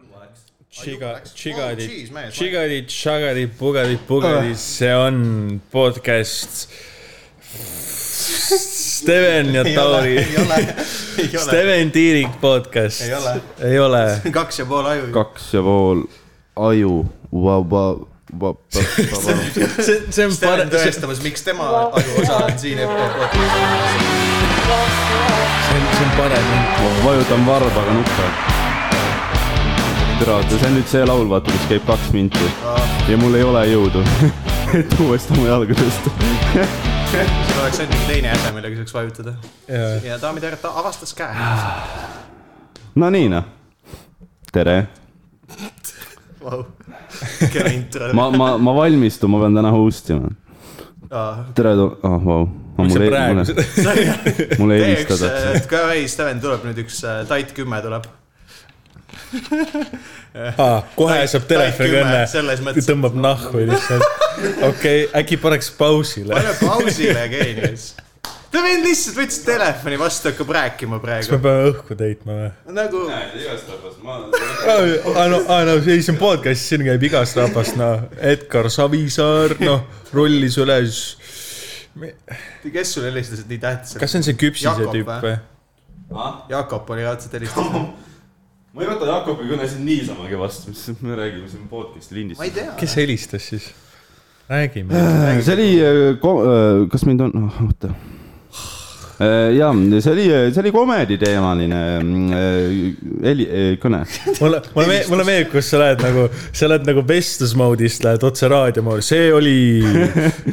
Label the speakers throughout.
Speaker 1: läks .
Speaker 2: Chiga , Chigadi
Speaker 1: cheese, mees. , Ah.
Speaker 2: Chigadi , Chagadi , Pugadi , Pugadi , see on podcast . Steven ja
Speaker 1: ei ole ,
Speaker 2: Tauri ,
Speaker 1: ei ole , ei ole ,
Speaker 2: Steven Tiirik podcast .
Speaker 1: Ei ole.
Speaker 2: ei ole .
Speaker 1: kaks ja pool aju .
Speaker 3: kaks ja pool aju , vaba , vaba , vaba .
Speaker 2: see , see on
Speaker 1: Steven
Speaker 2: parem ,
Speaker 1: tõestamas , miks tema ajuosa on siin ebakohal .
Speaker 2: see on , see on parem .
Speaker 3: ma vajutan varbaga nuppe . tere , vaata see on nüüd see laul , vaata , mis käib kaks minti ja mul ei ole jõudu , et uuesti oma jalgadest .
Speaker 1: sul oleks ainult mingi teine äse , millega saaks vajutada . ja daamid ja härrad , ta avastas käe .
Speaker 3: no nii noh . tere ,
Speaker 1: Vau , kena intro .
Speaker 3: ma , ma , ma valmistun , ma pean täna host ima . tere , ah vau .
Speaker 2: miks sa praegu
Speaker 3: mulle ,
Speaker 2: seda ,
Speaker 3: mulle
Speaker 1: tee üks
Speaker 3: helistada .,
Speaker 1: ka ei , Steven tuleb nüüd üks äh, tait kümme tuleb .
Speaker 2: kohe saab telefonikõne ,
Speaker 1: selles mõttes ,
Speaker 2: tõmbab nahku lihtsalt . okei okay, , äkki paneks pausile ,
Speaker 1: pane pausile , geenius . ta vend lihtsalt võttis telefoni vastu , hakkab rääkima
Speaker 2: kas me
Speaker 1: praegu .
Speaker 2: peame õhku täitma või ?
Speaker 1: nagu ,
Speaker 2: aa no , aa no ei , see on podcast , siin käib igast rahvast , noh , Edgar Savisaar , noh , rollis üles .
Speaker 1: kes sulle helistas , et nii tähtis ,
Speaker 2: kas see on see küpsise
Speaker 1: Jakob
Speaker 2: tüüp
Speaker 1: või?
Speaker 2: või ?
Speaker 1: et Jakob oli raudselt helistanud .
Speaker 3: Ah, ma ei võta Jakobi kõnesid niisamagi vastu , mis me räägime siin podcast'i lindis
Speaker 1: ma ei tea .
Speaker 2: kes helistas siis ? räägime .
Speaker 3: Äh, see oli , äh, kas mind on , oota . ja see oli , see oli komedi teemaline heli , äh, kõne .
Speaker 2: mulle , mulle meeldib , mulle meeldib , kus sa lähed nagu , sa lähed nagu vestlus mode'ist lähed otse raadio moodi , see oli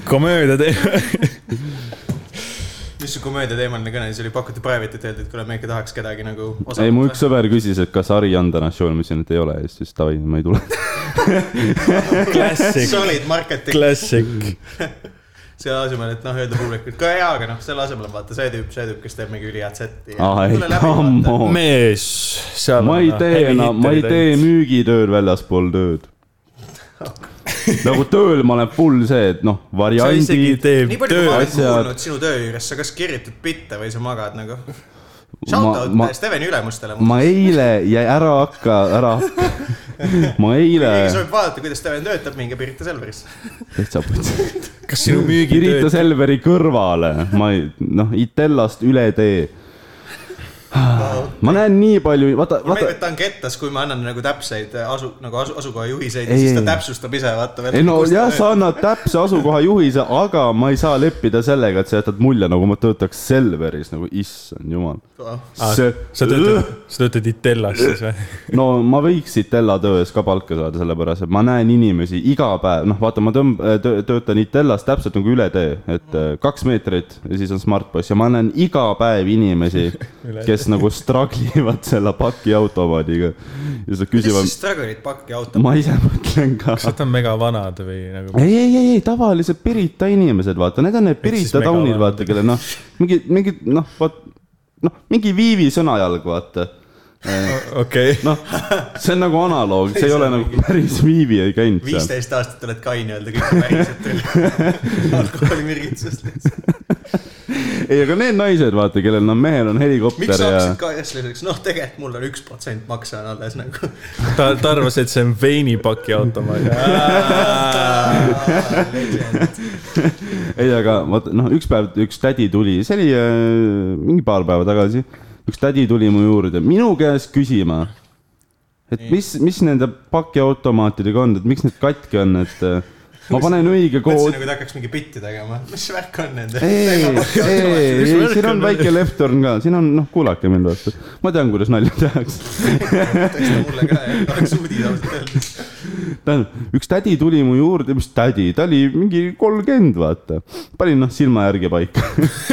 Speaker 2: komöödia teema .
Speaker 1: mis see komöödiateemaline kõne siis oli , pakuti private'it , öeldi , et kuule , me ikka tahaks kedagi nagu .
Speaker 3: ei , mu üks sõber küsis , et kas Ari on täna show'l , ma ütlesin , et ei ole ja siis davai , ma ei tule .
Speaker 2: klassik ,
Speaker 1: Solid marketing ,
Speaker 2: klassik .
Speaker 1: selle asemel , et noh , öelda publikult ka hea , aga noh , selle asemel on vaata see tüüp , see tüüp , kes teeb mingi ülihead setti .
Speaker 3: Ai, come on.
Speaker 2: mees , seal noh,
Speaker 3: ma ei tee enam , ma ei tee . müügitööl väljaspool tööd . nagu tööl ma olen full see , et noh ,
Speaker 2: sa isegi ei
Speaker 3: variandid .
Speaker 1: nii
Speaker 2: tee
Speaker 1: palju , kui ma
Speaker 2: tööd
Speaker 1: olen .
Speaker 3: asjad-
Speaker 1: kuulnud sinu töö juures , sa kas kirjutad bitte või sa magad nagu . Shout
Speaker 3: ma , ma
Speaker 1: out , Steveni ülemustele .
Speaker 3: ma eile jäi ära hakka , ära hakka . ma eile ,
Speaker 1: keegi soovib vaadata , kuidas Steven töötab , minge Pirita Selverisse .
Speaker 3: täitsa putsi .
Speaker 2: kas sinu
Speaker 3: Pirita
Speaker 2: müügitööd
Speaker 3: Selveri kõrvale , ma ei , noh , Itellast üle tee . ma näen nii palju , vaata ,
Speaker 1: meeldib ,
Speaker 3: vaata ,
Speaker 1: et ta on kettas , kui ma annan nagu täpseid äh, asu , nagu asu , asukoha juhiseid ,
Speaker 3: Ei,
Speaker 1: siis ta
Speaker 3: ei.
Speaker 1: täpsustab ise , vaata .
Speaker 3: ei no jah , sa annad täpse asukoha juhise , aga ma ei saa leppida sellega , et sa jätad mulje , nagu ma töötaks Selveris , nagu issand jumal .
Speaker 2: ah, . sa töötad , sa töötad Itellas siis või ?
Speaker 3: no ma võiks Itella töö eest ka palka saada , sellepärast et ma näen inimesi iga päev , noh , vaata , ma tõmb- , töötan Itellas täpselt nagu üle tee , et äh, kaks meetrit ja siis on Smartboss ja ma näen iga päev inimesi , kes nagu struggle ivad selle pakiautomaadiga . ja siis nad
Speaker 1: mis
Speaker 3: küsivad
Speaker 1: siis , Dragonit pakki auto ?
Speaker 3: ma ise mõtlen ka .
Speaker 2: kas nad on mega vanad või nagu ?
Speaker 3: ei , ei , ei , ei , tavalised Pirita inimesed , vaata , need on need
Speaker 2: siis
Speaker 3: Pirita taunid ,
Speaker 2: megavanemad.
Speaker 3: vaata , kellel noh , mingi , mingi noh , vot , noh , mingi Viivi sõnajalg , vaata
Speaker 2: okei ,
Speaker 3: noh , see on nagu analoog , see ei ole nagu päris Viivi ei käinud seal .
Speaker 1: viisteist aastat oled kain ja öelda kõik on päriselt alkoholimürgitusest .
Speaker 3: ei , aga need naised , vaata , kellel on mehel on
Speaker 1: miks
Speaker 3: helikopter
Speaker 1: sa
Speaker 3: ja
Speaker 1: hakkasid kaaslaseks , noh , tegelikult mul on üks protsent makse on alles nagu .
Speaker 2: ta , ta arvas , et see on veinipaki automaat .
Speaker 1: nagu
Speaker 3: ei , aga vaata , noh , üks päev üks tädi tuli , see oli äh, mingi paar päeva tagasi , üks tädi tuli mu juurde minu käest küsima , et mis , mis nende pakiautomaatidega on , et miks need katki on , et äh, ma panen õige
Speaker 1: mõtlesin
Speaker 3: koodi .
Speaker 1: nagu ta hakkaks mingi bitti tegema , mis see värk on nende .
Speaker 3: ei , ei , ei , ei , siin on väike left turn ka , siin on , noh , kuulake mind vastu , ma tean , kuidas nalja tehakse .
Speaker 1: tõsta mulle ka , oleks uudis ausalt öeldes .
Speaker 3: tähendab , üks tädi tuli mu juurde , mis tädi , ta oli mingi kolmkümmend , vaata . panin noh silma järgi paika ,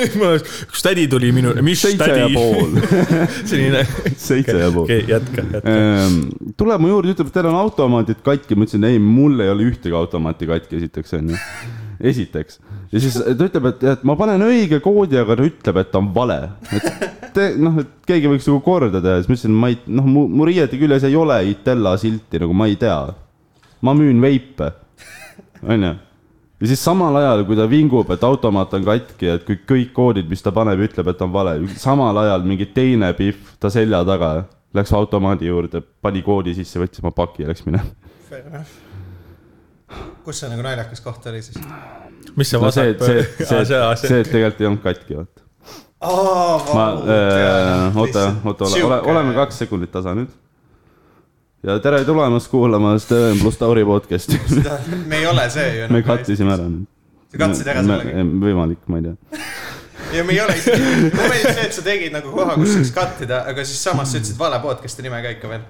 Speaker 2: üks tädi tuli minu , mis
Speaker 3: seitse ja
Speaker 2: tädi ?
Speaker 3: pool ,
Speaker 2: selline .
Speaker 3: seitse ja pool .
Speaker 2: okei , jätka , jätka .
Speaker 3: tuleb mu juurde , ütleb , teil on automaadid katki , ma ütlesin , ei , mul ei ole ühtegi automaati katki , esiteks onju , esiteks . ja siis ta ütleb , et , et ma panen õige koodi , aga ta ütleb , et on vale . et te, noh , et keegi võiks nagu korda teha , siis ma ütlesin , ma ei , noh , mu , mu riiete küljes ei ole Itella silti , nagu ma ei tea . ma müün veipe onju . ja siis samal ajal , kui ta vingub , et automaat on katki , et kõik , kõik koodid , mis ta paneb , ütleb , et on vale , samal ajal mingi teine pihv ta selja taga Läks automaadi juurde , pani koodi sisse , võttis oma paki ja läks minema .
Speaker 1: fair enough . kus see nagu naljakas koht oli siis ?
Speaker 2: mis see
Speaker 3: no see ,
Speaker 2: vasak Ah,
Speaker 3: see , see , see , see
Speaker 2: see .
Speaker 3: tegelikult ei olnud katki , vaata . ma äh, , oota , oota , ole , ole , oleme
Speaker 1: oleme
Speaker 3: kaks sekundit tasa nüüd . ja tere tulemast kuulama Sten pluss Tauri podcast'i .
Speaker 1: me ei ole see ju .
Speaker 3: me . kattisime ära nüüd .
Speaker 1: sa katsid ära sellega ?
Speaker 3: võimalik , ma ei tea .
Speaker 1: ja me ei ole isegi , mulle meeldis see , et sa tegid nagu koha , kus saaks kattida , aga siis samas sa ütlesid vale podcast'i nime ka ikka veel .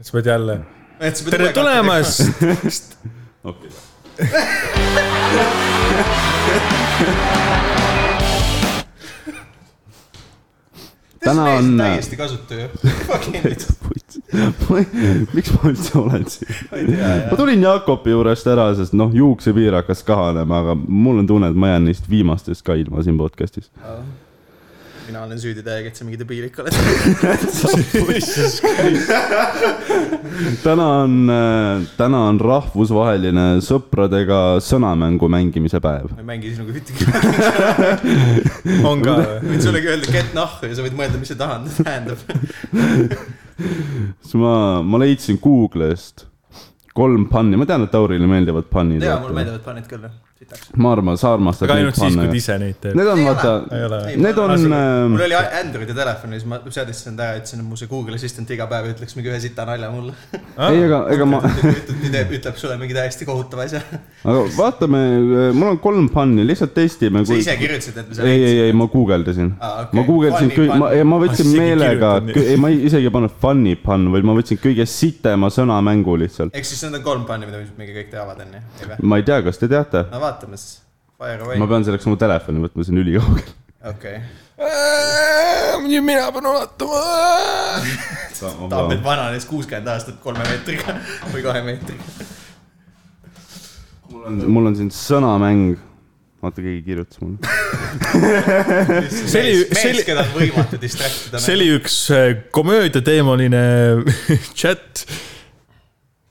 Speaker 2: sa pead jälle . tere tulemast .
Speaker 3: okei . Täna
Speaker 1: täna on .
Speaker 3: on-
Speaker 1: täiesti kasutu ju .
Speaker 3: miks ma üldse olen siin ?
Speaker 1: ma ei tea
Speaker 3: ma
Speaker 1: jah .
Speaker 3: tulin Jakobi juurest ära , sest noh , juuksepiir hakkas kahanema , aga mul on tunne , et ma jään neist viimastest ka ilma siin podcast'is .
Speaker 1: mina olen süüdi täiega , et sa mingi debiilik oled .
Speaker 3: täna on , täna on rahvusvaheline sõpradega sõnamängu mängimise päev .
Speaker 1: ma ei mängi sinuga ühtegi .
Speaker 2: on ka või ?
Speaker 1: võin sulle ka öelda get nahku ja sa võid mõelda , mis sa tahad , tähendab .
Speaker 3: siis ma , ma leidsin Google'ist kolm panni , ma tean , et Taurile meeldivad pannid .
Speaker 1: jaa , mulle . meeldivad panid küll jah . sitaks .
Speaker 3: ma arvan , sa armastad
Speaker 2: aga ainult siis , kui ta
Speaker 3: panne .
Speaker 2: ise neid teeb .
Speaker 3: Need on
Speaker 1: Ei ole.
Speaker 2: Ei ole.
Speaker 3: vaata ,
Speaker 1: Ei,
Speaker 3: need
Speaker 1: ma
Speaker 3: on
Speaker 1: arvan, , mul
Speaker 3: äh,
Speaker 1: oli Androidi telefon ja siis ma seadistasin ta ära , ütlesin , et mu see Google Assistant iga päev ütleks mingi ühe sita nalja mulle .
Speaker 3: ei , aga , ega ma ,
Speaker 1: ütleb sulle mingi täiesti kohutava asja .
Speaker 3: aga vaatame , mul on kolm panni , lihtsalt testime .
Speaker 1: sa ise kirjutasid need , mis sa
Speaker 3: ei , ei , ei , ma guugeldasin
Speaker 1: Aa, okei.
Speaker 3: ma guugeldasin
Speaker 1: Funny
Speaker 3: kõik ,
Speaker 1: pun.
Speaker 3: ma , ma võtsin
Speaker 2: isegi
Speaker 3: meelega
Speaker 2: kirjutan , Ah, nii.
Speaker 3: ei , ma ei- isegi ei pannud funny pun , vaid ma võtsin kõige sitema sõnamängu lihtsalt .
Speaker 1: ehk siis need on kolm panni , mida me mingi kõik teavad , onju , ei vä ?
Speaker 3: ma ei tea , kas te teate ,
Speaker 1: no vaatame siis . Fire
Speaker 3: ma
Speaker 1: away ,
Speaker 3: pean selleks oma telefoni võtma siin ülikaugel .
Speaker 1: okei .
Speaker 2: nüüd mina pean ulatama .
Speaker 1: Tammel vananes kuuskümmend aastat kolme meetriga või kahe meetriga .
Speaker 3: mul on siin sõnamäng , vaata keegi kirjutas mulle .
Speaker 2: See oli- see
Speaker 1: mees
Speaker 2: oli- ,
Speaker 1: keda on võimatu noh. distract ida .
Speaker 2: see oli üks äh, komöödiateemaline chat .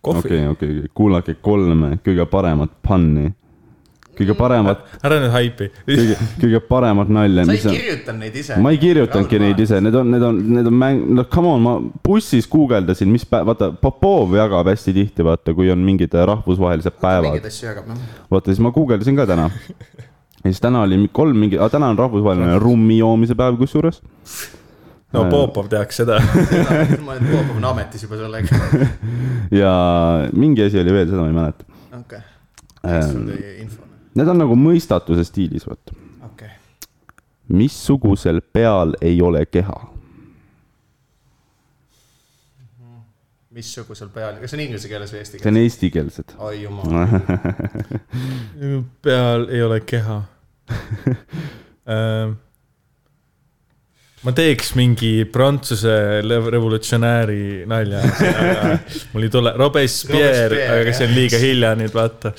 Speaker 2: kohvi .
Speaker 3: okei , okei , kuulake kolme kõige paremat pun'i , kõige paremat ,
Speaker 2: ära nüüd haipi .
Speaker 3: kõige , kõige paremat nalja ,
Speaker 1: sa
Speaker 3: mis
Speaker 1: ei
Speaker 3: on
Speaker 1: kirjuta neid ise .
Speaker 3: ma ei kirjutanudki neid ise , need on , need on , need on mäng , noh , come on , ma bussis guugeldasin , mis päev , vaata , Popov jagab hästi tihti , vaata , kui on mingid äh, rahvusvahelised päevad
Speaker 1: mingeid . asju jagab , noh .
Speaker 3: vaata , siis ma guugeldasin ka täna . ja siis täna oli mi- kolm mingi , täna on rahvusvaheline rummi joomise päev kusjuures .
Speaker 2: no Popov teaks seda .
Speaker 1: ma olen Popov on ametis juba sellega .
Speaker 3: ja mingi asi oli veel , seda ma ei mäleta .
Speaker 1: okei ,
Speaker 3: Ähm.
Speaker 1: info .
Speaker 3: Need on nagu mõistatuse stiilis , vaata .
Speaker 1: okei ,
Speaker 3: missugusel peal ei ole keha ?
Speaker 1: missugusel peal , kas see on inglise keeles või eesti
Speaker 3: see on Ah.
Speaker 1: keeles ?
Speaker 3: eestikeelsed .
Speaker 1: oi jumal ,
Speaker 2: peal ei ole keha . ma teeks mingi prantsuse le- revolutsionääri nalja , aga mul ei tule , Robespierre ,
Speaker 1: Robespierre,
Speaker 2: aga see on liiga hilja nüüd vaata .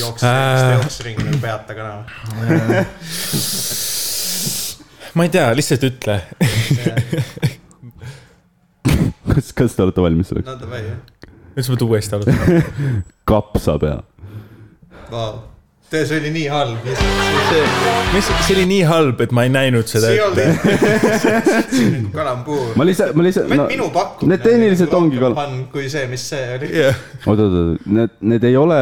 Speaker 1: jooksja , jooksja ringi nagu peata ka noh .
Speaker 2: ma ei tea , lihtsalt ütle .
Speaker 3: kas , kas te olete valmis selleks ?
Speaker 1: no davai , jah .
Speaker 2: nüüd sa pead uuesti alustama .
Speaker 3: kapsapea .
Speaker 1: Vau , see see oli nii halb .
Speaker 2: mis , see oli nii halb , et ma ei näinud seda
Speaker 1: see ei
Speaker 2: ette .
Speaker 1: olnud nagu kalambuur .
Speaker 3: ma lihtsalt , ma lihtsalt .
Speaker 1: minu pakkumine .
Speaker 3: Need tehniliselt ongi kal- .
Speaker 1: kui see , mis see oli .
Speaker 3: oot , oot , oot , need , need ei ole ,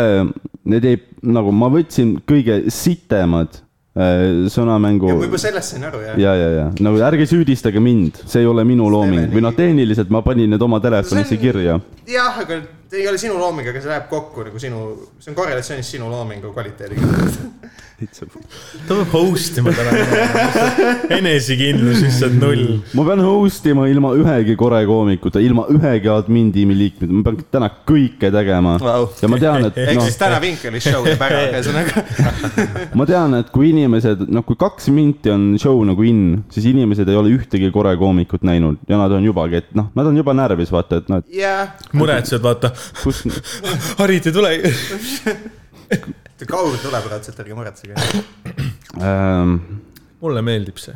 Speaker 3: need ei , nagu ma võtsin kõige sitemad äh, sõnamängu
Speaker 1: ja ma juba sellest sain aru jah .
Speaker 3: ja , ja , ja nagu ärge süüdistage mind , see ei ole minu looming
Speaker 1: Steveni-
Speaker 3: või noh , tehniliselt ma panin need oma telefonisse
Speaker 1: See on-
Speaker 3: kirja .
Speaker 1: jah , aga ei ole sinu looming , aga see läheb kokku nagu sinu , see on korrelatsioonis sinu loomingu kvaliteediga .
Speaker 2: ta peab host ima täna . enesekindlus lihtsalt null .
Speaker 3: ma pean host ima ilma ühegi kore koomikuta , ilma ühegi admin tiimi liikmeta , ma pean täna kõike tegema
Speaker 1: Vau.
Speaker 3: ja ma tean , et
Speaker 1: ehk
Speaker 3: noh
Speaker 1: siis , täna Vinkeli show teeb ära , ühesõnaga .
Speaker 3: ma tean , et kui inimesed , noh , kui kaks minti on show nagu in , siis inimesed ei ole ühtegi kore koomikut näinud ja nad on jubagi , et noh , nad on juba närvis , vaata , et noh , et
Speaker 1: jah ,
Speaker 2: muretsed , vaata ,
Speaker 3: kus
Speaker 2: Harit ei tule .
Speaker 1: kaugel tuleb raudselt , ärge muretsege .
Speaker 3: ähm,
Speaker 2: mulle meeldib see .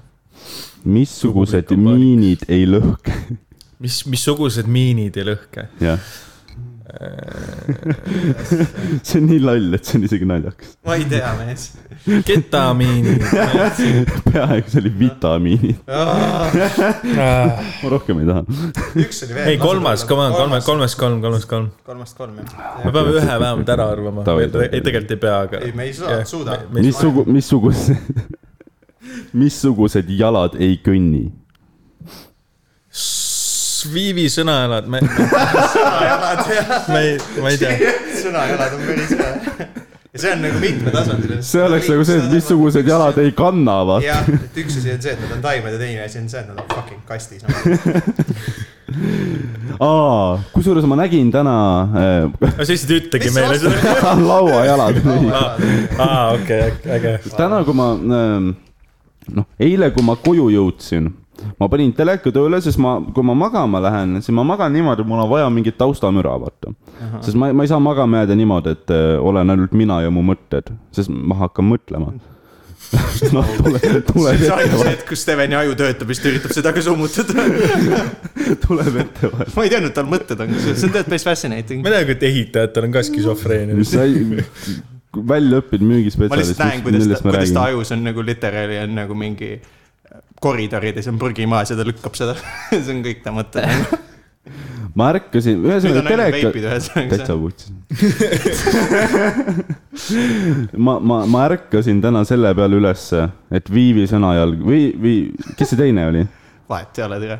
Speaker 3: missugused
Speaker 2: Lugupeetav
Speaker 3: miinid ei lõhke ,
Speaker 2: mis , missugused miinid ei lõhke ? Äh,
Speaker 3: jah . see on nii loll , et see on isegi naljakas .
Speaker 1: ma ei tea , mees .
Speaker 2: ketamiini .
Speaker 3: peaaegu see oli vitamiinid , ma rohkem ei taha .
Speaker 1: üks oli veel .
Speaker 2: ei , kolmas , come on , kolme , kolmest kolm , kolmest kolm .
Speaker 1: kolmast kolm ,
Speaker 2: me
Speaker 1: jah .
Speaker 2: peame ühe vähemalt ära arvama .
Speaker 3: Davai,
Speaker 2: ei ,
Speaker 3: davai.
Speaker 2: tegelikult ei pea , aga .
Speaker 1: ei , me ei saa , suuda .
Speaker 3: missugu- , missugused , missugused jalad ei kõnni ?
Speaker 2: viivi sõnajalad , me ,
Speaker 1: sõnajalad ja
Speaker 2: me ei , ma ei tea .
Speaker 1: sõnajalad on päris hea . ja see on nagu mitmetasandiline .
Speaker 3: see oleks nagu see , et missugused jalad . ei kanna ,
Speaker 1: nagu-
Speaker 3: vaata .
Speaker 1: jah , et üks asi on see , et nad on taimed ja teine asi on see , et nad on fucking kastis noh. no. .
Speaker 3: aa , kusjuures ma nägin täna äh,
Speaker 2: aga sa lihtsalt ei ütlegi
Speaker 1: Mis
Speaker 2: meile
Speaker 1: vastus?
Speaker 2: seda .
Speaker 3: lauajalad .
Speaker 2: aa , okei , äge .
Speaker 3: täna , kui ma ähm, noh , eile , kui ma koju jõudsin , ma panin teleka tööle , sest ma , kui ma magama lähen , siis ma magan niimoodi , et mul on vaja mingit taustamüra , vaata . sest ma , ma ei saa magama jääda niimoodi , et äh, olen ainult mina ja mu mõtted , sest ma hakkan mõtlema . noh , tuleb , tuleb
Speaker 1: see on ainus
Speaker 3: ette ,
Speaker 1: hetk , kus Steveni aju töötab ja siis ta üritab seda ka summutada .
Speaker 3: tuleb ette vaata .
Speaker 1: ma ei teadnud , tal mõtted on , see on tegelikult päris fascinating
Speaker 2: ma . ei tea , kui et ehitajatel on ka skisofreenia .
Speaker 3: sa ei , väljaõppinud
Speaker 1: ma lihtsalt
Speaker 3: müügispetsialist
Speaker 1: näen ,, kuidas ta , kuidas ta . ajus on nagu literaali on nagu mingi koridorides on prügi maas ja ta lükkab seda . see on kõik ta mõte .
Speaker 3: ma ärkasin ,
Speaker 1: nüüd on
Speaker 3: ühesõnaga
Speaker 1: ainult
Speaker 3: teleka ,
Speaker 1: veipid ühesõnaga
Speaker 3: täitsa . vutsis ma , ma , ma ärkasin täna selle peale ülesse , et Viivi sõnajalg või , või kes see teine oli ?
Speaker 1: vahet ei ole , tere .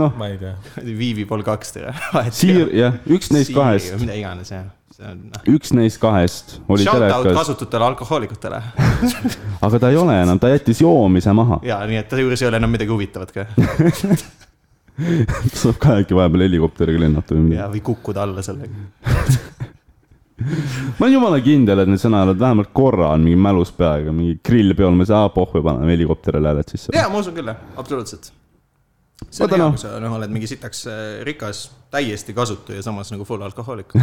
Speaker 3: noh ,
Speaker 2: ma ei tea .
Speaker 1: Viivi pool kaks , tere . vahet ei
Speaker 3: Siir , jah , üks neist
Speaker 1: Siiri või
Speaker 3: kahest ,
Speaker 1: mida iganes jah , see on noh .
Speaker 3: üks neist kahest oli
Speaker 1: Shout out
Speaker 3: telekas ,
Speaker 1: kasututele alkohoolikutele
Speaker 3: aga ta ei ole enam , ta jättis joomise maha .
Speaker 1: ja nii , et ta juures ei ole enam midagi huvitavat ka
Speaker 3: saab ka äkki vahepeal helikopteriga lennata või
Speaker 1: ja ,
Speaker 3: midagi .
Speaker 1: või kukkuda alla sellega .
Speaker 3: ma olen jumala kindel , et need sõnajalad vähemalt korra on mingi mälus peaga , mingi grill peal , me ei saa pohhu ja paneme helikopterile hääled sisse .
Speaker 1: ja ma usun küll jah , absoluutselt . see on
Speaker 3: Vaata,
Speaker 1: hea ,
Speaker 3: noh.
Speaker 1: kui sa noh , oled mingi sitaks äh, rikas , täiesti kasutu ja samas nagu full alkohoolik .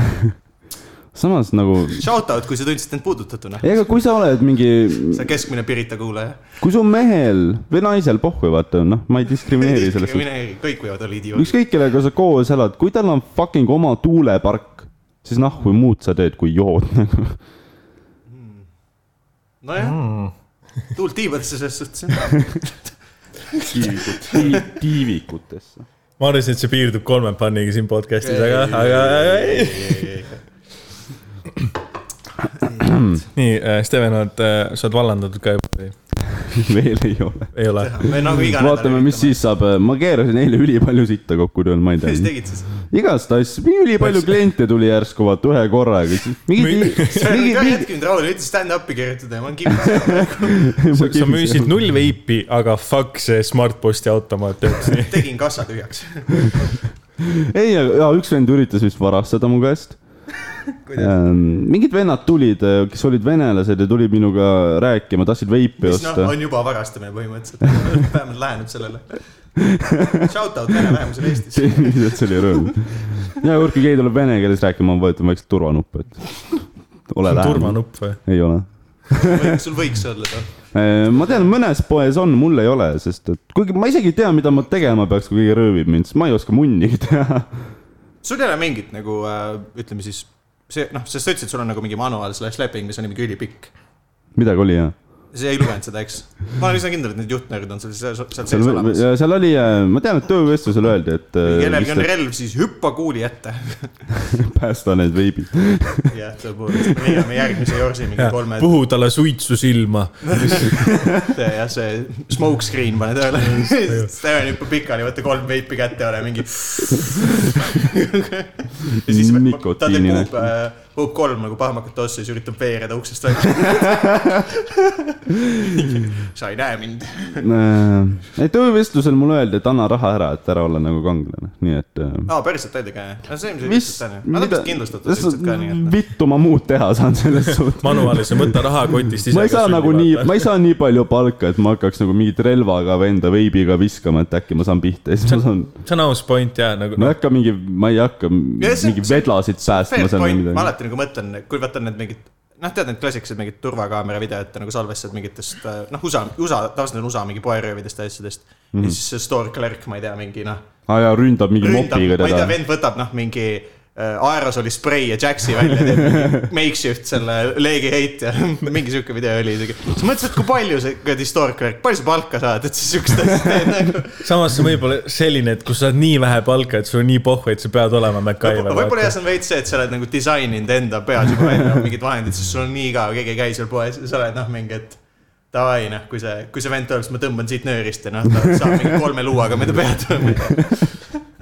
Speaker 3: samas nagu ,
Speaker 1: Shout out , kui sa tundsid end puudutatuna .
Speaker 3: ega kui sa oled mingi
Speaker 1: sa keskmine Pirita kuulaja .
Speaker 3: kui su mehel või naisel pohhu , vaata , noh , ma ei diskrimineeri selles suhtes .
Speaker 1: kõik võivad olla idioodid .
Speaker 3: ükskõik kellega sa koos elad , kui tal on fucking oma tuulepark , siis noh , kui muud sa teed , kui jood nagu .
Speaker 1: nojah mm. , tuult tiibadesse selles suhtes .
Speaker 3: tiivikutesse .
Speaker 2: ma arvasin , et see piirdub kolme panniga siin podcast'is , aga , aga ei . nii , Steven , oled , sa oled vallandatud ka juba või ?
Speaker 3: veel ei ole .
Speaker 2: ei ole ?
Speaker 1: me nagu iga
Speaker 3: vaatame , mis . siis saab , ma keerasin eile ülipalju sitta kokku tööl , ma ei
Speaker 1: mis
Speaker 3: tea .
Speaker 1: tegid siis ?
Speaker 3: igast asju , ülipalju kliente tuli järsku vaata ühe korraga . mingid ,
Speaker 1: sa oled ka
Speaker 3: mingid ,
Speaker 1: hetkinud Raul , ütles stand-up'i kirjutada ja ma olen kippunud .
Speaker 2: sa sa müüsid null veipi , aga fuck see Smartposti automaat töötas nii .
Speaker 1: tegin kassa tühjaks .
Speaker 3: ei , aga üks vend üritas vist varastada mu käest Ähm,
Speaker 1: kuidas ?
Speaker 3: mingid vennad tulid , kes olid venelased ja tulid minuga rääkima , tahtsid veipi
Speaker 1: mis noh ,
Speaker 3: osta .
Speaker 1: on juba varastamine põhimõtteliselt . vähemalt läheneb sellele . Shout out vene vähemusele Eestis .
Speaker 3: lihtsalt see oli rõõm . ja kord , kui keegi tuleb vene keeles rääkima , ma vajutan vaikselt turvanuppu , et ole lähemal .
Speaker 2: turvanupp või ?
Speaker 3: ei ole .
Speaker 1: sul võiks olla ta .
Speaker 3: ma tean , mõnes poes on , mul ei ole , sest et kuigi ma isegi ei tea , mida ma tegema peaks , kui keegi röövib mind , sest ma ei oska munnigi teha .
Speaker 1: sul ei ole mingit nagu äh, ütleme siis see noh , sest sa ütlesid , sul on nagu mingi manuaal slash leping , mis on mingi ülipikk .
Speaker 3: midagi oli jah ?
Speaker 1: sa ei lugenud seda , eks ? ma olen üsna kindel , et need juhtnöörid on sul seal seal sees olemas .
Speaker 3: seal oli , ma tean , et töövestlusel öeldi , et
Speaker 1: kellelgi on
Speaker 3: äh,
Speaker 1: relv , siis hüppa kuuli ette .
Speaker 3: päästa need veibid .
Speaker 1: jah , tõepoolest , me leiame järgmise jorsi mingi kolme
Speaker 2: puhu talle suitsu silma .
Speaker 1: ette ja see smoke screen pane tööle . Steven hüppab pikali , võta kolm veipi kätte , ole mingi . ta teeb
Speaker 3: Nikotiini
Speaker 1: puhub , puhub kolm nagu pahmakat ossa ja siis üritab veereda uksest välja . sa ei näe mind .
Speaker 3: Äh, ei , töövestlusel mulle öeldi , et anna raha ära , et ära olla nagu kangelane , nii et äh,
Speaker 1: aa , päriselt öeldi ka jah ? no see , mis sa ütlesid ,
Speaker 3: mis
Speaker 1: onju . Nad on vist kindlustatud ilmselt ka nii , et .
Speaker 3: vittu ma muud teha saan selles suhtes .
Speaker 2: manuaalis , võta raha kotist ise .
Speaker 3: ma ei saa nagu nii , ma ei saa nii palju palka , et ma hakkaks nagu mingit relvaga või enda veibiga viskama , et äkki ma saan pihta ja siis ma saan ,
Speaker 2: see on aus point jah , nagu
Speaker 3: ma ei hakka mingi , ma ei hakka
Speaker 1: Ja see-
Speaker 3: mingi
Speaker 1: see-
Speaker 3: vedlasid
Speaker 1: Fair
Speaker 3: päästma seal või
Speaker 1: point , ma
Speaker 3: midagi .
Speaker 1: alati nagu mõtlen , kui vaatan need mingid , noh , tead need klassikalised mingid turvakaamera videod nagu salvestad mingitest , noh , USA , USA , tavaliselt on USA mingi poeröövidest ja asjadest mm .
Speaker 3: Mhm.
Speaker 1: -hmm. ja siis see store clerk , ma ei tea , mingi noh ,
Speaker 3: aa jaa , ründab mingi
Speaker 1: ründab ,
Speaker 3: mopiga
Speaker 1: ma ei tea ,
Speaker 3: teda .
Speaker 1: vend võtab noh , mingi aerosoli spray ja Jaxi välja teeb mingi makeshift selle leegiheitja , mingi sihuke video oli isegi . siis mõtlesin , et kui palju see kuradi store clerk , palju sa palka saad , et sa siukest asja teed nagu .
Speaker 2: samas see võib olla selline , et kus sa oled nii vähe palka , et sul on nii pohhu , et sa pead olema MacGyver .
Speaker 1: võib-olla jah , see on veits see , et sa oled nagu disaininud enda peas juba enne mingid vahendid , sest sul on nii igav , keegi ei käi seal poes ja sa oled noh , mingi , et davai noh , kui see , kui see vend tuleb , siis ma tõmban siit nöörist ja noh , ta saab mingi kolme luuaga mööda pead tõmmata .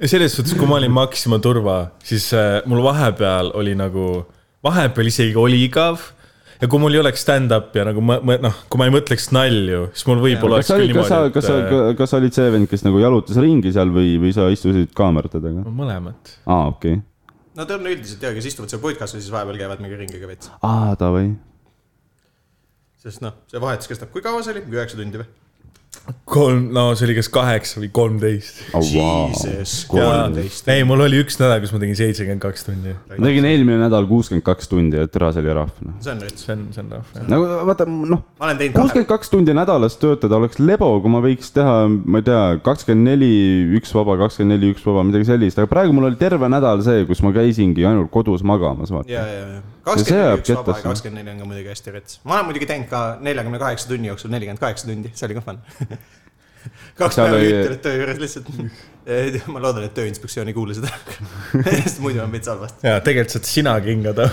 Speaker 2: selles suhtes , kui ma olin Maxima turva , siis äh, mul vahepeal oli nagu , vahepeal isegi oli igav . ja kui mul ei oleks stand-up'i ja nagu ma, ma , noh , kui ma ei mõtleks nalju , siis mul võib-olla
Speaker 3: kas
Speaker 2: oleks
Speaker 3: sa
Speaker 2: küll
Speaker 3: olid , kas sa ,
Speaker 2: niimoodi ,
Speaker 3: kas sa
Speaker 2: et äh, ,
Speaker 3: kas sa olid see vend , kes nagu jalutas ringi seal või , või sa istusid kaamerate taga ?
Speaker 2: äh, mõlemat .
Speaker 3: aa , okei okay. .
Speaker 1: Nad on üldiselt ja , kes istuvad seal puitkas ja siis vahepeal käivad mingi ringiga veits ,
Speaker 3: aa , davai .
Speaker 1: sest noh , see vahetus kestab , kui kaua see oli , mingi üheksa tundi või ?
Speaker 2: kolm , no see oli kas kaheksa või kolmteist .
Speaker 3: Oh,
Speaker 1: Jesus, kolmteist.
Speaker 2: ei , mul oli üks nädal , kus ma tegin seitsekümmend kaks tundi .
Speaker 3: ma tegin eelmine nädal kuuskümmend kaks tundi , et raas oli rahv , noh .
Speaker 1: see on rets ,
Speaker 2: see on , see on rohkem .
Speaker 3: nagu vaata , noh ,
Speaker 1: ma olen teinud kahe ,
Speaker 3: kuuskümmend kaks tundi nädalas töötada oleks lebo , kui ma võiks teha , ma ei tea , kakskümmend neli , üks vaba , kakskümmend neli , üks vaba , midagi sellist , aga praegu mul oli terve nädal see , kus ma käisingi ainult kodus magamas , vaata
Speaker 1: ja , ja , ja . kakskümmend
Speaker 3: see
Speaker 1: neli
Speaker 3: jääb
Speaker 1: üks vaba
Speaker 3: kettasse.
Speaker 1: ja kakskümmend neli on ka muidugi hästi rets . ma olen muidugi teinud ka neljakümne kaheksa tunni jooksul nelikümmend kaheksa tundi , see oli ka fun . kaks
Speaker 3: Seal
Speaker 1: päeva
Speaker 3: oli-
Speaker 1: juhtunud töö juures lihtsalt . ma loodan , et Tööinspektsioon ei kuule seda , sest muidu on veits halvasti .
Speaker 2: ja tegelikult saad sina kingada .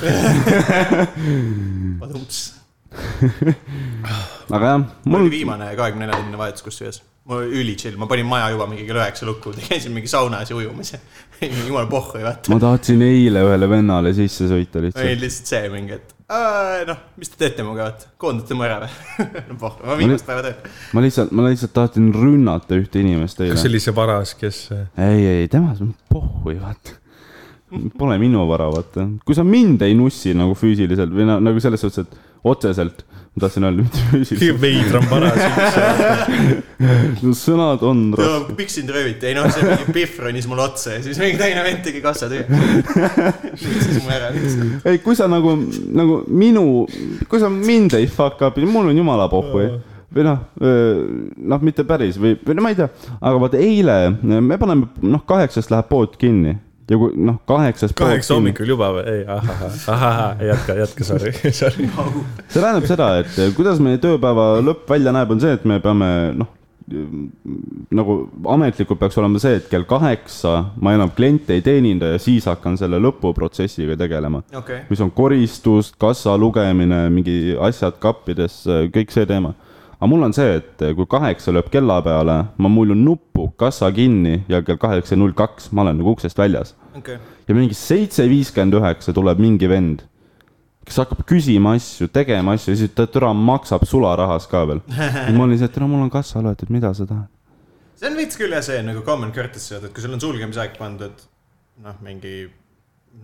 Speaker 3: aga jah ,
Speaker 1: mul
Speaker 3: mul
Speaker 1: oli , viimane kahekümne nelja tunnine vahetus kusjuures . ma olin üli chill , ma panin maja juba mingi kell üheksa lukku , käisin mingi saunas ja ujumas ja jumala pohhu ei vaata .
Speaker 3: ma tahtsin eile ühele vennale sisse sõita
Speaker 1: oli
Speaker 3: lihtsalt .
Speaker 1: lihtsalt see mingi , et aa, noh , mis te teete minuga , et koondate mu ära või ? no pohh , ma viimast päeva teen .
Speaker 3: ma lihtsalt , ma lihtsalt tahtsin rünnata ühte inimest eile
Speaker 2: kas . see oli see varas , kes , äh,
Speaker 3: ei , ei tema , see on pohhui , vaata . Pole minu vara , vaata . kui sa mind ei nussi nagu füüsiliselt või na- nagu selles suhtes , et otseselt , ma tahtsin öelda , mitte
Speaker 2: kõige
Speaker 3: füüsiliselt .
Speaker 2: veidram varas üldse .
Speaker 3: sõnad on rasked .
Speaker 1: miks sind rööviti , ei noh , see mingi Pihv ronis mulle otsa ja siis mingi teine vend tegi kassa tüü . võttis mu ära lihtsalt .
Speaker 3: ei , kui sa nagu , nagu minu , kui sa mind ei fuck up'i , mul on jumala pohhui . või noh , noh , mitte päris või , või no ma ei tea , aga vaata eile me paneme , noh , kaheksast läheb pood kinni ja kui noh , kaheksas .
Speaker 2: kaheksa . hommikul juba või ? ei , ahah , ahah , jätka , jätka , sorry , sorry .
Speaker 3: see tähendab seda , et eh, kuidas meie tööpäeva lõpp välja näeb , on see , et me peame noh , nagu ametlikult peaks olema see , et kell kaheksa ma enam kliente ei teeninda ja siis hakkan selle lõpuprotsessiga tegelema .
Speaker 1: okei okay. ,
Speaker 3: mis on koristus , kassa lugemine , mingi asjad kappidesse , kõik see teema . aga mul on see , et eh, kui kaheksa lööb kella peale , ma mullun nuppu , kassa kinni ja kell kaheksa null kaks ma olen nagu uksest väljas
Speaker 1: okei okay. .
Speaker 3: ja mingi seitse viiskümmend üheksa tuleb mingi vend , kes hakkab küsima asju , tegema asju , siis ta türa maksab sularahas ka veel . ma olin see , et no mul on kassa loetud , mida sa tahad .
Speaker 1: see on veits küll jah see nagu common courtesy , et kui sul on sulgemisaeg pandud , noh , mingi ,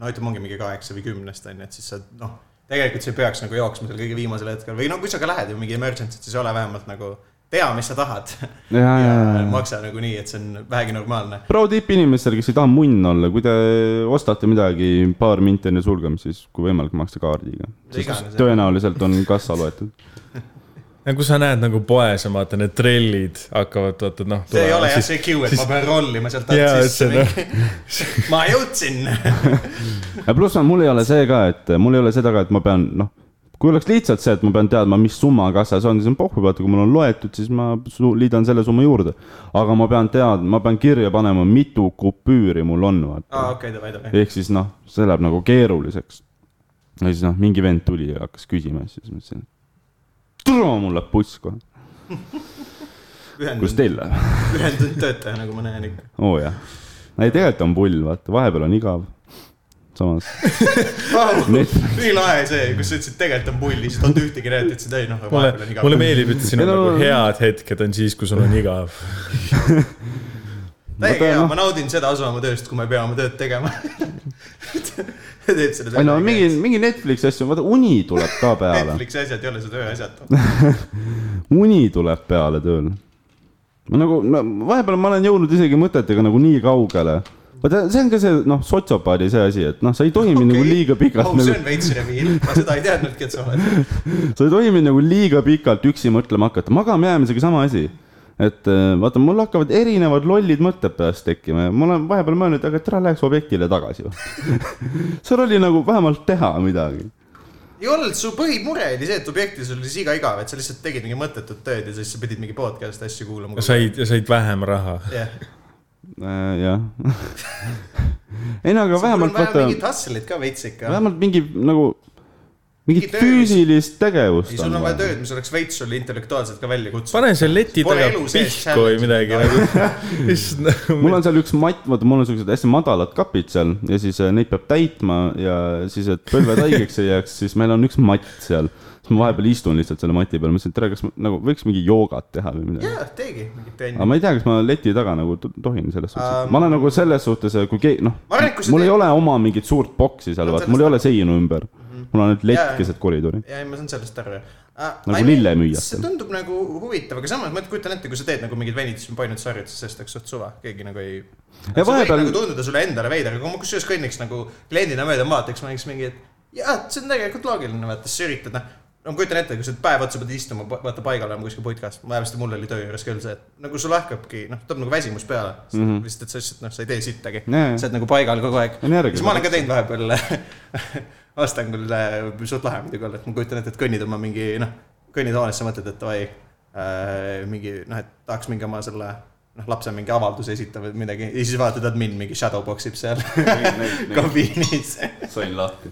Speaker 1: no ütleme , ongi mingi kaheksa või kümnest on ju , et siis sa noh , tegelikult sa ei peaks nagu jooksma seal kõige viimasel hetkel või no kui sa ka lähed ju mingi emergency't , siis ole vähemalt nagu tea , mis sa tahad
Speaker 3: ja , ja ,
Speaker 1: ja
Speaker 3: ja , ja .
Speaker 1: maksa nagu nii , et see on vähegi normaalne .
Speaker 3: pro tipp inimestele , kes ei taha munn olla , kui te ostate midagi paar minti enne sulgemist , siis kui võimalik , makske kaardiga .
Speaker 1: Iganes, jah.
Speaker 3: tõenäoliselt on kassa loetud .
Speaker 2: no kui sa näed nagu poes on vaata need trellid hakkavad vaata noh .
Speaker 1: see ei ole jah see cue , et ma pean rollima sealt alt
Speaker 2: Jaa,
Speaker 1: sisse
Speaker 2: see noh.
Speaker 1: mingi . ma jõudsin .
Speaker 3: ja pluss on , mul ei ole see ka , et mul ei ole seda ka , et ma pean , noh , kui oleks lihtsalt see , et ma pean teadma , mis summa kassas on , siis on pohhu , vaata , kui mul on loetud , siis ma su- liidan selle summa juurde . aga ma pean teadma , ma pean kirja panema , mitu kupüüri mul on , vaata
Speaker 1: aa , okei , davai , davai .
Speaker 3: ehk siis noh , see läheb nagu keeruliseks . ja siis noh , mingi vend tuli ja hakkas küsima asju , siis ma ütlesin , tule mul läheb buss kohe . kus
Speaker 1: ühendunud ,
Speaker 3: teil läheb ?
Speaker 1: ühendunud töötaja , nagu ma näen ikka .
Speaker 3: oo jah . ei , tegelikult on pull , vaata , vahepeal on igav . samas , Need-
Speaker 1: nii lahe see , kus sa ütlesid , tegelikult on pull , siis ei olnud ühtegi näidet , ütlesid ei noh ,
Speaker 2: mulle
Speaker 1: vahepeal on ,
Speaker 2: mulle
Speaker 1: igav .
Speaker 2: meeldib , et siin on
Speaker 3: Ei, no-
Speaker 2: nagu head hetked on siis , kui sul on igav .
Speaker 1: täiega
Speaker 3: vaata,
Speaker 1: hea ,
Speaker 3: noh.
Speaker 1: ma naudin seda osa oma tööst , kui ma ei pea oma tööd tegema . teed selle
Speaker 3: ei no mingi , mingi Netflixi asju , vaata uni tuleb ka peale .
Speaker 1: Netflixi asjad ei ole su tööasjad .
Speaker 3: uni tuleb peale tööl . ma nagu , no vahepeal ma olen jõudnud isegi mõtetega nagu nii kaugele . vaata , see on ka see , noh , sotsiopaadi see asi , et noh , sa ei toimi okay. nagu liiga pikalt
Speaker 1: oh, . see
Speaker 3: nagu,
Speaker 1: on veits reviil , ma seda ei teadnudki , et sa oled .
Speaker 3: sa ei toimi nagu liiga pikalt üksi mõtlema hakata , magama jäämisega sama asi . et äh, vaata , mul hakkavad erinevad lollid mõtted peas tekkima ja ma olen vahepeal mõelnud , aga tere , läheks objektile tagasi . seal oli nagu vähemalt teha midagi .
Speaker 1: ei olnud , su põhimure oli see , et objektis oli siis iga igav , et sa lihtsalt tegid mingi mõttetut tööd ja siis sa pidid mingi podcast'i asju kuulama .
Speaker 2: said , said vähem raha .
Speaker 1: jah ,
Speaker 3: Äh, jah . ei no aga vähemalt
Speaker 1: vaata .
Speaker 3: vaata ,
Speaker 1: mingit hustle'it ka veits ikka .
Speaker 3: vähemalt mingi nagu ,
Speaker 1: Mingi
Speaker 3: mingit
Speaker 1: töö, mis-
Speaker 3: füüsilist tegevust
Speaker 1: ei , sul
Speaker 3: on
Speaker 1: on vaja
Speaker 3: vaja .
Speaker 1: tööd , mis oleks veits sulle intellektuaalselt ka välja kutsunud .
Speaker 2: pane seal leti
Speaker 1: Pole
Speaker 2: taga
Speaker 1: elu sees
Speaker 2: pihku või
Speaker 1: challenge'i
Speaker 2: midagi nagu . nagu- issand ,
Speaker 3: mul on seal üks matt , vaata mul on siuksed hästi madalad kapid seal ja siis äh, neid peab täitma ja siis , et põlved haigeks ei jääks , siis meil on üks matt seal . siis ma vahepeal istun lihtsalt selle mati peal , mõtlesin , et tere , kas ma, nagu võiks mingi joogat teha või midagi .
Speaker 1: jaa , teegi mingit trenni
Speaker 3: aga . ma ei tea , kas ma leti taga nagu to- tohin selles suhtes
Speaker 1: Ähm.
Speaker 3: um, , ma olen nagu selles suhtes , kui keegi noh ,
Speaker 1: Ma arvan, et kui sa
Speaker 3: mul ei
Speaker 1: teed-
Speaker 3: ole oma mingit suurt boksi seal ,
Speaker 1: Ma olen
Speaker 3: vaata , mul ei ole seinu ümber . mul on ainult lett
Speaker 1: Mhm. Jaa.
Speaker 3: keset koridori .
Speaker 1: ja ei , ma saan sellest aru jah .
Speaker 3: Nagu lillemüüjatel.
Speaker 1: see tundub nagu huvitav , aga samas ma kujutan ette , kui sa teed nagu mingeid venituspainutuse harjutusi , sellest oleks suht suva , keegi nagu ei . see vahepeal... võib
Speaker 3: vahepeal-
Speaker 1: nagu tunduda sulle endale veider , aga kui ma kusjuures kõnniks nagu kliendina mööda vaataks , ma näeks mingi , et jaa , see on tegelikult loogiline , vaata , sa üritad noh no ma kujutan ette , kui sa päev otsa pead istuma , vaata paigal olema kuskil putkas , vähemasti mul oli töö juures küll see , et nagu sul lahkabki , noh , tuleb nagu väsimus peale mm . -hmm. sest et sa lihtsalt noh , sa ei tee sittagi
Speaker 3: Mhm. Jaa, jaa.
Speaker 1: sa oled nagu paigal kogu aeg .
Speaker 3: Energia
Speaker 1: siis ma olen ka teinud vahepeal Astangul äh, suht lahe muidugi olla , et ma kujutan ette , et kõnnid oma mingi noh , kõnnid hoonesse , mõtled , et davai äh, mingi noh , et tahaks mingi oma selle noh , lapse mingi avalduse esitama või midagi ja siis vaatad admin mingi shadowbox ib seal kabiinis .
Speaker 3: sain lahti ,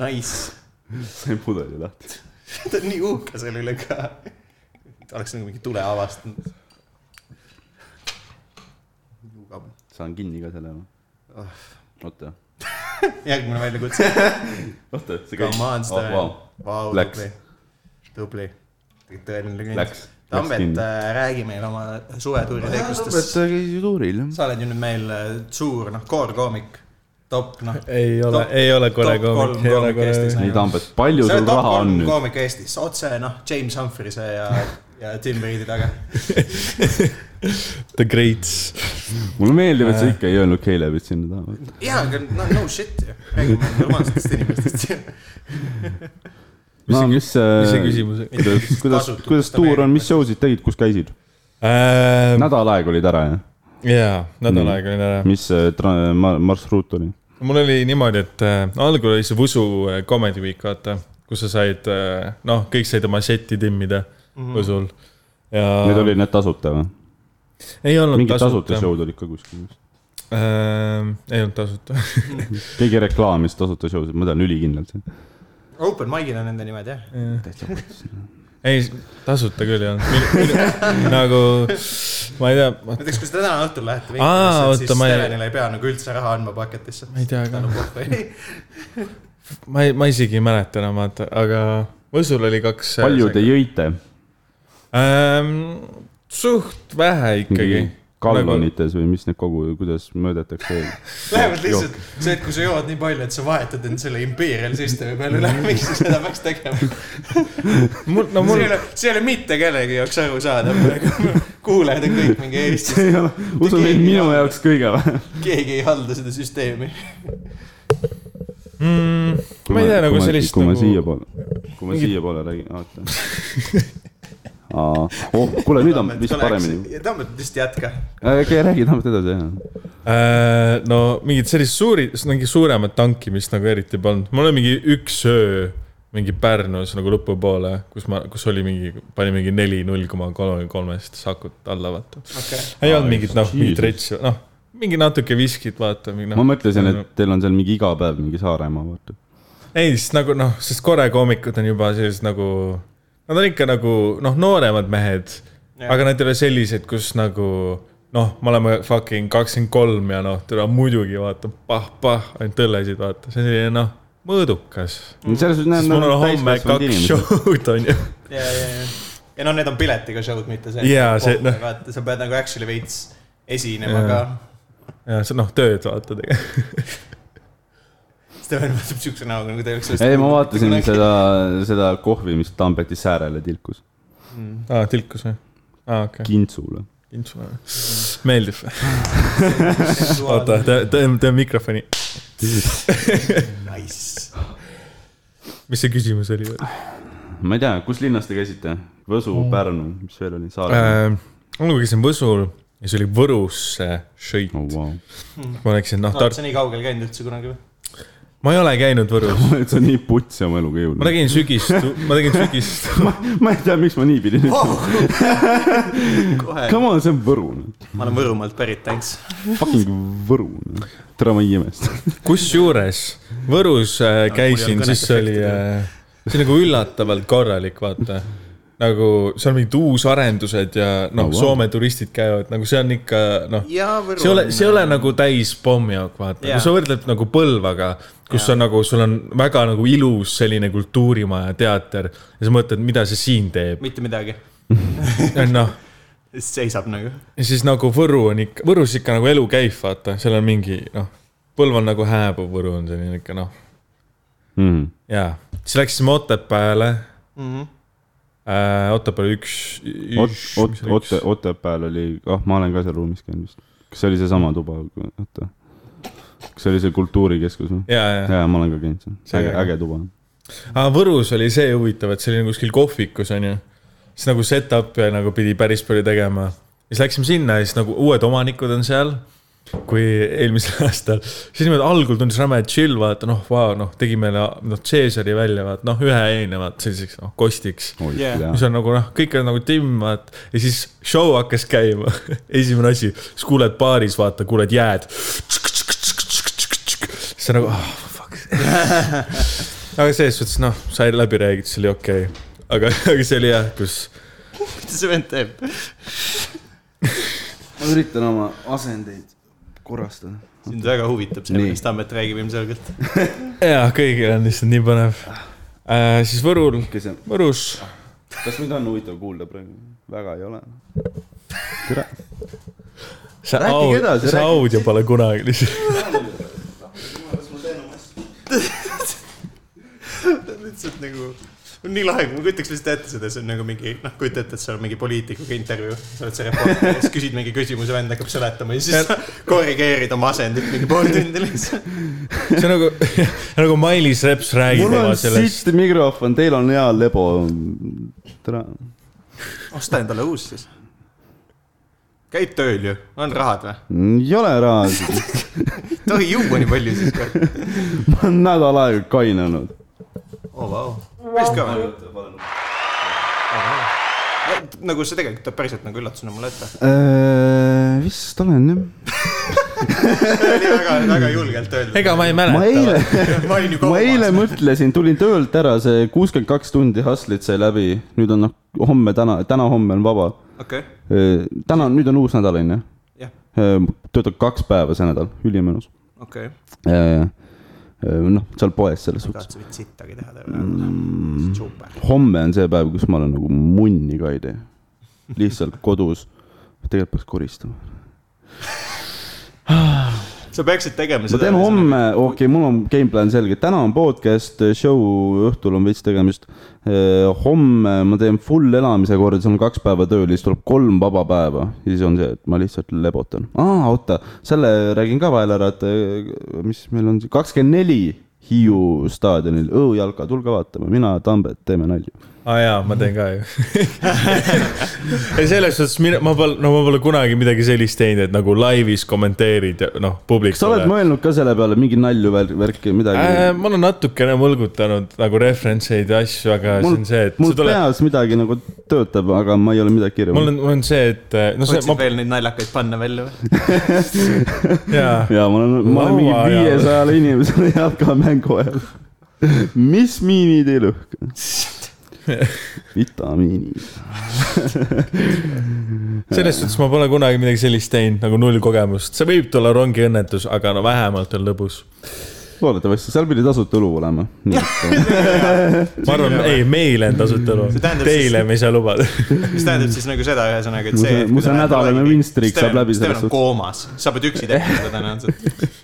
Speaker 1: Nice ,
Speaker 3: sain pudeli lahti .
Speaker 1: ta on nii uhke selle üle ka . oleks nagu mingi tule avastanud .
Speaker 3: saan kinni ka selle .
Speaker 1: Ah.
Speaker 3: oota ,
Speaker 1: järgmine väljakutse .
Speaker 3: oota , see Ah,
Speaker 1: Come on , Sten . Vau ,
Speaker 3: Läks.
Speaker 1: tubli , tubli . tõeline legend
Speaker 3: Läks. .
Speaker 1: Tambet äh,
Speaker 3: kinni. ,
Speaker 1: räägi meile oma suvetuuri tegustest .
Speaker 3: sa käisid tuuril jah ?
Speaker 1: sa oled ju nüüd meil äh, suur , noh , koorkoomik , top , noh .
Speaker 2: ei ole
Speaker 1: Top- ,
Speaker 2: ei ole kole
Speaker 1: top kolm
Speaker 2: koomik , ei ole
Speaker 1: koomik Eestis.
Speaker 2: kole .
Speaker 3: nii , Tambet , palju
Speaker 1: sa
Speaker 3: sul
Speaker 1: oled top
Speaker 3: raha on
Speaker 1: kolm
Speaker 3: nüüd ?
Speaker 1: koomik Eestis , otse , noh , James Humphrise ja , ja Tim Reedi taga .
Speaker 2: The Greats .
Speaker 3: mulle meeldib , et sa ikka ei öelnud Calebit sinna taha .
Speaker 1: jaa , aga no, no shit ju , räägime normaalsetest inimestest ju .
Speaker 3: no
Speaker 2: mis
Speaker 3: mis ,
Speaker 2: see küsimus oli ?
Speaker 3: kuidas , kuidas
Speaker 1: Tasutud ,
Speaker 3: kuidas tuur on , mis show sid tegid , kus käisid ? nädal aega olid ära jah ?
Speaker 2: jaa , nädal aega olin ära .
Speaker 3: mis see tra- ma- marsruut oli ?
Speaker 2: mul oli niimoodi , et äh, algul oli see Võsu äh, Comedy Week , vaata , kus sa said , noh , kõik said oma seti timmida Võsul .
Speaker 3: Need
Speaker 2: ja
Speaker 3: olid need tasuta või ?
Speaker 2: ei olnud
Speaker 3: mingid
Speaker 2: Äh,
Speaker 3: tasuta
Speaker 2: tasuta .
Speaker 3: show'd olid ka kuskil vist .
Speaker 2: ei olnud tasuta .
Speaker 3: keegi reklaamis tasuta show sid , ma tean ülikindlalt .
Speaker 1: Open mic'id on nende nimed jah ,
Speaker 2: ei , tasuta küll ei olnud . nagu , ma ei tea ,
Speaker 1: näiteks kui sa täna õhtul lähete
Speaker 2: Aa,
Speaker 1: veiklemasse , siis
Speaker 2: oota, ma ei-
Speaker 1: Stevenile ei pea nagu üldse raha andma paketisse .
Speaker 2: Ma ei tea ka.
Speaker 1: tänu Spotify .
Speaker 2: ma ei , ma isegi ei mäleta enam , vaata , aga Võsul oli kaks . äh,
Speaker 3: palju te ? jõite ?
Speaker 2: suht vähe ikkagi .
Speaker 3: gallonites või mis need kogu , kuidas mõõdetakse ?
Speaker 1: Lähevad lihtsalt see , et kui sa jood nii palju , et sa vahetad end selle Imperial Systemi peale üle , miks sa seda peaks tegema ?
Speaker 2: mul , no
Speaker 1: see
Speaker 2: mul
Speaker 1: ei , ole , see ei ole mitte kellegi jaoks arusaadav praegu . kuulajad on kõik mingi Eestis ,
Speaker 3: see ei ole , usun , et minu jaoks kõige vähem .
Speaker 1: keegi ei halda seda süsteemi .
Speaker 2: ma ei tea nagu sellist
Speaker 3: kui ma
Speaker 2: nagu .
Speaker 3: siiapoole , kui ma siiapoole räägin , oota . oh , kuule , nüüd on vist paremini ..
Speaker 1: Tammet vist jätka .
Speaker 3: okei , räägi tahame edasi , jah .
Speaker 2: Äh, no mingit sellist suuri , mingi suuremat tankimist nagu eriti ei polnud , mul oli mingi üks öö mingi Pärnus nagu lõpupoole , kus ma , kus oli mingi , pani mingi neli null koma kolme kolmest sakut alla , vaata .
Speaker 1: okei ,
Speaker 2: ei olnud mingit noh , mingit
Speaker 3: Jesus.
Speaker 2: retsi , noh , mingi natuke viskit , vaata . noh.
Speaker 3: ma mõtlesin , et teil on seal mingi iga päev mingi Saaremaa , vaata .
Speaker 2: ei , siis nagu noh , sest korekoomikud on juba sellised nagu , nad on ikka nagu noh , nooremad mehed ,
Speaker 1: Jah.
Speaker 2: aga nad ei ole sellised , kus nagu noh , me oleme fucking kakskümmend kolm ja noh , teda muidugi vaata pah-pah , ainult õllesid vaata , see on selline noh , mõõdukas .
Speaker 3: selles suhtes ,
Speaker 2: siis
Speaker 3: näed ,
Speaker 2: mul on
Speaker 3: nad on
Speaker 2: homme kaks
Speaker 3: täiskasvanud inimesed .
Speaker 2: show'd on ju .
Speaker 1: ja , ja , ja . ja no need on piletiga show'd , mitte see .
Speaker 2: Jaa, see- noh.
Speaker 1: vaata , sa pead nagu actually veits esinema
Speaker 2: Jaa.
Speaker 1: ka .
Speaker 2: ja see noh , tööd vaata tegelikult .
Speaker 1: Steven vaatab siukse näoga , nagu ta ei oleks sellest .
Speaker 3: ei , ma vaatasin . seda , seda kohvi , mis Tambeti säärele tilkus ,
Speaker 2: aa , Ah, tilkus või ? aa , okei ,
Speaker 3: kintsule .
Speaker 2: info . meeldib . oota , tee , tee , tee mikrofoni .
Speaker 1: Nice .
Speaker 2: mis see küsimus oli veel ?
Speaker 3: ma ei tea , kus linnas te käisite ? Võsu , Pärnu , mis veel oli , Saaremaa ?
Speaker 2: Mm. Äh, ma lugesin Võsul ja see oli Võrusse šõit
Speaker 3: oh, . wow.
Speaker 2: ma läksin , noh ,
Speaker 1: oled sa
Speaker 2: Tartu ,
Speaker 1: nii kaugel käinud üldse kunagi või ?
Speaker 2: ma ei ole käinud Võrus .
Speaker 3: et sa nii putsi oma eluga jõudnud .
Speaker 2: ma tegin sügist , ma tegin sügist .
Speaker 3: ma , ma ei tea , miks ma nii
Speaker 2: Oh!
Speaker 3: pidin ütlema .
Speaker 1: Oh! kohe ,
Speaker 3: Come on , see on Võru .
Speaker 1: ma olen Võrumaalt pärit , thanks .
Speaker 3: Fucking Võru . tere , ma ei imesta .
Speaker 2: kusjuures Võrus äh, käisin ,
Speaker 1: kõnet
Speaker 2: siis see oli , see nagu üllatavalt korralik , vaata . nagu seal mingid uusarendused ja noh oh, ,
Speaker 3: Oh, wow.
Speaker 2: wow. Soome turistid käivad , nagu see on ikka noh ,
Speaker 1: jaa , Võru .
Speaker 2: see ei ole , see ei ole nagu täis pommiauk , vaata yeah. ,
Speaker 1: Jaa.
Speaker 2: kui sa võrdled nagu Põlvaga , kus yeah. on nagu , sul on väga nagu ilus selline kultuurimaja , teater ja sa mõtled , mida see siin teeb ,
Speaker 1: mitte midagi ,
Speaker 2: noh
Speaker 1: seisab nagu .
Speaker 2: ja siis nagu Võru on ikka , Võrus ikka nagu elu käib , vaata , seal on mingi noh , Põlv on nagu hääbuv , Võru on selline ikka noh ,
Speaker 3: Mhm.
Speaker 2: jaa . siis läksime Otepääle äh, , Otepääl üks ,
Speaker 3: Ot- ,
Speaker 2: üks ,
Speaker 3: Ot- , Ote , Otepääl oli , ah , ma olen ka seal ruumis käinud vist . kas see oli seesama tuba , oota . kas see oli see kultuurikeskus või ?
Speaker 2: jaa , jaa .
Speaker 3: jaa , ma olen ka käinud seal .
Speaker 2: See
Speaker 3: äge ,
Speaker 2: ka.
Speaker 3: äge tuba .
Speaker 2: aga Võrus oli see huvitav , et see oli nagu kuskil kohvikus onju . siis nagu set-up'e nagu pidi päris palju tegema . siis läksime sinna ja siis nagu uued omanikud on seal . kui eelmisel aastal , siis niimoodi algul tundus räme chill , vaata noh , vau , noh , tegime noh , Caesari välja , vaata noh , ühe eine , vaata selliseks noh , kostiks .
Speaker 3: oi
Speaker 1: Yeah.
Speaker 3: yeah. ,
Speaker 2: mis
Speaker 3: jaa .
Speaker 2: on nagu noh , kõik on nagu timm , vaat . ja siis show hakkas käima , esimene asi , siis kuuled baaris , vaata , kuuled jääd . siis on nagu oh, , fuck . aga selles suhtes noh , sai läbi räägitud , see oli okei okay. . aga , aga see oli jah , kus
Speaker 1: mida see vend teeb ?
Speaker 3: ma üritan oma asendeid korrastada .
Speaker 1: sind väga huvitab see ,
Speaker 3: Nii.
Speaker 1: millest Tammet räägib ilmselgelt .
Speaker 2: jaa , kõigil on lihtsalt nii põnev äh, . siis Võrul ,
Speaker 3: kes see ,
Speaker 2: Võrus ,
Speaker 3: kas mind on huvitav kuulda praegu ? väga ei ole . tere .
Speaker 2: see
Speaker 3: Rääkige
Speaker 2: au-
Speaker 3: edasi,
Speaker 2: see
Speaker 3: rääkige.
Speaker 2: audio pole kunagi lihtsalt .
Speaker 1: lihtsalt nagu , on nii lahe , ma kujutaks lihtsalt ette seda , see on nagu mingi , noh , kujuta ette , et seal on mingi poliitikuga intervjuu , sa oled see reporter , siis küsid mingi küsimuse , vend hakkab seletama ja siis sa korrigeerid oma asendit mingi pool tundi lihtsalt .
Speaker 2: see on nagu , nagu Mailis Reps räägib
Speaker 3: mul
Speaker 2: oma
Speaker 3: on
Speaker 2: sellest .
Speaker 3: sitt mikrofon , teil on hea lebo . tere .
Speaker 1: osta endale uus siis . käid tööl ju , on rahad või ?
Speaker 3: ei ole raha ,
Speaker 1: tohi juua nii palju siis või ?
Speaker 3: ma olen nädal aega kainanud .
Speaker 1: oo vau , Oh, päris kõva . nagu see tegelikult tuleb päriselt nagu üllatusena mulle ette .
Speaker 3: Äh, vist olen jah .
Speaker 1: see oli väga , väga julgelt öeldud .
Speaker 2: ega ma ei
Speaker 3: ma
Speaker 2: mäleta .
Speaker 3: eile ,
Speaker 1: ma olin ju
Speaker 3: ma eile
Speaker 1: kaua .
Speaker 3: mõtlesin , tulin töölt ära , see kuuskümmend kaks tundi hustle'it sai läbi , nüüd on noh , homme , täna , täna-homme on vaba .
Speaker 1: okei ,
Speaker 3: täna , nüüd on uus nädal onju .
Speaker 1: jah ,
Speaker 3: töötab kaks päeva see nädal , ülimõnus .
Speaker 1: okei .
Speaker 3: Äh, noh , seal poes selles suhtes .
Speaker 1: tahad sa mind sittagi teha
Speaker 3: Mm.
Speaker 1: täna ? super .
Speaker 3: homme on see päev , kus ma olen nagu munni ka ei tee . lihtsalt kodus , tegelikult peaks koristama .
Speaker 1: sa peaksid tegema
Speaker 3: ma
Speaker 1: seda .
Speaker 3: teen homme , okei okay, , mul on game plan selge , täna on podcast , show õhtul on veits tegemist . homme ma teen full elamise korda , siis on kaks päeva tööl ja siis tuleb kolm vaba päeva ja siis on see , et ma lihtsalt lebotan . aa , oota , selle räägin ka vahel ära , et eh, mis meil on , kakskümmend neli Hiiu staadionil , õujalka , tulge vaatama , mina ja Tambet teeme nalju .
Speaker 2: aa ah, jaa , ma teen ka ju . ei selles suhtes mina , ma pole , no ma pole kunagi midagi sellist teinud , et nagu laivis kommenteerid ja noh ,
Speaker 3: kas sa oled
Speaker 2: publikule .
Speaker 3: mõelnud ka selle peale , mingi nalju , värki , midagi
Speaker 2: Äh, ? ma olen natukene mõlgutanud nagu referentseid ja asju , aga mul, see
Speaker 3: mul
Speaker 2: on see , et
Speaker 3: mul
Speaker 2: see tuleb ,
Speaker 3: peas midagi nagu töötab , aga ma ei ole midagi
Speaker 2: mul
Speaker 3: kirjutanud .
Speaker 2: on , mul on see , et äh, no see ,
Speaker 1: võtsid
Speaker 2: ma ,
Speaker 1: veel neid naljakaid panna välja või ?
Speaker 2: jaa ,
Speaker 3: ja ma olen , ma olen mingi
Speaker 2: Laua ajal.
Speaker 3: viiesajale inimesele jalgamängu ajal . mis miinid ei lõhka ? vitamiinid .
Speaker 2: selles suhtes ma pole kunagi midagi sellist teinud , nagu null kogemust , see võib tulla rongiõnnetus , aga no vähemalt on lõbus .
Speaker 3: loodetavasti , seal pidi tasuta õlu olema . nii ,
Speaker 2: ma arvan , ei , meile on tasuta elu
Speaker 1: See , tähendab siis-
Speaker 2: teile me ei saa lubada .
Speaker 1: mis tähendab siis nagu seda ühesõnaga , et
Speaker 3: Mu
Speaker 1: see
Speaker 3: see- . mu see nädalane win streak saab läbi Mm.
Speaker 1: selles
Speaker 3: selles suhtes.
Speaker 1: suhtes . koomas , sa pead üksi tegema seda tõenäoliselt .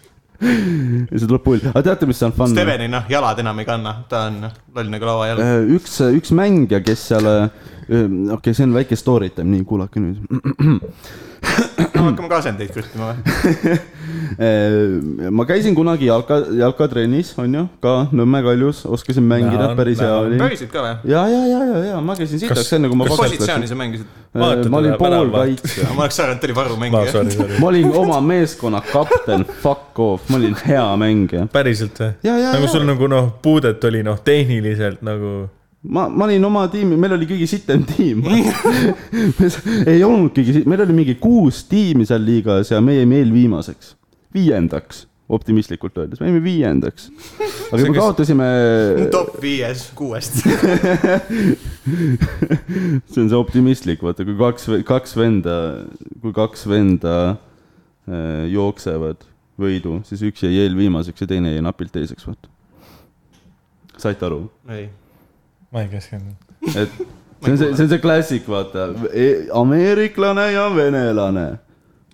Speaker 3: ja see tuleb pull , aga teate , mis seal fun on ?
Speaker 1: Steveni noh , jalad enam ei kanna , ta on noh, loll nagu
Speaker 3: Ehm.
Speaker 1: lauajalg .
Speaker 3: Äh, üks , üks mängija , kes seal , okei okay, , see on väike story time , nii kuulake nüüd .
Speaker 1: no hakkame ka asendeid krüttima või ?
Speaker 3: Ehm, ma käisin kunagi jalka , jalkatrennis , onju , ka Nõmme kaljus , oskasin mängida
Speaker 2: Näha, ,
Speaker 3: päris hea
Speaker 2: näha.
Speaker 3: oli .
Speaker 1: päriselt ka või ?
Speaker 3: ja , ja , ja , ja , ja ma käisin sitaks enne , kui ma
Speaker 1: mis
Speaker 3: pakastasin .
Speaker 1: positsiooni sa mängisid ?
Speaker 2: Vaatad
Speaker 3: ma olin
Speaker 2: teda väravat?
Speaker 3: poolkaitsja .
Speaker 1: ma oleks arvanud , et ta oli
Speaker 2: ma
Speaker 1: varumängija .
Speaker 2: sorry , sorry .
Speaker 3: ma olin oma meeskonna kapten , fuck off , ma olin hea mängija .
Speaker 2: päriselt või ?
Speaker 3: Ja, ja,
Speaker 2: nagu
Speaker 3: ja.
Speaker 2: sul nagu noh , puudet oli noh , tehniliselt nagu .
Speaker 3: ma , ma olin oma tiimi , meil oli kõige sitem tiim . ei olnud kõige , meil oli mingi kuus tiimi seal liigas ja me jäime eelviimaseks , viiendaks optimistlikult öeldes , me jäime viiendaks . aga me
Speaker 2: kas-
Speaker 3: kaotasime ,
Speaker 1: top viies kuuest .
Speaker 3: see on see optimistlik , vaata , kui kaks , kaks venda , kui kaks venda äh, jooksevad võidu , siis üks jäi eelviimaseks ja teine jäi napilt teiseks , vaata . saite aru ?
Speaker 1: ei ,
Speaker 2: ma ei keskendunud .
Speaker 3: et see on see , see on see klassik , vaata , ameeriklane ja venelane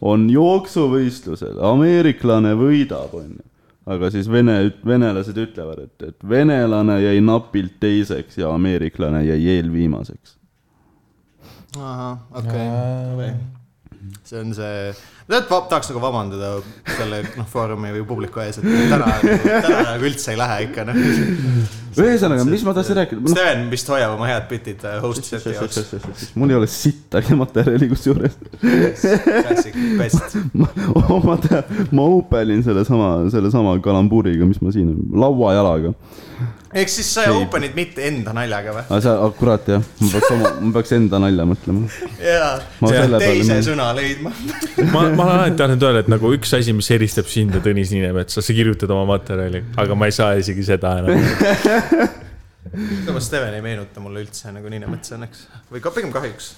Speaker 3: on jooksuvõistlusel , ameeriklane võidab , onju . aga siis vene , venelased ütlevad , et , et venelane jäi napilt teiseks ja ameeriklane jäi eelviimaseks .
Speaker 1: ahah , okei okay. . see on see , tead , tahaks nagu vabandada selle noh , Foorumi või publiku ees , et täna , täna nagu üldse ei lähe ikka noh .
Speaker 3: ühesõnaga , mis ma tahtsin rääkida ?
Speaker 1: Sten vist hoiab oma head bitid äh, host set'i jaoks .
Speaker 3: mul ei ole sittagi materjali kusjuures .
Speaker 1: Classic best .
Speaker 3: ma , ma tean , ma opelin sellesama , sellesama kalambuuriga , mis ma siin , lauajalaga .
Speaker 1: ehk siis sa open'id mitte enda naljaga või ?
Speaker 3: aga sa , kurat jah , ma peaks oma , ma peaks enda nalja mõtlema
Speaker 1: jaa ,
Speaker 3: Ma selle peale
Speaker 1: teise
Speaker 3: mõtlen.
Speaker 1: sõna leidma .
Speaker 2: ma , ma olen alati tahtnud öelda , et nagu üks asi , mis eristab sind ja Tõnis Niinemetsa , sa kirjutad oma materjali , aga ma ei saa isegi seda enam .
Speaker 1: samas Steven ei meenuta mulle üldse nagu Niinemets õnneks või ka pigem kahjuks .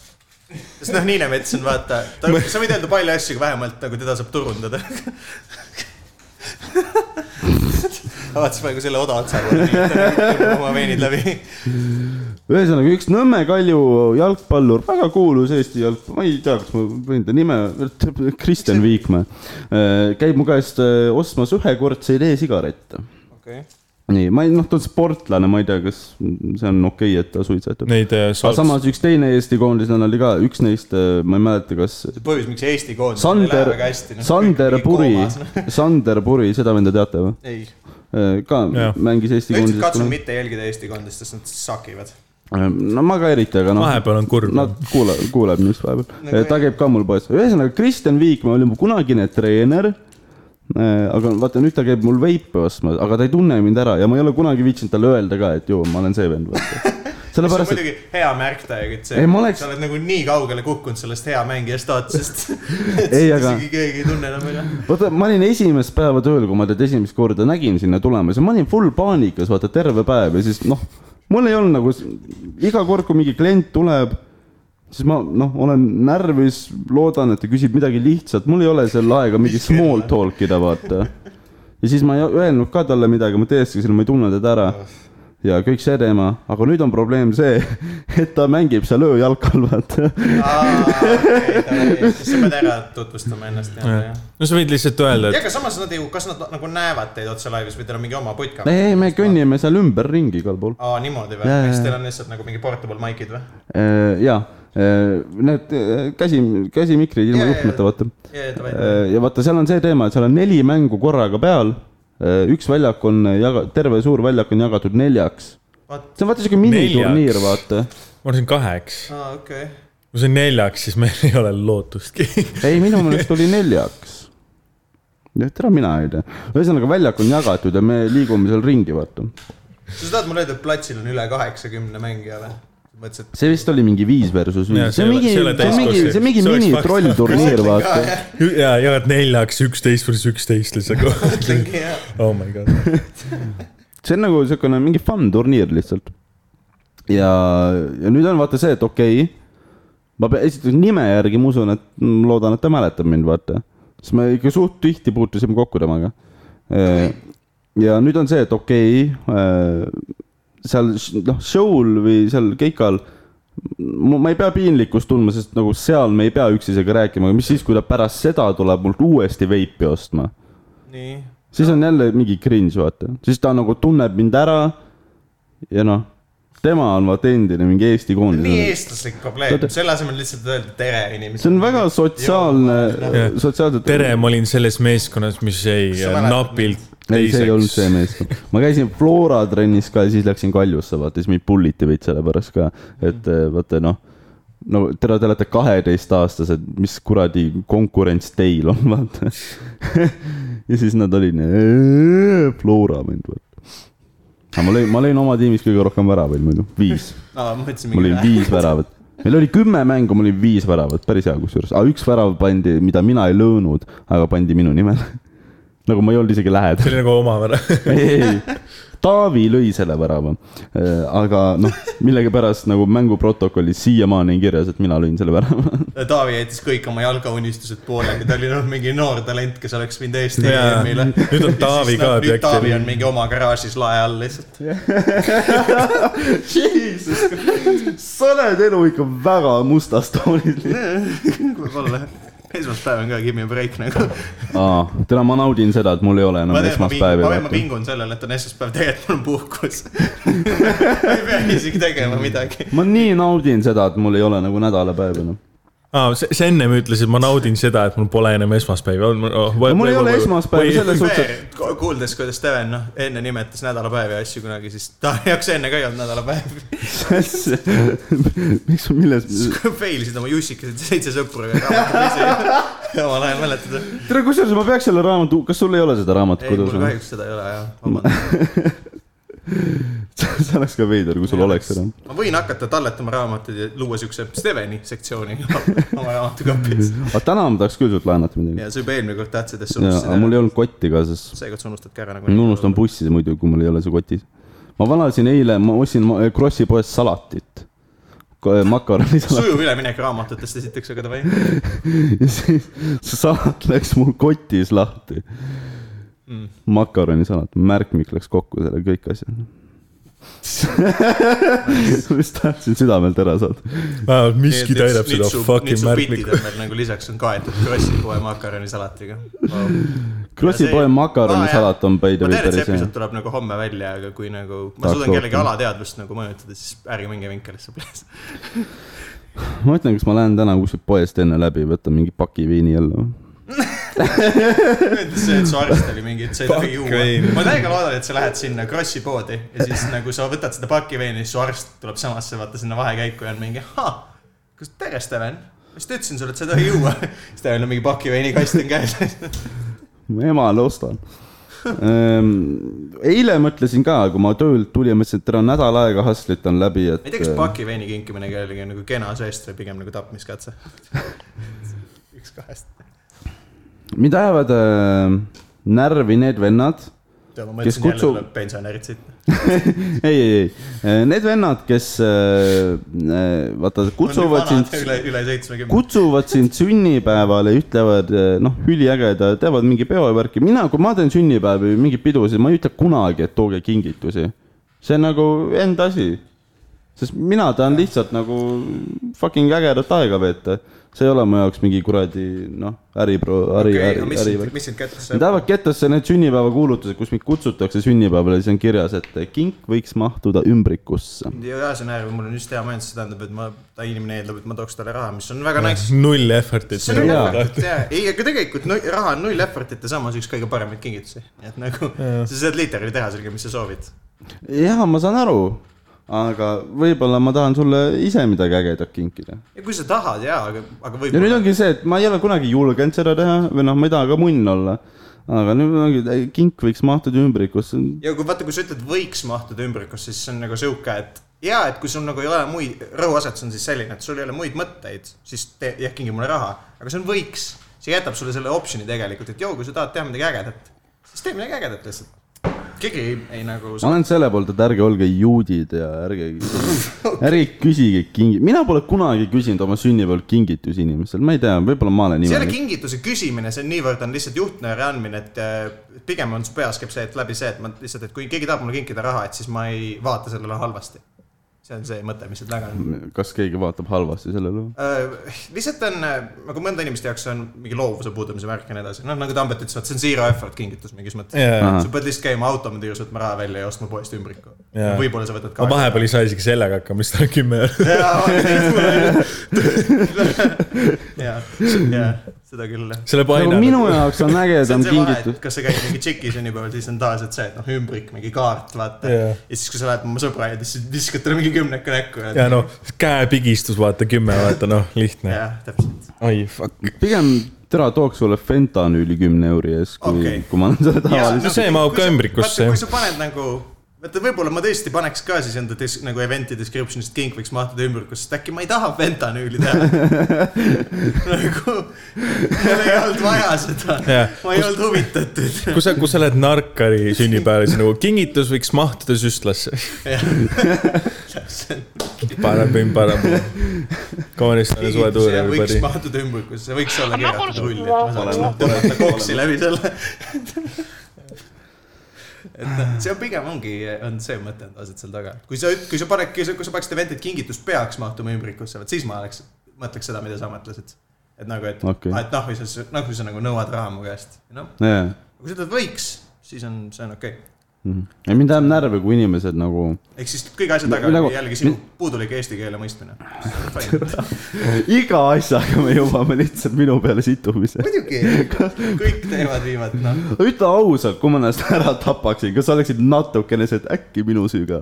Speaker 1: sest noh , Niinemets on vaata , sa võid öelda palju asju , aga vähemalt nagu teda saab turundada . avatas praegu selle oda otsa , oma veenid läbi .
Speaker 3: ühesõnaga üks Nõmme Kalju jalgpallur , väga kuulus Eesti jalg , ma ei tea , kas ma võin ta nime , Kristjan Viikmäe , käib mu käest äh, ostmas ühekordseid e-sigarette .
Speaker 1: okei ,
Speaker 3: nii , ma ei , noh , ta on sportlane , ma ei tea , kas see on okei okay, , et ta suitsetab .
Speaker 2: Neid äh,
Speaker 3: aga
Speaker 2: salts-
Speaker 3: samas üks teine Eesti koondislane oli ka , üks neist , ma ei mäleta , kas
Speaker 1: see põhjus , miks Eesti koondis ei lähe
Speaker 3: Sander
Speaker 1: väga hästi ., noh.
Speaker 3: Sander Puri , Sander Puri , seda venda teate või ?
Speaker 1: ei ,
Speaker 3: ka
Speaker 2: Jah.
Speaker 3: mängis Eesti
Speaker 1: ma üldiselt katsun
Speaker 3: koondises .
Speaker 1: mitte jälgida Eesti koondist , sest nad sakivad .
Speaker 3: Äh, no ma ka eriti , aga noh
Speaker 2: vahepeal on kurb
Speaker 3: Nad
Speaker 2: no. .
Speaker 3: kuuleb , kuuleb minust vahepeal , ta käib ka mul poes , ühesõnaga Kristjan Viikmaa oli mu kunagine treener . aga vaata nüüd ta käib mul veipe ostmas , aga ta ei tunne mind ära ja ma ei ole kunagi viitsinud talle öelda ka , et joo , ma olen see vend , vaata .
Speaker 1: see on
Speaker 3: sellepärast ,
Speaker 1: muidugi hea märk täiega , et see
Speaker 3: Ei, ma oleks-
Speaker 1: sa oled nagu nii kaugele kukkunud sellest hea mängija staatusest .
Speaker 3: Ei, aga-
Speaker 1: isegi keegi ei tunne enam ära .
Speaker 3: et vaata , ma olin esimest päeva tööl , kui ma teda esimest korda nägin sinna tulemas ja ma olin full paanikas , vaata terve päev ja siis noh , mul ei olnud nagu s- iga kord , kui mingi klient tuleb siis ma noh , olen närvis , loodan , et ta küsib midagi lihtsat , mul ei ole seal aega mingi small talk ida , vaata . ja siis ma ei öelnud ka talle midagi , ma tõestasin , ma ei tunne teda ära . ja kõik see teema , aga nüüd on probleem see , et ta mängib seal ööjalkal , vaata .
Speaker 1: siis sa pead ära tutvustama ennast ja , ja .
Speaker 2: no sa võid lihtsalt öelda ,
Speaker 1: ja
Speaker 2: et
Speaker 1: aga samas nad ju , kas nad nagu näevad teid otse laivis või teil on mingi oma putka ?
Speaker 3: ei , me . kõnnime seal ümberringi igal pool .
Speaker 1: aa , niimoodi või
Speaker 3: Jaa, ? jaa,
Speaker 1: kas
Speaker 3: jaa.
Speaker 1: teil on lihtsalt nagu mingi portable mic'id või ?
Speaker 3: ja , Äh, need eh, käsi , käsimikrid
Speaker 1: Jaa,
Speaker 3: ilma
Speaker 1: jaa,
Speaker 3: juhtmeta , vaata
Speaker 1: jaa, jaa, davai.
Speaker 3: Eh, ja vaata , seal on see teema , et seal on neli mängu korraga peal . üks väljak on jaga- , terve suur väljak on jagatud neljaks
Speaker 1: vot ,
Speaker 3: see on vaata siuke miniturniir , vaata .
Speaker 2: ma arvasin kaheks .
Speaker 1: aa okei .
Speaker 2: kui see on neljaks , siis meil ei ole lootustki .
Speaker 3: ei , minu meelest oli neljaks . jah , tere , mina ei tea . ühesõnaga , väljak on jagatud ja me liigume seal ringi , vaata .
Speaker 1: sa tahad mulle öelda , et platsil on üle kaheksakümne mängija või ? mõtlesin , et .
Speaker 3: see vist oli mingi viis versus
Speaker 2: Jaa,
Speaker 3: viis .
Speaker 2: see
Speaker 3: see on
Speaker 2: ei ole-
Speaker 3: mingi ,
Speaker 2: see ei
Speaker 3: see
Speaker 2: ole
Speaker 3: on mingi ,
Speaker 2: täiskoosseisus.
Speaker 3: see on mingi
Speaker 2: See oleks
Speaker 3: minitrollturniir , vaata .
Speaker 2: ja jagad neljaks , üksteist pluss üksteist lihtsalt .
Speaker 1: mõtlengi jah .
Speaker 2: oh my god .
Speaker 3: see on nagu siukene mingi fun turniir lihtsalt . ja , ja nüüd on vaata see , et okei okay, , ma pean esiteks nime järgi , ma usun , et ma loodan , et ta mäletab mind , vaata . sest me ikka suht tihti puutusime kokku temaga . ja nüüd on see , et okei okay, , seal š- noh , show'l või seal keikal , ma ei pea piinlikkust tundma , sest nagu seal me ei pea üksteisega rääkima , aga mis siis , kui ta pärast seda tuleb mult uuesti veipi ostma
Speaker 1: nii .
Speaker 3: siis on jälle mingi cringe , vaata , siis ta nagu tunneb mind ära . ja noh , tema on vaata endine mingi Eesti
Speaker 1: nii
Speaker 3: koondis .
Speaker 1: eestlaslik probleem , selle asemel lihtsalt öelda tere inimesele .
Speaker 3: see on väga sotsiaalne
Speaker 2: Jah. ,
Speaker 3: sotsiaalselt .
Speaker 2: tere , ma olin selles meeskonnas , mis jäi
Speaker 1: Kas sa
Speaker 2: äh,
Speaker 1: mäletad-
Speaker 2: napilt
Speaker 3: ei , see ei olnud see
Speaker 2: teiseks .
Speaker 3: meeskond . ma käisin Flora trennis ka ja siis läksin Kaljusse , vaata , siis mind pulliti veits selle pärast ka , et eh, vaata noh , no tere , te olete kaheteistaastased , mis kuradi konkurents teil on , vaata . ja siis nad olid , Flora mind , vaata . aga ma lõin , ma lõin oma tiimis kõige rohkem väravaid muidu , viis .
Speaker 1: no ma mõtlesin
Speaker 3: mul
Speaker 1: mingi
Speaker 3: oli viis väravat . meil oli kümme mängu , mul oli viis väravat , päris hea kusjuures , aga üks värav pandi , mida mina ei löönud , aga pandi minu nimele . nagu ma ei olnud isegi
Speaker 2: see
Speaker 3: lähedal .
Speaker 2: oli nagu oma värv .
Speaker 3: ei , Taavi lõi selle värava . aga noh , millegipärast nagu mänguprotokollis siiamaani on kirjas , et mina lõin selle värava .
Speaker 1: Taavi jättis kõik oma jalgaunistused pooleli , ta oli noh , mingi noor talent , kes oleks mind Eesti
Speaker 2: Jaa.
Speaker 1: EM-ile .
Speaker 2: Nüüd on Taavi ka
Speaker 1: nüüd
Speaker 2: peaks-
Speaker 1: Taavi on mingi oma garaažis lae all lihtsalt .
Speaker 3: sa oled elu ikka väga mustas toonis .
Speaker 1: võib-olla . esmaspäev on ka give me a break nagu .
Speaker 3: täna ma naudin seda , et mul ei ole enam
Speaker 1: ma tean , ma
Speaker 3: esmaspäevi
Speaker 1: pingun , ma
Speaker 3: vaata .
Speaker 1: pingun sellele , et on esmaspäev , tegelikult mul on puhkus . ma ei pea isegi tegema midagi .
Speaker 3: ma nii naudin seda , et mul ei ole nagu nädalapäeva enam .
Speaker 2: aa , sa sa ennem ütlesid , ma naudin seda , et mul pole enam esmaspäeva . oh,
Speaker 3: mul ei
Speaker 2: nagu-
Speaker 3: ole esmaspäeva, selles-
Speaker 1: kuuldes , kuidas Steven noh , enne nimetas nädalapäevi ja asju kunagi , siis ta jaoks enne ka ei olnud nädalapäev .
Speaker 3: miks , milles ?
Speaker 1: failisid oma jussikesed seitse sõpru ja raamatumisi omal ajal mäletada .
Speaker 3: tere , kusjuures ma peaks selle raamatu , kas sul ei ole seda raamatut
Speaker 1: ei , mul
Speaker 3: kodus ?
Speaker 1: kahjuks seda ei ole jah .
Speaker 3: see oleks ka veider , kui sul oleks seda .
Speaker 1: ma võin hakata talletama raamatuid ja luua siukse Steveni sektsiooni oma raamatukapis .
Speaker 3: aga täna ma tahaks küll sult laenata midagi .
Speaker 1: ja sa juba eelmine kord tahtsid , et sa
Speaker 3: jaa , aga mul
Speaker 1: unustasid
Speaker 3: ei . olnud kotti ka , sest
Speaker 1: seekord sa unustad ka ära nagu .
Speaker 3: ma unustan . bussi muidu , kui mul ei ole see kotis . ma valasin eile , ma ostsin ma- Krossi poest salatit . eh, makaronisalatit
Speaker 1: sujuv üleminek raamatutest esiteks , aga davai .
Speaker 3: ja siis see salat läks mul kotis lahti mm. . makaronisalat , märkmik läks kokku selle kõik asjad ma just tahtsin südamelt ära saada .
Speaker 2: miski täidab seda fucking märklikku .
Speaker 1: nagu lisaks on kaetud Krossi poe makaronisalatriga wow. .
Speaker 3: Krossi
Speaker 1: see-
Speaker 3: poe
Speaker 1: aa,
Speaker 3: makaronisalat
Speaker 1: jah.
Speaker 3: on by the
Speaker 1: ma tean , et
Speaker 3: way
Speaker 1: see
Speaker 3: päris hea
Speaker 1: episood . tuleb nagu homme välja , aga kui nagu ma
Speaker 3: Tahaks
Speaker 1: suudan kellegi
Speaker 3: rohkem.
Speaker 1: alateadvust nagu mõjutada , siis ärge minge vinkelisse .
Speaker 3: ma mõtlen , kas ma lähen täna kuskilt poest enne läbi , võtan mingi paki viini jälle .
Speaker 1: see , et su arst oli mingi , et sa ei tohi
Speaker 2: Pakk
Speaker 1: juua
Speaker 2: veini. .
Speaker 1: ma täiega loodan , et sa lähed sinna Krossi poodi ja siis nagu sa võtad seda pakki veini , siis su arst tuleb samasse , vaata sinna vahekäiku ja on mingi , ahah , kas tere , Steven , ma just ütlesin sulle , et sa ei tohi juua . Stevenil on mingi pakki veinikast on käes .
Speaker 3: mu emale ostan . eile mõtlesin ka , kui ma töölt tulin , mõtlesin , et täna on nädal aega hustlit on läbi , et .
Speaker 1: ma
Speaker 3: eh,
Speaker 1: ei tea , kas pakki veini kinkimine ka oli nagu kena žest või pigem nagu tapmiskatse . üks kahest .
Speaker 3: mind ajavad äh, närvi need vennad ,
Speaker 1: ma mõtlesin jälle
Speaker 3: kutsub-
Speaker 1: tuleb pensionärid siit .
Speaker 3: ei , ei , ei , need vennad , kes äh, äh, vaata kutsuvad sind ,
Speaker 1: üle , üle seitsmekümne .
Speaker 3: kutsuvad sind sünnipäevale , ütlevad äh, noh , üliägeda , teevad mingi peo ja värki , mina , kui ma teen sünnipäevi või mingeid pidusid , ma ei ütle kunagi , et tooge kingitusi . see on nagu enda asi . sest mina tahan lihtsalt nagu fucking ägedat aega veeta , see ei ole mu jaoks mingi kuradi noh , äripro- , äri , äri ,
Speaker 1: mis
Speaker 3: äri ,
Speaker 1: sind , mis sind kätte
Speaker 3: Need
Speaker 1: saab ?
Speaker 3: lähevad ketosse need sünnipäevakuulutused , kus mind kutsutakse sünnipäevale , siis on kirjas , et kink võiks mahtuda ümbrikusse .
Speaker 1: jaa , see on äärmiselt , mul on just hea meel , see tähendab , et ma , ta inimene eeldab , et ma tooks talle raha , mis on väga nice .
Speaker 2: null effort'it .
Speaker 1: see on nagu-
Speaker 3: Jaa.
Speaker 1: effort'it jaa , ei , aga tegelikult no, raha on null effort'it ja samas üks kõige paremaid kingitusi . et nagu sa saad literaalselt teha sellega , mis sa soovid .
Speaker 3: jah , ma saan aru , aga võib-olla ma tahan sulle ise midagi ägedat kinkida .
Speaker 1: ja kui sa tahad jaa , aga , aga
Speaker 3: ja nüüd
Speaker 1: võib-olla .
Speaker 3: ongi see , et ma ei ole kunagi julgenud seda teha või noh , ma ei taha ka munn olla . aga nüüd ongi , kink võiks mahtuda ümbrikusse .
Speaker 1: ja kui vaata , kui sa ütled , võiks mahtuda ümbrikusse , siis see on nagu sihuke , et jaa , et kui sul nagu ei ole muid , rõhuasetus on siis selline , et sul ei ole muid mõtteid , siis tee , jah , kingi mulle raha , aga see on võiks . see jätab sulle selle optsiooni tegelikult , et joo , kui sa tahad teha midagi ägedat , siis tee midagi ägedat lihtsalt . keegi ei, ei nagu .
Speaker 3: ma olen selle poolt , et ärge olge juudid ja ärge , ärge küsige kingi , mina pole kunagi küsinud oma sünnipäeval kingitusi inimestele , ma ei tea , võib-olla ma olen
Speaker 1: see ei ole
Speaker 3: imelik .
Speaker 1: kingituse küsimine , see on niivõrd on lihtsalt juhtnööre andmine , et äh, pigem on su peas käib see , et läbi see , et ma lihtsalt , et kui keegi tahab mulle kinkida raha , et siis ma ei vaata sellele halvasti . see on see mõte , mis seal taga on .
Speaker 3: kas keegi vaatab halvasti sellele või ?
Speaker 1: Äh, lihtsalt on , nagu mõnde inimeste jaoks on mingi loovuse puudumise värk ja nii edasi , noh nagu Tambet ütles , vaat see on zero effort kingitus mingis mõttes
Speaker 2: Jaa.
Speaker 1: sa pead lihtsalt käima automaadi juures , võtma raha välja ja ostma poest ümbriku .
Speaker 2: Jaa.
Speaker 1: võib-olla sa võtad
Speaker 2: ma vahepeal ei saa isegi sellega hakkama , siis ta on kümme eurot .
Speaker 1: ja , ja seda küll .
Speaker 2: selle
Speaker 3: nagu
Speaker 2: paina .
Speaker 3: minu jaoks on
Speaker 1: see
Speaker 3: ägedam
Speaker 1: on see vahe ,
Speaker 3: kingitus
Speaker 1: et . kas sa käid mingi tšiki sünnipäeval , siis on tavaliselt see , et noh , ümbrik , mingi kaart , vaata .
Speaker 2: Jaa.
Speaker 1: ja siis , kui sa lähed oma sõbra juurde , siis viskad talle mingi kümneka näkku
Speaker 2: ja . noh , käepigistus , vaata kümme , vaata noh , lihtne .
Speaker 1: jah , täpselt .
Speaker 2: oi , fuck .
Speaker 3: pigem täna tooks sulle fentanüüli kümne euri ees , kui okay.
Speaker 1: Okei. ,
Speaker 3: kui ma annan selle tavaliselt .
Speaker 2: see mahub ka ümbrikusse,
Speaker 1: kui
Speaker 2: jah.
Speaker 1: sa paned nagu , vaata võib-olla ma tõesti paneks ka siis enda dis- , nagu event'i description'ist king võiks mahtuda ümbrikusse , sest äkki ma ei taha fentanüüli teha . nagu , mul ei olnud vaja seda .
Speaker 2: Jah.
Speaker 1: ma ei olnud huvitatud .
Speaker 2: kui sa , kui sa lähed narkari sünnipäevale , siis nagu kingitus võiks mahtuda süstlasse . paneb mind parema . Afganistani suve tuur ,
Speaker 1: võiks
Speaker 2: everybody .
Speaker 1: mahtuda ümbrikusse , see võiks olla kirjutatud rulli , et ma saaks noh , tõmmata koksi läbi selle . et noh, see on pigem ongi , on see mõte on tavaliselt seal taga , kui sa , kui sa paned , kui sa kui sa paneksid event'i , et kingitus peaks mahtuma ümbrikusse , vot siis ma oleks , mõtleks seda , mida sa mõtlesid . et nagu , et
Speaker 3: Okei.
Speaker 1: okay. , et noh , või sa , noh , kui sa nagu nõuad raha mu käest , noh ,
Speaker 3: jaa .
Speaker 1: kui sa ütled võiks , siis on , see on okei okay. .
Speaker 3: ja mind ajab närvi , kui inimesed nagu ,
Speaker 1: ehk siis kõik asjad taga
Speaker 3: Nagu-
Speaker 1: on jällegi sinu puudulik eesti keele mõistmine .
Speaker 3: iga asjaga me jõuame lihtsalt minu peale situmise .
Speaker 1: muidugi , kõik teevad viivad , noh
Speaker 3: ütle ausalt , kui ma ennast ära tapaksin , kas sa oleksid natukene see , et äkki minu süü ka ?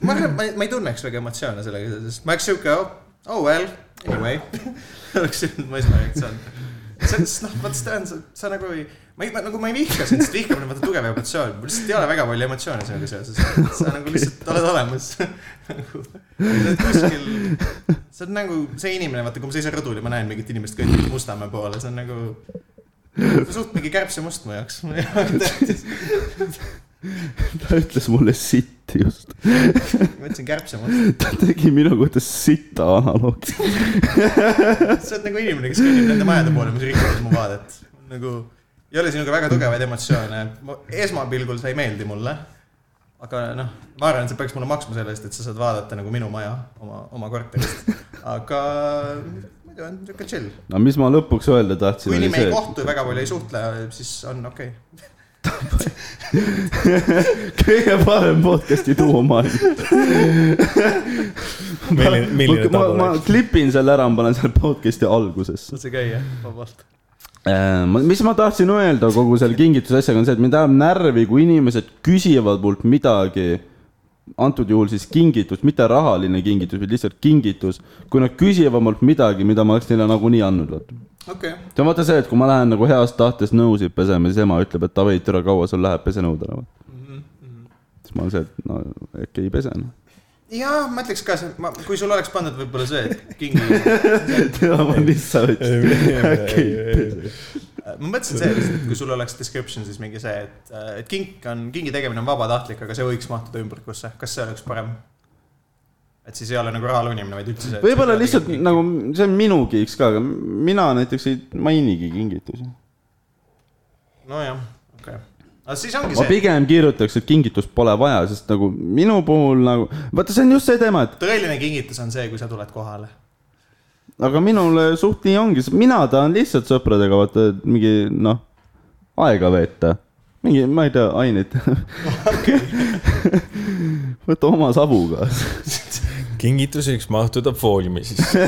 Speaker 1: ma arvan , ma ei , ma ei tunneks väga emotsioone sellega , sest ma oleks siuke oh, , oh well , anyway . oleks siuke , ma ei saa reaktsioon . see on , noh , vaata seda on , sa , sa nagu ei , ma ei , nagu ma ei vihka sind , sest vihkamine on vaata tugev emotsioon , mul lihtsalt ei ole väga palju emotsioone sellega seoses . sa nagu lihtsalt oled olemas . kuskil , sa oled nagu see inimene , vaata , kui ma seisan rõdul ja ma näen mingit inimest kõndib Mustamäe poole , see on nagu suht mingi kärbse must mu jaoks .
Speaker 3: ta ütles mulle sitt just .
Speaker 1: ma ütlesin kärbse must .
Speaker 3: ta tegi minu kohta sita analoogi .
Speaker 1: sa oled nagu inimene , kes kõnnib nende majade poole , mis rikuvad mu vaadet . nagu ei ole sinuga väga tugevaid emotsioone . esmapilgul sa ei meeldi mulle . aga noh , ma arvan , et sa peaks mulle maksma selle eest , et sa saad vaadata nagu minu maja oma , oma korterist . aga muidu on sihuke chill .
Speaker 3: no mis ma lõpuks öelda tahtsin ,
Speaker 1: kui
Speaker 3: oli
Speaker 1: inimene
Speaker 3: see
Speaker 1: ei , kohtu ja väga palju ei suhtle , siis on okei okay. .
Speaker 3: kõige parem podcast'i duo maailmas .
Speaker 2: milline , milline
Speaker 3: ma ,
Speaker 2: tabu
Speaker 3: ma
Speaker 2: oleks ?
Speaker 3: klipin selle ära , ma panen selle podcast'i algusesse .
Speaker 1: saad sa käia vabalt .
Speaker 3: Äh, ma- mis ma tahtsin öelda kogu selle kingituse asjaga on see , et mind ajab närvi , kui inimesed küsivad mult midagi . antud juhul siis kingitus , mitte rahaline kingitus , vaid lihtsalt kingitus . kui nad küsivad mult midagi , mida ma oleks neile nagunii andnud , vaata .
Speaker 1: okei okay. ,
Speaker 3: see on vaata see , et kui ma lähen nagu heast tahtest nõusid pesema , siis ema ütleb , et davai , türa , kaua sul läheb , pese nõud ära . siis ma olen see , et no äkki ei pese noh .
Speaker 1: jaa , ma ütleks ka , kui sul oleks pandud võib-olla see , et kingi
Speaker 3: türa , ma lihtsalt .
Speaker 1: Äh, ma mõtlesin see lihtsalt , et kui sul oleks description , siis mingi see , et , et kink on , kingi tegemine on vabatahtlik , aga see võiks mahtuda ümbrikusse , kas see oleks parem ? et siis ei ole nagu raha lunimine , vaid üldse see .
Speaker 3: võib-olla lihtsalt . nagu see on minu kiiks ka , aga mina näiteks ei mainigi kingitusi
Speaker 1: nojah , okei okay. . aga siis ongi
Speaker 3: ma
Speaker 1: see ,
Speaker 3: pigem kirjutaks , et kingitust pole vaja , sest nagu minu puhul nagu , vaata , see on just see teema , et
Speaker 1: tõeline kingitus on see , kui sa tuled kohale .
Speaker 3: aga minul suht nii ongi , mina tahan lihtsalt sõpradega vaata mingi noh , aega veeta . mingi , ma ei tea , aineid . võta oma sabu kaasa .
Speaker 2: kingitus võiks mahtuda fooliumi sisse .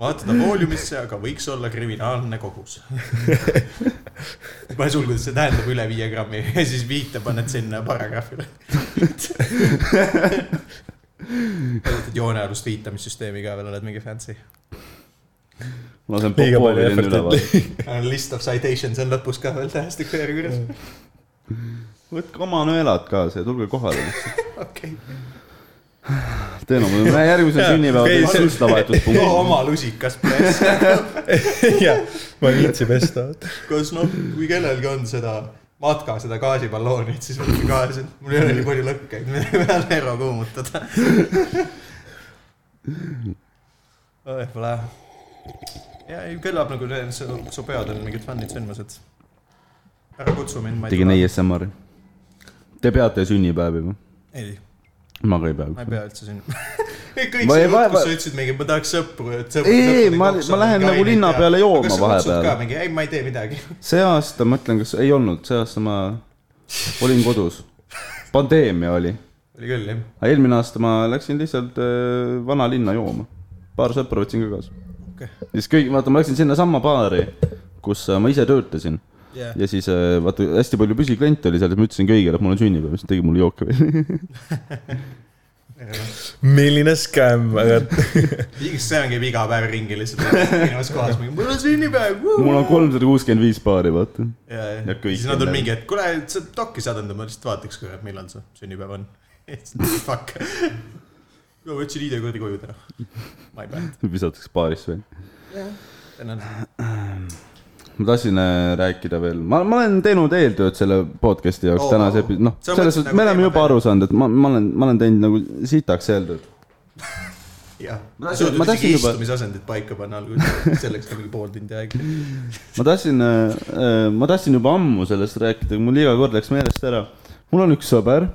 Speaker 1: vaata ta vooliumisse , aga võiks olla kriminaalne kogus . ma ei sulgu , see tähendab üle viie grammi ja siis viite paned sinna paragrahvile . kasutad joonealust viitamissüsteemi ka veel , oled mingi fancy .
Speaker 3: lasen
Speaker 2: liiga palju
Speaker 3: Popovilini üle vaadata .
Speaker 2: effort'i .
Speaker 1: Äh, List of citations on lõpus ka veel tähestiku järjekorras .
Speaker 3: võtke oma nõelad kaasa ja tulge kohale .
Speaker 1: okei .
Speaker 3: teen oma , järgmisel
Speaker 2: Jaa,
Speaker 3: sünnipäeval
Speaker 2: okei,
Speaker 3: teen
Speaker 2: see-
Speaker 1: too
Speaker 3: süstlavahetuspunkti .
Speaker 1: oma lusikas peas .
Speaker 2: jah , ma ei viitsi pesta .
Speaker 1: kas noh , kui kellelgi on seda matka , seda gaasiballooni , et siis võtke gaasi , mul ei ole nii palju lõkkeid , me võime ära kuumutada . võib-olla jah . ja ei , kõlab nagu see- su, su peod on mingid fun'id sündmused . ära kutsu mind , ma ei
Speaker 3: tegin . ASMR-i . Te peate sünnipäevi või ?
Speaker 1: ei ,
Speaker 3: ma ka ei pea
Speaker 1: ma ei . pea üldse sinna . kõik
Speaker 3: Ma ei-
Speaker 1: see
Speaker 3: ma-
Speaker 1: jutt , kus sa
Speaker 3: ma-
Speaker 1: ütlesid mingi , ma tahaks sõpru , et sõpru .
Speaker 3: Ei, ei, ma- ma lähen nagu linna peale jooma vahepeal.
Speaker 1: mingi , ei , ma ei tee midagi .
Speaker 3: see aasta ma ütlen , kas ei olnud , see aasta ma olin kodus . pandeemia oli ,
Speaker 1: oli küll , jah .
Speaker 3: aga eelmine aasta ma läksin lihtsalt äh, vanalinna jooma . paar sõpra võtsin ka kaasa .
Speaker 1: okei ,
Speaker 3: siis kõik , vaata , ma läksin sinnasamma baari , kus äh, ma ise töötasin
Speaker 1: jah .
Speaker 3: ja siis äh, vaata hästi palju püsikliente oli seal , siis ma ütlesin kõigile , et mul on sünnipäev , siis nad tegid mulle jooke veel .
Speaker 2: milline skäm , aga
Speaker 1: see ongi iga päev ringi lihtsalt , erinevas kohas , mingi mul on sünnipäev .
Speaker 3: mul on kolmsada kuuskümmend viis paari , vaata .
Speaker 1: ja , ja
Speaker 3: Ja kõik
Speaker 1: siis nad on
Speaker 3: on
Speaker 1: mingi , et kuule , sa dokki saad enda , ma lihtsalt vaataks korra , et millal su sünnipäev on . Fuck . ma võtsin ID-koodi koju täna . ma ei mäleta .
Speaker 3: visatakse baarisse välja .
Speaker 1: tänan .
Speaker 3: ma tahtsin äh, rääkida veel , ma , ma olen teinud eeltööd selle podcast'i jaoks
Speaker 1: Oo.
Speaker 3: oh, tänase , noh ,
Speaker 1: Sa
Speaker 3: selles
Speaker 1: mõtlesid
Speaker 3: suhtes ,
Speaker 1: nagu
Speaker 3: me oleme
Speaker 1: teema
Speaker 3: juba
Speaker 1: peale.
Speaker 3: aru saanud , et ma , ma olen , ma olen teinud nagu sitaks eeltööd .
Speaker 1: jah , ma
Speaker 3: Ma tahtsin- ma
Speaker 1: tahtsin
Speaker 3: tahtsin
Speaker 1: juba
Speaker 3: juba-
Speaker 1: istumisasendid paika panna alguses , selleks on mingi pool tundi aega .
Speaker 3: ma tahtsin , ma tahtsin juba ammu sellest rääkida , mul iga kord läks meelest ära . mul on üks sõber ,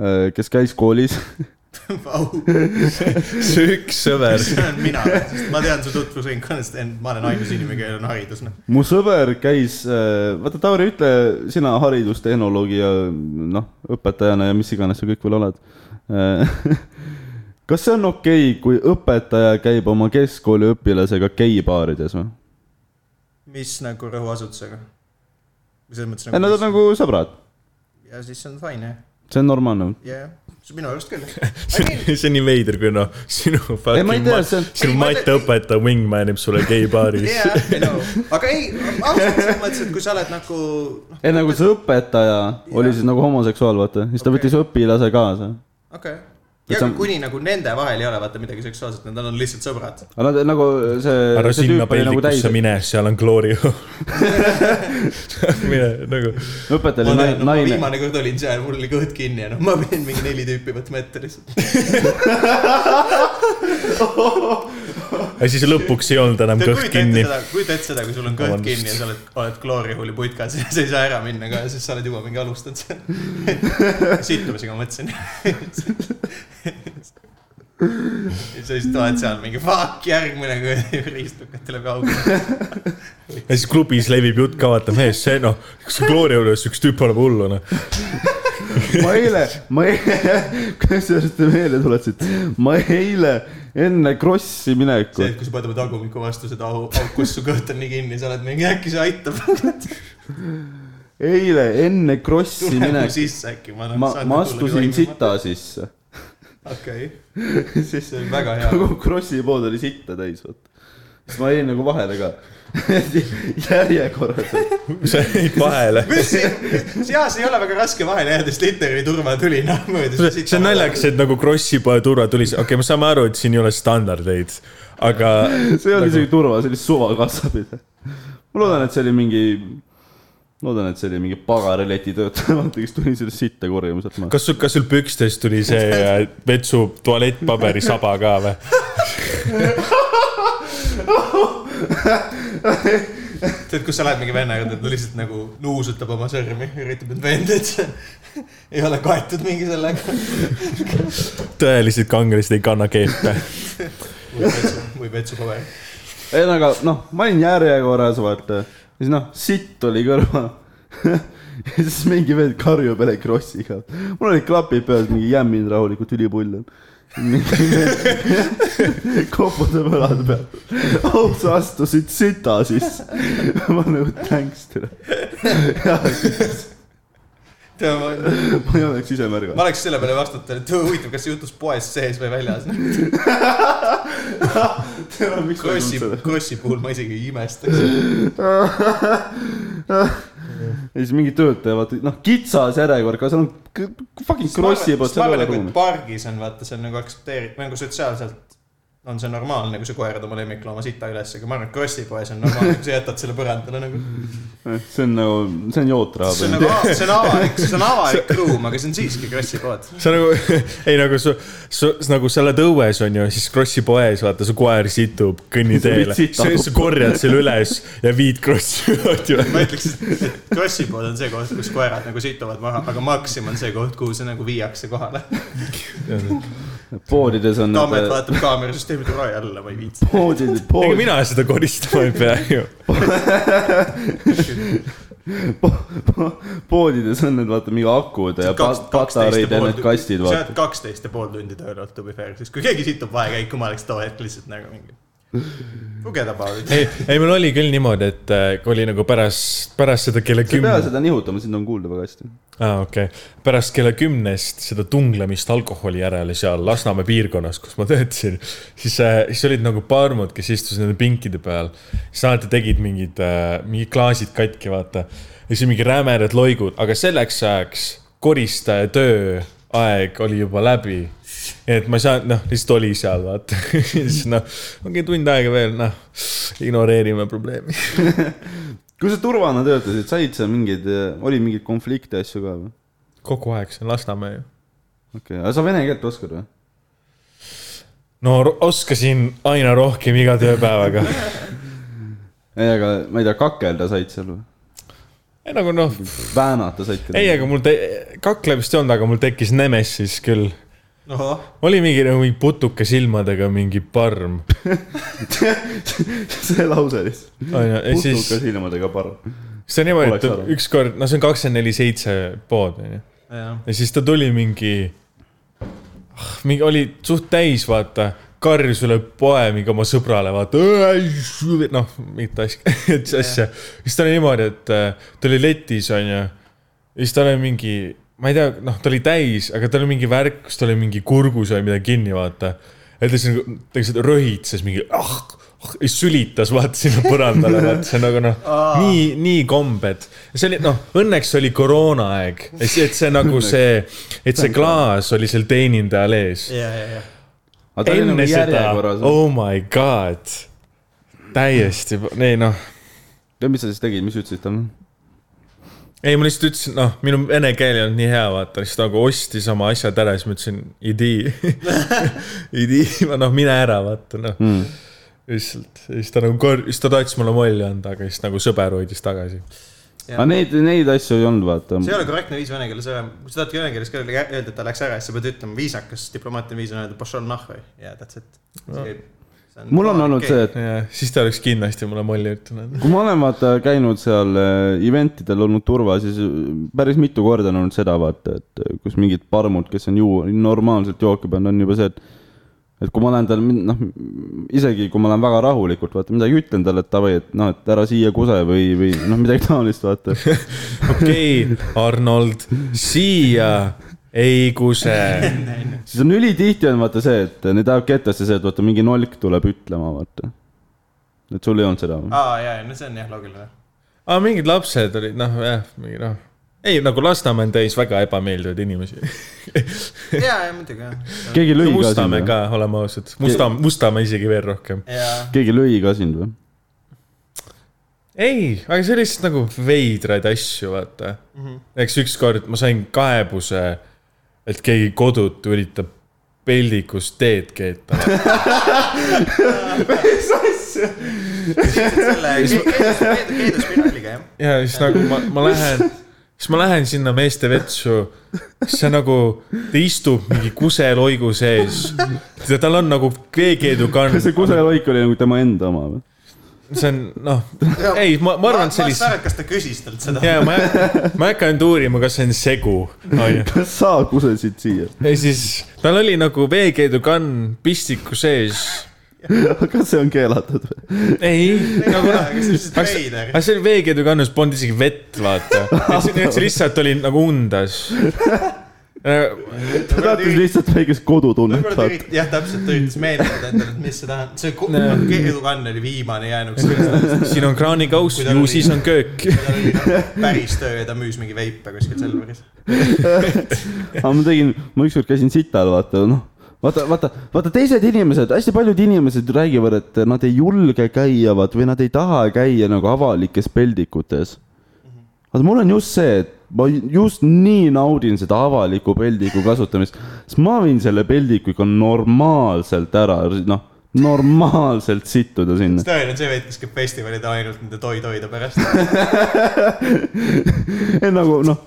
Speaker 1: Mm.
Speaker 3: kes käis koolis
Speaker 1: Vau ,
Speaker 2: see üks sõber ,
Speaker 1: see olen mina , ma tean su tutvusringkonnast , ma olen ainus inimene , kellel on haridus , noh .
Speaker 3: mu sõber käis , vaata Tauri , ütle sina haridustehnoloogi ja noh , õpetajana ja mis iganes sa kõik veel oled . kas see on okei okay, , kui õpetaja käib oma keskkooliõpilasega geibaarides või ?
Speaker 1: mis nagu rõhuasutusega ? või selles mõttes
Speaker 3: Nad on
Speaker 1: nagu .
Speaker 3: nagu sõbrad ,
Speaker 1: ja siis on fine ,
Speaker 3: see on normaalne .
Speaker 1: jah , jah , minu arust küll .
Speaker 2: see see on nii veider , kui noh , sinu
Speaker 3: ei , ma ei
Speaker 2: fucking
Speaker 3: tea ,
Speaker 2: mat-
Speaker 3: see on ,
Speaker 2: sinu matteõpetaja wingman ib sulle geibaaris
Speaker 1: jah , ei no , aga ei , ausalt selles mõttes , et kui sa oled nagu , noh ,
Speaker 3: ei nagu see õpetaja oli siis nagu homoseksuaal , vaata , siis ta
Speaker 1: Okei.
Speaker 3: okay. võttis õpilase kaasa .
Speaker 1: okei okay.
Speaker 3: Et
Speaker 1: ja
Speaker 3: sa-
Speaker 1: kuni nagu nende vahel ei ole vaata midagi seksuaalset , nad on lihtsalt sõbrad .
Speaker 3: aga nad nagu see ,
Speaker 2: ära
Speaker 3: see
Speaker 2: sinna
Speaker 3: tüüp oli nagu täis
Speaker 2: peldikusse , mine , seal on glory hole . mine nagu ,
Speaker 3: õpetaja
Speaker 1: ma
Speaker 3: oli
Speaker 1: olen ,
Speaker 3: nai-
Speaker 1: ma
Speaker 3: naine ,
Speaker 1: viimane kord olin seal , mul oli kõht kinni ja noh , ma pidin mingi neli tüüpi võtma ette lihtsalt .
Speaker 2: aga siis lõpuks ei olnud enam kõht
Speaker 1: kujuta ette
Speaker 2: kinni .
Speaker 1: seda , kujuta ette seda , kui sul on kõht
Speaker 2: Vabandust.
Speaker 1: kinni ja sa oled , oled kloorihuuli putkas ja sa ei saa ära minna ka ja siis sa oled juba mingi alustanud seal . sittumisega ma mõtlesin . ja sa lihtsalt oled seal mingi fuck , järgmine kuradi riistukad tuleb kaugele .
Speaker 2: ja siis klubis levib jutt ka , vaata mees , see noh , see glory juures üks tüüp annab hullu noh .
Speaker 3: ma eile , ma eile , kuidas sa just meelde tuletasid , ma eile enne Krossi
Speaker 1: see ,
Speaker 3: minekut ,
Speaker 1: et kui sa paned oma tagumiku vastu seda au , auk , kus su kõht on nii kinni , sa oled mingi äkki see aitab .
Speaker 3: eile enne Krossi
Speaker 1: tule mu
Speaker 3: minekut ,
Speaker 1: sisse äkki , ma
Speaker 3: ma , ma astusin . sita sisse .
Speaker 1: okei ,
Speaker 3: siis
Speaker 1: see on väga hea .
Speaker 3: kogu Nagu Krossi pood oli sitta täis , vaata . siis ma jäin nagu vahele ka . järjekorras .
Speaker 2: sa jäid vahele .
Speaker 1: ja see ei ole väga raske vahele jääda , sest Litneri turvatüli noh möödus .
Speaker 2: see on naljakas , et nagu Krossi poe turva tuli , okei okay, , me saame aru , et siin ei ole standardeid , aga
Speaker 3: see ei olnud
Speaker 1: Nagu-
Speaker 3: isegi turva , see oli suvakassapide . ma loodan , et see oli mingi , loodan , et see oli mingi pagareleti töötaja , vaata , kes tuli sellest sitta korjama sealt maha .
Speaker 2: kas sul , kas sul pükstes tuli see äh, vetsu tualettpaberi saba ka või ?
Speaker 1: tead , kus sa lähed mingi vennaga , ta lihtsalt nagu nuusutab oma sõrmi , üritab end veenda , et see ei ole kaetud mingi sellega .
Speaker 2: tõelised kangelased ei kanna keelte .
Speaker 1: või vetsupaber .
Speaker 3: ei no aga noh , ma olin järjekorras , vaata . siis noh , sitt oli kõrval . ja siis mingi vend karjub jälle krossiga . mul olid klapid peas , mingi jämmin rahulikult ülipull on . mingi vend koputab õlad peal . oh , sa astusid sita sisse . ma nagu tänks teile .
Speaker 1: ma
Speaker 3: ma ei oleks ise märganud .
Speaker 1: oleks selle peale vastutanud , et huvitav , kas see juhtus poes sees või väljas . Krossi , Krossi puhul ma isegi ei imestaks .
Speaker 3: ja siis mingi töötaja , vaata , noh , kitsas järjekord , aga seal on k- fucking krossi poolt , seal ei ole ruumi .
Speaker 1: pargis on vaata , see on nagu aktsepteeritud , nagu sotsiaalselt on see normaalne , kui sa koerad oma lemmiklooma sita üles , aga ma arvan , et Krossi poes on normaalne , kui sa jätad selle põrandale nagu .
Speaker 3: see on nagu , see on jootraha
Speaker 1: see on nagu , see on avalik , see on avalik ruum , aga see on siiski Krossi pood .
Speaker 2: sa nagu , ei nagu sa , sa nagu sa oled õues , onju , siis Krossi poes , vaata , su koer situb kõnniteele , sa
Speaker 3: Situb.
Speaker 2: sa korjad selle üles ja viid Krossi
Speaker 1: ma
Speaker 2: juurde .
Speaker 1: ütleks , et Krossi pood on see koht , kus koerad nagu situvad maha , aga Maxim on see koht , kuhu see nagu viiakse kohale .
Speaker 2: nagu
Speaker 3: poodides on .
Speaker 1: Tammet vaatab kaamerasüsteemi tule alla , ma ei viitsi .
Speaker 3: poodides ,
Speaker 2: ega
Speaker 3: poodides ,
Speaker 2: mina seda koristama ei pea ju .
Speaker 3: poodides on need , vaata , mingi akud ja pat- patareid ja need kastid ,
Speaker 1: vaata . sa
Speaker 3: vaata .
Speaker 1: oled kaksteist ja pool tundi tööl olnud , to be fair , siis kui keegi situb vahekäiku , ma oleks too hetk lihtsalt nagu mingi . lugeda paari .
Speaker 2: ei , ei , mul oli küll niimoodi , et äh, kui oli nagu pärast , pärast seda kella
Speaker 3: sa ei pea
Speaker 2: kümne ,
Speaker 3: seda nihutama , sind on kuulda väga hästi .
Speaker 2: aa okei , pärast kella kümnest seda tunglemist alkoholi järele seal Lasnamäe piirkonnas , kus ma töötasin , siis , siis olid nagu parmud , kes istusid nende pinkide peal . siis alati tegid mingid , mingid klaasid katki , vaata . ja siis mingi rämedad loigud , aga selleks ajaks koristaja tööaeg oli juba läbi . et ma ei saanud , noh , lihtsalt oli seal , vaata . siis noh , ongi tund aega veel , noh , ignoreerime probleemi .
Speaker 3: kui sa turvana töötasid , said sa mingeid , oli mingeid konflikte , asju ka või ?
Speaker 2: kogu aeg , see on Lasnamäe ju .
Speaker 3: okei okay. , aga sa vene keelt oskad või ?
Speaker 2: no ro- oskasin aina rohkem iga tööpäevaga .
Speaker 3: ei , aga ma ei tea , kakelda said seal või ?
Speaker 2: ei nagu noh ,
Speaker 3: väänata said
Speaker 2: ei , aga mul te- , kaklemist ei olnud , aga mul tekkis Nemesis küll .
Speaker 1: ohoh ,
Speaker 2: oli mingi nagu mingi putuka silmadega mingi parm .
Speaker 3: see lause lihtsalt .
Speaker 2: onju , ja siis ,
Speaker 3: putukas ilmadega parm .
Speaker 2: see on niimoodi ,
Speaker 3: Oleks
Speaker 2: et
Speaker 3: arvanud.
Speaker 2: ükskord , no see on kakskümmend neli seitse pood onju .
Speaker 1: jah .
Speaker 2: ja siis ta tuli mingi , mingi oli suht täis , vaata karjus üle poe mingi oma sõbrale , vaata , noh , mingit asja , asja . siis ta oli niimoodi , et äh, ta oli letis , onju ja siis tal oli mingi , ma ei tea , noh , ta oli täis , aga tal oli mingi värk , kus tal oli mingi kurgus oli midagi kinni , vaata . ja ta siis nagu , ta lihtsalt röhitses mingi ah , ah , ja sülitas , vaata sinna põrandale , vaata see on nagu noh , nii , nii kombed . see oli noh , õnneks oli koroonaaeg , et see nagu see , et see klaas oli seal teenindajal ees .
Speaker 1: ja , ja , ja .
Speaker 3: aga ta oli
Speaker 2: enne
Speaker 3: nagu
Speaker 2: seda ,
Speaker 3: järjekorras oh. .
Speaker 2: oh my god , täiesti , ei noh
Speaker 3: ja mis sa siis tegid , mis sa ütlesid talle ?
Speaker 2: ei , ma lihtsalt ütlesin , noh , minu vene keel ei olnud nii hea , vaata , siis ta nagu ostis oma asjad ära , siis ma ütlesin , idi , idi , noh , mine ära , vaata , noh mm. . lihtsalt , siis ta nagu kor- , siis ta tahtis mulle molli anda , aga siis nagu sõber hoidis tagasi .
Speaker 3: aga neid , neid asju ei olnud , vaata .
Speaker 1: see ei ole korrektne viis vene keeles ära , kui sa tahad vene keeles kellelegi ä- öelda , et ta läks ära , siis sa pead ütlema viisakas diplomaatiline viis on öelda pošol nahhoi ja that's it .
Speaker 3: mul on olnud see , et
Speaker 2: ja siis ta oleks kindlasti mulle molli ütelnud .
Speaker 3: kui ma olen vaata käinud seal äh, event idel olnud turvas , siis äh, päris mitu korda on olnud seda vaata , et äh, kus mingid parmud , kes on ju normaalselt jooki pannud , on juba see , et et kui ma olen tal , noh , isegi kui ma olen väga rahulikult , vaata midagi ütlen talle , et davai , et noh , et ära siia kuse või , või noh , midagi taolist , vaata .
Speaker 2: okei okay, , Arnold , siia , ei kuse .
Speaker 3: siis on ülitihti on vaata see , et neid ajab kettasse see , et vaata mingi nolk tuleb ütlema , vaata . et sul ei olnud seda või ?
Speaker 1: aa , ja , ja no see on jah loogiline .
Speaker 2: aa , mingid lapsed olid , noh , jah , mingi noh , ei nagu Lasnamäe on täis väga ebameeldivaid inimesi
Speaker 1: ja , ja muidugi jah .
Speaker 2: ja
Speaker 3: keegi lõi ka sind
Speaker 2: Mustamäe
Speaker 3: või ?
Speaker 2: ka , oleme ausad , Musta , Mustamäe isegi veel rohkem .
Speaker 1: ja ,
Speaker 3: keegi lõi ka sind või ?
Speaker 2: ei , aga see oli lihtsalt nagu veidraid asju , vaata mm . -hmm. eks ükskord ma sain kaebuse , et keegi kodutu üritab peldikus teed keeta .
Speaker 1: selle keedus , keedus spiraaliga jah .
Speaker 2: ja siis nagu ma , ma lähen , siis ma lähen sinna meeste vetsu . see nagu , ta istub mingi kuseloigu sees . tal on nagu veekeedukann .
Speaker 3: kas see kuseloik oli nagu tema enda oma või ?
Speaker 2: see on noh , ei , ma , ma
Speaker 1: ma
Speaker 2: arvan , et
Speaker 1: ei
Speaker 2: sellist
Speaker 1: saa , kas ta küsis talt seda .
Speaker 2: ja ma , ma ei hakka nüüd uurima , kas see on segu no, .
Speaker 3: kas sa kusesid siia ?
Speaker 2: ja siis tal oli nagu veekeedukann pistiku sees .
Speaker 3: kas see on keelatud või ?
Speaker 2: ei , nagu noh .
Speaker 1: aga see on lihtsalt veider .
Speaker 2: aga Ah, see oli veekeedukannus polnud isegi vett , vaata . nii et see lihtsalt oli nagu undas .
Speaker 3: ta tahtis lihtsalt väikest kodutunnet
Speaker 1: võib-olla ta
Speaker 3: saada .
Speaker 1: üritas , jah , täpselt , ta üritas meeldida endale , et mis see tähendab , see keedukann oli viimane jäänuks sellest ,
Speaker 2: siin on kraanikauss ,
Speaker 1: Kui tal
Speaker 2: ju
Speaker 1: oli-
Speaker 2: siis on köök .
Speaker 1: et tal oli nagu päris töö ja ta müüs mingi veipe kuskil Selveris .
Speaker 3: aga ma tegin , ma ükskord käisin sital , vaata , noh , vaata , vaata , vaata teised inimesed , hästi paljud inimesed räägivad , et nad ei julge käia , vaat või nad ei taha käia nagu avalikes peldikutes . vaata , mul on just see , et ma just nii naudin seda avaliku peldiku kasutamist , sest ma võin selle peldiku ikka normaalselt ära , noh , normaalselt sittuda sinna .
Speaker 1: Sten on see vend , kes käib festivalid ainult nende toi-toide pärast .
Speaker 3: ei nagu noh ,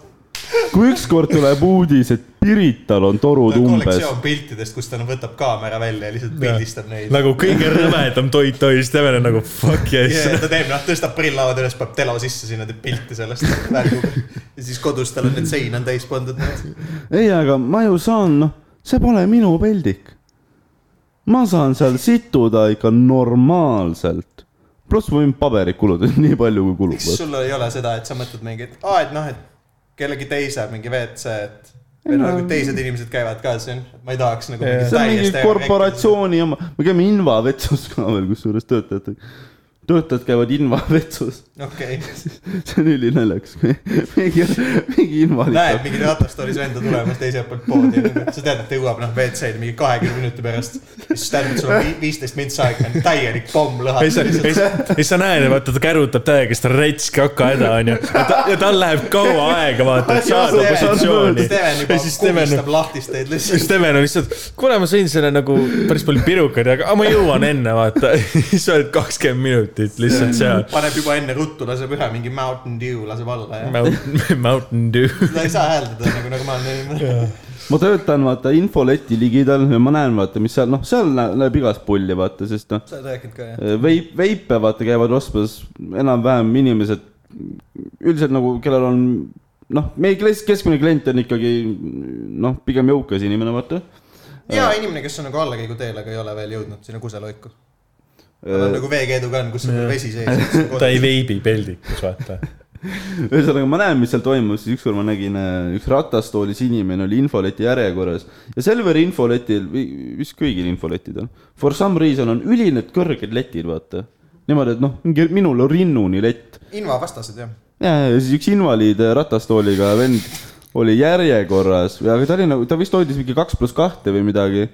Speaker 3: kui ükskord tuleb uudis , et Pirital on torud umbes
Speaker 1: Nagu kollektsioon piltidest , kus ta no võtab kaamera välja ja lihtsalt pildistab neid .
Speaker 2: nagu kõige rõvedam toit oli , siis Steven on nagu fuck yes
Speaker 1: ja . ta teeb , noh , tõstab prill lauad üles , paneb telo sisse sinna , teeb pilti sellest välguga . ja siis kodus tal on need sein on täis pandud .
Speaker 3: ei , aga ma ju saan , noh , see pole minu peldik . ma saan seal situda ikka normaalselt . pluss ma võin paberit kulutada nii palju , kui kulub
Speaker 1: miks . sul ei ole seda , et sa mõtled mingi , et aa , et noh , et kellegi teise mingi WC , et või noh , nagu teised inimesed käivad ka siin , ma ei tahaks nagu .
Speaker 3: see on mingi korporatsiooni oma , me käime invavetsus ka veel , kusjuures töötajatega . töötajad käivad invavetsus ,
Speaker 1: okei okay. ,
Speaker 3: see on ülinaljakas , kui mingi , mingi
Speaker 1: näed
Speaker 3: invaliid .
Speaker 1: mingi ratastoolis venda tulemas teiselt poolt poodi , sa tead , et ta jõuab noh WC-d mingi kahekümne minuti pärast . siis tähendab , sul on viisteist mintsi aega , on täielik pomm
Speaker 2: ja siis sa ,
Speaker 1: lõhatud .
Speaker 2: ja siis- ja siis sa näed ja vaata ta kärutab täiega seda retski hakahäda onju . ja tal läheb kaua aega vaata , et saada positsiooni .
Speaker 1: Steven
Speaker 2: ja
Speaker 1: juba
Speaker 2: siis Steven ,
Speaker 1: kummistab lahtisteid lihtsalt .
Speaker 2: Steven on lihtsalt , kuule ma sõin selle nagu päris palju pirukaid , aga "Aa, ma jõuan enne vaata . siis sa oled kakskümmend minutit lihtsalt seal .
Speaker 1: paneb juba enne ruttu , laseb ühe mingi Mountain Dew laseb alla ja .
Speaker 2: Mountain , Mountain Dew .
Speaker 1: seda ei saa hääldada nagu normaalne inimene .
Speaker 3: ma töötan , vaata , infoleti ligidal ja ma näen , vaata , mis seal , noh , seal nä- näeb igast pulli , vaata , sest noh ,
Speaker 1: sa oled rääkinud ka jah ?
Speaker 3: veip , veipe vaata käivad ostmas enam-vähem inimesed , üldiselt nagu , kellel on noh , meie kles- keskmine klient on ikkagi noh , pigem jõukas inimene , vaata .
Speaker 1: hea inimene , kes on nagu allakäiguteel , aga ei ole veel jõudnud sinna kuseloiku . tal on nagu veekeedukann , kus on veel vesi
Speaker 2: Äh. ta ei
Speaker 1: sees .
Speaker 2: veibi peldikus vaata .
Speaker 3: ühesõnaga , ma näen , mis seal toimub , siis ükskord ma nägin , üks ratastoolis inimene oli infoleti järjekorras ja Selveri infoletil või vist kõigil infoletidel , for some reason on ülined kõrged letid , vaata . niimoodi , et noh , minul on rinnuni lett
Speaker 1: invavastased jah .
Speaker 3: ja , ja siis üks invaliid äh, ratastooliga vend oli järjekorras , aga ta oli nagu , ta vist hoidis mingi kaks pluss kahte või midagi .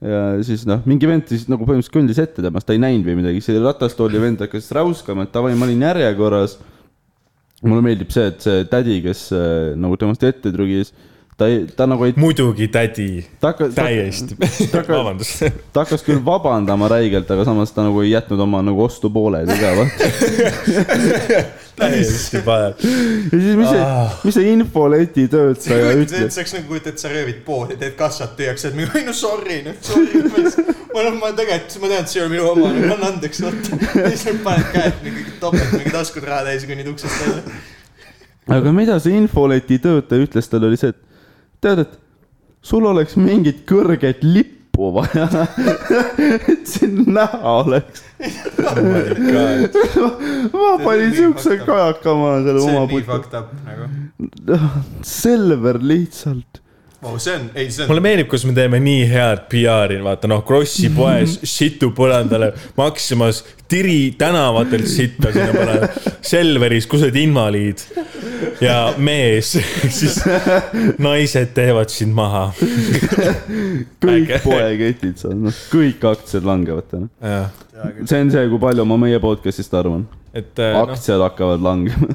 Speaker 3: ja siis noh , mingi vend siis nagu põhimõtteliselt kõndis ette temast , ta ei näinud või midagi , see ratastooli vend hakkas räuskama , et davai , ma olin järjekorras . mulle meeldib see , et see tädi , kes äh, nagu temast ette trügis , ta ei , ta nagu ei ,
Speaker 2: muidugi tädi ,
Speaker 3: ta hakkas ,
Speaker 2: täiesti . vabandust .
Speaker 3: ta hakkas küll vabandama räigelt , aga samas ta nagu ei jätnud oma nagu ostupooled ega vaata .
Speaker 2: täiesti parem .
Speaker 3: ja siis mis see , mis see infoleti töötaja
Speaker 1: see
Speaker 3: ütles ?
Speaker 1: oleks nagu kujutad , et sa röövid poodi , teed kassat tühjaks , et mingi, "Oi, no sorry , no sorry . ma noh , ma tegelikult , ma tean , et see ei ole minu oma , aga anna andeks , vaata . ja siis nad paned käed mingi topelt mingi taskud raha täis ja kõnnid uksest välja .
Speaker 3: aga mida see infoleti töötaja ütles , tal oli see , et tead , et sul oleks mingit kõrget lippu vaja , et sind näha oleks .
Speaker 2: Oh
Speaker 3: ma
Speaker 1: on
Speaker 3: panin
Speaker 1: nii
Speaker 3: siukse
Speaker 1: fucked up.
Speaker 3: kajaka maha
Speaker 1: see
Speaker 3: selle oma
Speaker 1: on nii
Speaker 3: putka .
Speaker 1: fucked up nagu .
Speaker 3: Selver lihtsalt .
Speaker 1: Vau , see on , ei see on
Speaker 2: mulle meeldib , kus me teeme nii head PR-i , vaata noh , Krossi poes situ põrandale , Maximas tiri tänavatelt sitta sinna põrandale , Selveris , kus oled invaliid ja mees , siis naised teevad sind maha .
Speaker 3: kõik
Speaker 2: Äge.
Speaker 3: poeketid seal , noh , kõik aktsiad langevad täna .
Speaker 1: hea küll .
Speaker 3: see on see , kui palju ma meie podcast'ist arvan .
Speaker 2: et
Speaker 1: Äh,
Speaker 2: eh, noh ,
Speaker 3: aktsiad hakkavad langema .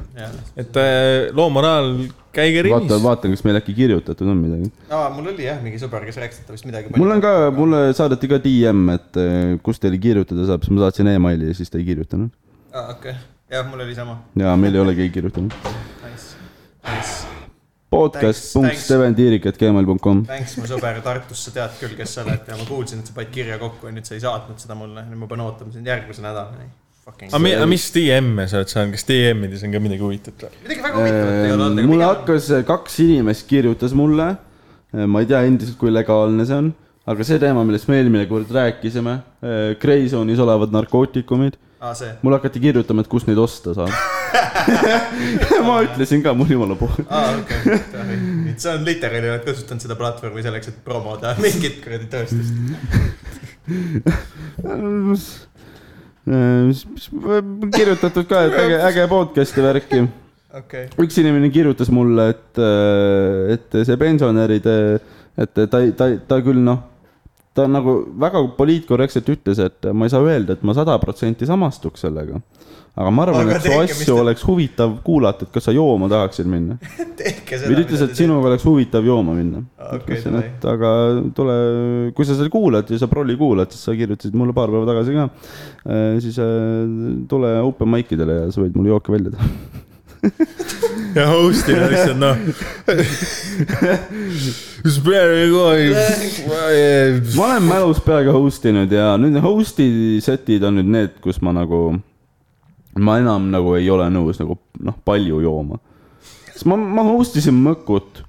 Speaker 2: et eh, loo moraal , käige
Speaker 3: vaatan ,
Speaker 2: ringis .
Speaker 3: vaatan , kas meil äkki kirjutatud on midagi .
Speaker 1: aa , mul oli jah mingi sõber , kes rääkis , et ta vist midagi .
Speaker 3: mul on ka , mulle saadeti ka DM , et eh, kus teile kirjutada saab , siis ma saatsin emaili ja siis ta ei kirjutanud .
Speaker 1: aa , okei okay. , jah , mul oli sama .
Speaker 3: ja meil ei ole keegi kirjutanud .
Speaker 1: Nice , nice , Thanks,
Speaker 3: podcast.stevenTiirikat.gmail.com
Speaker 1: thanks mu sõber Tartus , sa tead küll , kes sa oled ja ma kuulsin , et sa panid kirja kokku ja nüüd sa ei saatnud seda mulle , nüüd ma pean ootama sind järgmise nädalani . Fucking
Speaker 2: aga Ah, mi- aga mis DM-e sa oled saanud , kas DM-ides on ka midagi huvitavat ?
Speaker 1: midagi väga huvitavat ei ole olnud ,
Speaker 3: mulle
Speaker 1: aga
Speaker 3: Äh, hakkas , kaks inimest kirjutas mulle , ma ei tea endiselt , kui legaalne see on , aga see teema , millest me eelmine kord rääkisime , Grey Zone'is olevad narkootikumid ,
Speaker 1: pigem , aa see ,
Speaker 3: mulle hakati kirjutama , et kust neid osta saab . ma ütlesin ka , mul jumala puhul .
Speaker 1: aa okei okay. , see on literaali , oled kasutanud seda platvormi selleks , et promoda mingit kuradi tööstust .
Speaker 3: Äh, kirjutatud ka , et äge , äge podcast'i värki
Speaker 1: okei okay. ,
Speaker 3: üks inimene kirjutas mulle , äh, et , et see pensionäride , et ta , ta , ta küll noh , ta nagu väga poliitkorrektselt ütles , et ma ei saa öelda , et ma sada protsenti samastuks sellega . aga ma arvan ,
Speaker 1: Aga
Speaker 3: et su
Speaker 1: tehke, mis
Speaker 3: asju
Speaker 1: te-
Speaker 3: oleks huvitav kuulata , et kas sa jooma tahaksid minna .
Speaker 1: tehke
Speaker 3: või
Speaker 1: seda .
Speaker 3: ta ütles , et sinuga oleks huvitav jooma minna .
Speaker 1: Okei,
Speaker 3: ütlesin ,
Speaker 1: davai.
Speaker 3: et aga tule , kui sa seda kuulad ja sa prolli kuulad , siis sa kirjutasid mulle paar päeva tagasi ka . siis äh, tule open mic idele ja sa võid mulle jooke välja teha .
Speaker 2: ja host'il on lihtsalt noh .
Speaker 3: ma olen mälus peaaegu host inud ja nüüd need host'i set'id on nüüd need , kus ma nagu , ma enam nagu ei ole nõus nagu noh , palju jooma . sest ma , ma host isin mõkut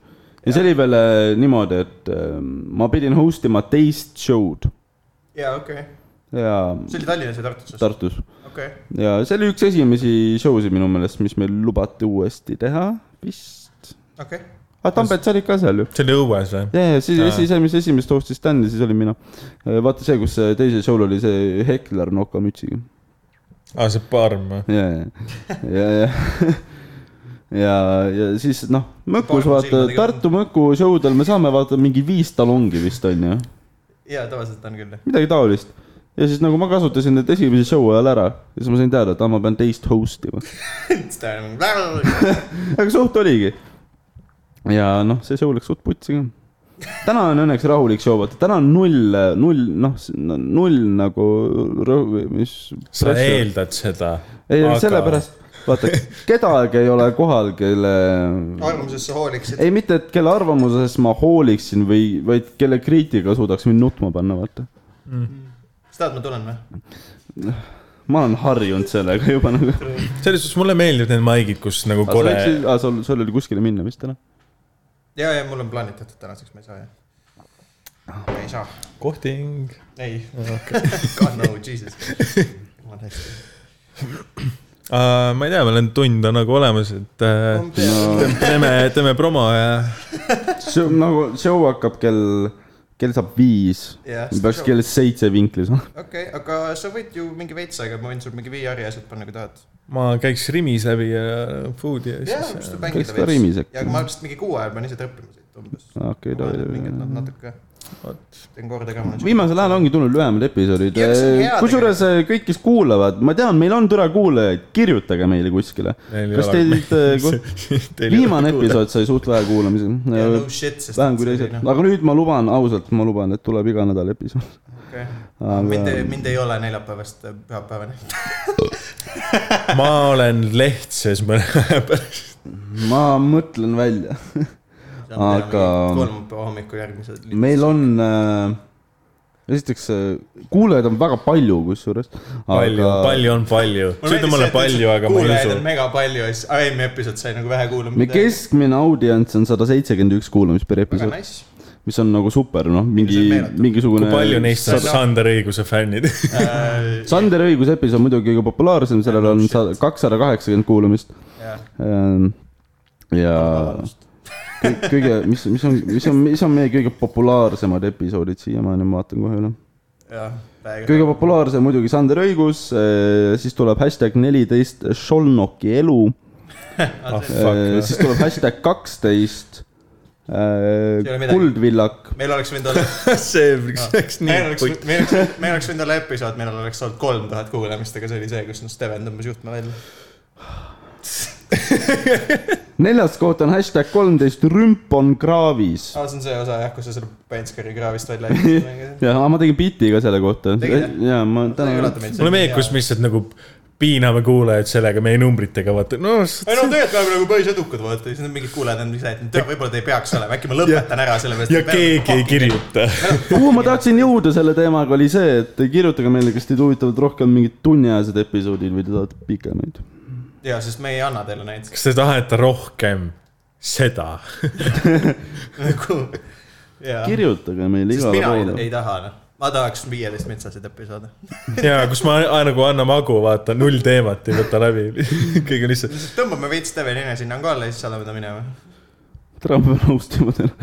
Speaker 3: ja see oli veel äh, niimoodi , et äh, ma pidin host ima teist show'd
Speaker 1: jaa , okei .
Speaker 3: ja
Speaker 1: see oli Tallinnas ja Tartus või ?
Speaker 3: Tartus
Speaker 1: okei .
Speaker 3: ja see oli üks esimesi show sid minu meelest , mis meil lubati uuesti teha vist .
Speaker 1: okei .
Speaker 3: aga Tambet , sa olid ka seal ju ?
Speaker 2: see oli õues või ?
Speaker 3: ja , ja siis
Speaker 2: Aa.
Speaker 3: esi- , see , mis esimest host'i standi , siis olin mina . vaata see , kus see teisel show'l oli see Hekler nokamütsiga .
Speaker 2: aa , Ah, see parm või ?
Speaker 3: ja , ja , ja , ja , ja , ja siis noh , Mõkus
Speaker 1: Parma
Speaker 3: vaata
Speaker 1: silmadega. ,
Speaker 3: Tartu Mõku show del me saame vaata mingi viis talongi vist on ju ,
Speaker 1: jaa , tavaliselt on küll .
Speaker 3: midagi taolist . ja siis nagu ma kasutasin need esimese show ajal ära ja siis ma sain teada , et aa , ma pean teist host ima .
Speaker 1: siis ta on nagu .
Speaker 3: aga suht oligi . ja noh , see show läks suht putsi ka . täna on õnneks rahulik show , vaata täna on null , null , noh , null nagu rõhu , mis .
Speaker 2: sa eeldad seda ?
Speaker 3: ei , sellepärast , vaata kedagi ei ole kohal , kelle ,
Speaker 1: arvamusest sa hooliksid .
Speaker 3: ei mitte , et kelle arvamusest ma hooliksin või , vaid kelle kriitika suudaks mind nutma panna , vaata .
Speaker 1: sa tahad , ma tulen või ?
Speaker 3: ma olen harjunud sellega juba nagu .
Speaker 2: selles suhtes mulle meeldivad need maigid , kus nagu
Speaker 3: sul
Speaker 2: kole ,
Speaker 3: läks- aa, sul- sul oli kuskile minna vist täna ?
Speaker 1: jaa , jaa , mul on plaanid tehtud tänaseks , ma ei saa jah . ma ei saa .
Speaker 2: kohting .
Speaker 1: ei . God no , jesus . ma olen hästi .
Speaker 2: Ah, ma ei tea , meil on tund on nagu olemas , et äh,
Speaker 3: no
Speaker 2: teeme , teeme promo ja
Speaker 3: show, nagu show hakkab kell , kell saab viis
Speaker 1: Jah,
Speaker 3: Me peaks
Speaker 1: show.
Speaker 3: kell seitse vinklis noh. olema .
Speaker 1: okei , aga sa võid ju mingi veits aega , ma võin sul mingi VR-i asjad panna , kui tahad .
Speaker 2: ma käiks Rimis läbi ja food'i ja
Speaker 1: jaa , mis
Speaker 2: siis
Speaker 1: ta . mängida
Speaker 3: Peaks ka rimis äkki. Ah,
Speaker 1: ja aga ma vist mingi kuu ajal pean ise trõppima siit umbes .
Speaker 3: okei ,
Speaker 1: mingid nad natuke ,
Speaker 2: vot ,
Speaker 1: teen korda ka .
Speaker 3: viimasel ajal ongi tulnud lühemad episoodid Äh,
Speaker 1: Ja, mis on hea .
Speaker 3: kusjuures kõik , kes kuulavad , ma tean , meil on türa kuulajaid , kirjutage meile kuskile .
Speaker 2: Meil ei
Speaker 3: kas
Speaker 2: ole.
Speaker 3: teid , viimane . episood sai suht vähe kuulamisi .
Speaker 1: ja no shit , sest . noh,
Speaker 3: vähem kui teised ,
Speaker 2: noh.
Speaker 3: aga nüüd ma luban , ausalt , ma luban , et tuleb iga nädal episood .
Speaker 1: okei
Speaker 3: Aga-
Speaker 1: okay. , mind , mind ei ole neljapäevast äh, pühapäevani .
Speaker 2: ma olen lehtses mõne aja pärast .
Speaker 3: ma mõtlen välja . Aga-
Speaker 1: kolmapäeva hommikul järgmised .
Speaker 3: meil on äh, , esiteks äh, kuulajaid on väga palju , kusjuures .
Speaker 2: palju , palju on palju . sa ütled mulle palju , aga ma ei
Speaker 1: kuulajaid on
Speaker 2: usu .
Speaker 1: mega palju ja siis eelmine episood sai nagu vähe kuulama .
Speaker 3: me keskmine audients on sada seitsekümmend üks kuulamist per
Speaker 1: väga
Speaker 3: episood .
Speaker 1: nice .
Speaker 3: mis on nagu super , noh ,
Speaker 1: See on
Speaker 3: mingi ,
Speaker 1: meeletu.
Speaker 3: mingisugune .
Speaker 2: kui palju neist on Sander Õiguse fännid ?
Speaker 3: Äh,
Speaker 1: Äh,
Speaker 3: Sander Õiguse episood muidugi kõige populaarsem , sellel on
Speaker 1: Shit.
Speaker 3: sa- kakssada kaheksakümmend kuulamist . ja kõ- kõige , mis , mis on , mis on , mis on meie kõige populaarsemad episoodid siiamaani , ma vaatan kohe üle .
Speaker 1: jah ,
Speaker 3: kõige . populaarsem muidugi Sander Õigus , siis tuleb hashtag neliteist Šolnoki elu ,
Speaker 2: Fuck ,
Speaker 3: siis tuleb hashtag kaksteist äh,
Speaker 1: ei ole midagi.
Speaker 3: Kuldvillak .
Speaker 1: meil oleks võinud olla ,
Speaker 2: see läks
Speaker 1: meil
Speaker 2: nii
Speaker 1: oleks , meil oleks , meil oleks võinud olla episood , millel oleks olnud kolm tuhat kuulamist , aga see oli see , kus noh , Steven tõmbas juhtme välja .
Speaker 3: neljas koht on hashtag kolmteist Rümp on kraavis .
Speaker 1: aa , Ah, see on see osa jah , kus sa selle Penskeri kraavist välja jätsid .
Speaker 3: jah , ma tegin biiti ka selle kohta
Speaker 1: Tegid, jah? .
Speaker 3: ja ma täna .
Speaker 2: mulle meeldib , kus me lihtsalt nagu piiname kuulajaid sellega meie numbritega , vaata , no s-
Speaker 1: ei no tegelikult me oleme nagu päris edukad , vaata , siis need mingid kuulajad on ise , et tead, võib-olla te ei peaks olema , äkki ma lõpetan ära selle
Speaker 2: ja keegi ei . kirjuta .
Speaker 3: kuhu ma tahtsin jõuda selle teemaga oli see , et kirjutage meile , kas teid huvitavad rohkem mingid tunniajased episoodid või te tahate pikemaid .
Speaker 1: ja , sest me ei anna teile neid .
Speaker 2: kas te tahate rohkem seda ?
Speaker 1: ja ,
Speaker 3: kirjutage meile
Speaker 1: Nagu, sest
Speaker 3: igale
Speaker 1: mina ei,
Speaker 3: poole .
Speaker 1: ei taha , noh . ma tahaks viieteist metsaseid episoode .
Speaker 2: ja kus ma a- nagu annan magu , vaata , null teemat ei võta läbi . kõik on lihtsalt ,
Speaker 1: tõmbame veits Steven Ine sinna ka alla ja siis saadame ta minema .
Speaker 3: täna ma pean austama teile .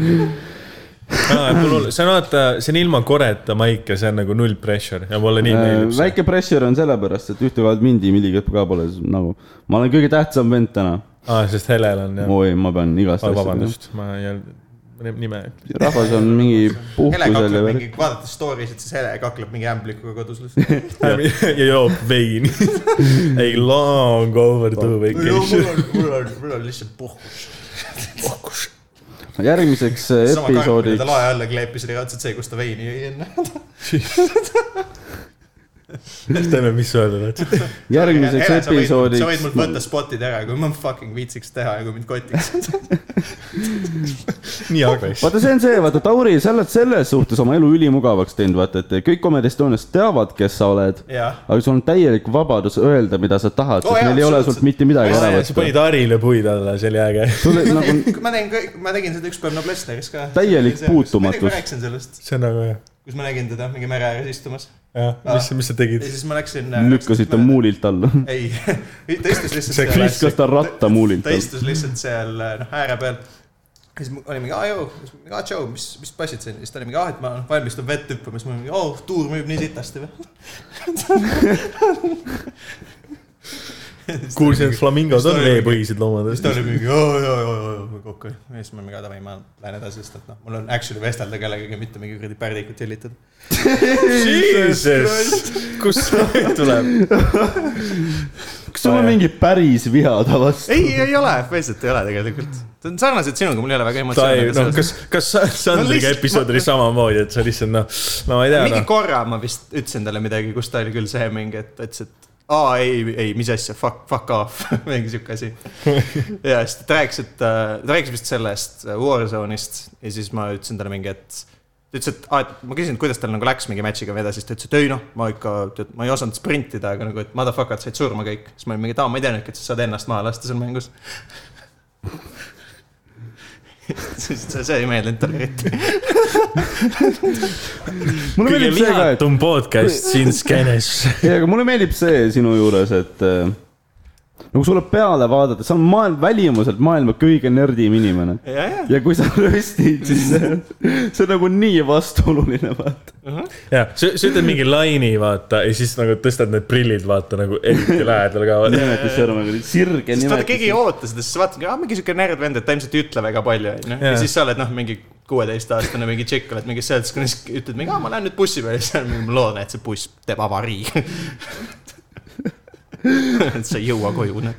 Speaker 2: see on vaata , see on ilma koreta maik ja see on nagu null pressure ja mulle nii meeldib see .
Speaker 3: Äh, väike pressure on sellepärast , et ühte kohalt mind ei milligi ka pole , nagu ma olen kõige tähtsam vend täna .
Speaker 2: aa , sest Helel on jah .
Speaker 3: oi , ma pean igast
Speaker 2: vabandust , ma ei olnud , nime .
Speaker 3: rahvas on mingi
Speaker 1: Hele
Speaker 3: puhkusel ja
Speaker 1: kakleb
Speaker 3: värk .
Speaker 1: mingi , vaadates story sid , siis Hele kakleb mingi ämblikuga kodus lihtsalt .
Speaker 2: ja joob veini . ei , long overdue
Speaker 1: mul
Speaker 2: vacation .
Speaker 1: on , mul on , mul on lihtsalt puhkus . puhkus .
Speaker 3: järgmiseks äh,
Speaker 1: sama kaev , mida ta
Speaker 3: episoodiks ,
Speaker 1: lae alla kleepis , oli raudselt see , kus ta veini jõi enne .
Speaker 2: teeme , mis sa öelda tahad .
Speaker 3: järgmiseks
Speaker 1: sa võid mult võtta
Speaker 3: episoodiks .
Speaker 1: spotid ära , kui ma fucking viitsiks teha ja kui mind kotiks .
Speaker 2: nii agressiivne .
Speaker 3: vaata , see on see , vaata , Tauri , sa oled selles suhtes oma elu ülimugavaks teinud , vaata , et kõik Comedy Estonias teavad , kes sa oled .
Speaker 1: jah .
Speaker 3: aga sul on täielik vabadus öelda , mida sa tahad ,
Speaker 1: Oo, Oh,
Speaker 3: sest
Speaker 1: jaa,
Speaker 3: neil ei ole
Speaker 1: absoluutselt. Oh,
Speaker 3: sult mitte midagi ära
Speaker 2: sa
Speaker 3: võtta .
Speaker 2: panid Arile puid alla , see oli äge .
Speaker 3: sul on nagu
Speaker 1: ma tegin kõik , ma tegin seda üks päev Noblessneris ka .
Speaker 3: Täielik puutumatus.
Speaker 1: ma rääkisin sellest ,
Speaker 2: see on nagu jah ,
Speaker 1: kus ma nägin teda mingi mere ääres istumas
Speaker 2: jah , mis ,
Speaker 1: Ah.
Speaker 2: mis sa tegid
Speaker 1: ja ? siis ma läksin .
Speaker 3: lükkasid ta . muulilt alla .
Speaker 1: ei , ta istus lihtsalt
Speaker 2: See
Speaker 1: seal .
Speaker 3: viskas ta ratta muulilt
Speaker 1: ta
Speaker 3: alla .
Speaker 1: istus lihtsalt seal noh ääre peal . ja siis ma olin mingi , aa joo , aa tšau , mis , mis passid siin , siis ta oli mingi , aa , et ma noh, valmistun vett hüppama , siis ma olin mingi , oo , tuur müüb nii sitasti või ?
Speaker 2: kuulsin , et flamingod on veepõhised loomad .
Speaker 1: siis ta oli mingi oo , joo , joo , joo , kokku . ja siis ma mingi , davai , ma lähen edasi , sest et noh , mul on actually vestelda kellegagi , mitte mingi kuradi pärdikut tšillitada .
Speaker 2: Jesus , kust see nüüd tuleb ?
Speaker 3: kas sul on mingi päris viha ta vastu ?
Speaker 1: Oh, ei , ei ole , päriselt ei ole tegelikult . see on sarnaselt sinuga , mul ei ole väga
Speaker 2: ta ei ,
Speaker 1: emotsioone
Speaker 2: noh ,. kas , kas sa- Sandriga
Speaker 1: lihtsalt-
Speaker 2: episood oli samamoodi , et sa lihtsalt noh , no ma ei tea ,
Speaker 1: mingi
Speaker 2: noh .
Speaker 1: korra ma vist ütlesin talle midagi , kus ta oli küll see mingi , et ta ütles , et aa , ei , ei , mis asja , fuck , fuck off , mingi sihuke asi . ja siis ta rääkis , et ta ta rääkis vist sellest äh, Warzone'ist ja siis ma ütlesin talle mingi , et ta ütles , et aa , et ma küsisin , et kuidas tal nagu läks mingi match'iga või edasi , siis ta ütles , et ei noh , ma ikka , tead , ma ei osanud sprintida , aga nagu , et motherfuckers said surma kõik . siis ma olin mingi , et aa , ma ei teadnudki , et sa saad ennast maha lasta seal mängus . siis see, see ei meeldinud talle eriti .
Speaker 3: mulle
Speaker 2: kõige
Speaker 3: meeldib see ka , et ,
Speaker 2: lihatum podcast siin skeenes .
Speaker 3: ei , aga mulle meeldib see sinu juures , et äh, nagu sulle peale vaadata , sa oled maailm , välimuselt maailma kõige nerdim inimene .
Speaker 1: jajah .
Speaker 3: ja kui sa röstid , siis see, see on nagu nii vastuoluline , vaata .
Speaker 2: jah , sa , sa ütled mingi laini , vaata , ja siis nagu tõstad need prillid , vaata nagu eriti lähedal ka .
Speaker 3: nimetussõrmega , sirge
Speaker 1: sest vaata , keegi ei
Speaker 3: nimetus .
Speaker 1: oota seda , siis sa vaatad , aa , mingi siuke nerd vend , et ta ilmselt ei ütle väga palju , onju . ja
Speaker 2: Jaa.
Speaker 1: siis sa oled noh , mingi kuueteistaastane mingi tšikk , oled mingis seltskonnas , ütled mingi , aa , ma lähen nüüd bussi peale , siis on mingi , ma loodan , et see buss teeb avarii . et sa ei jõua koju , noh .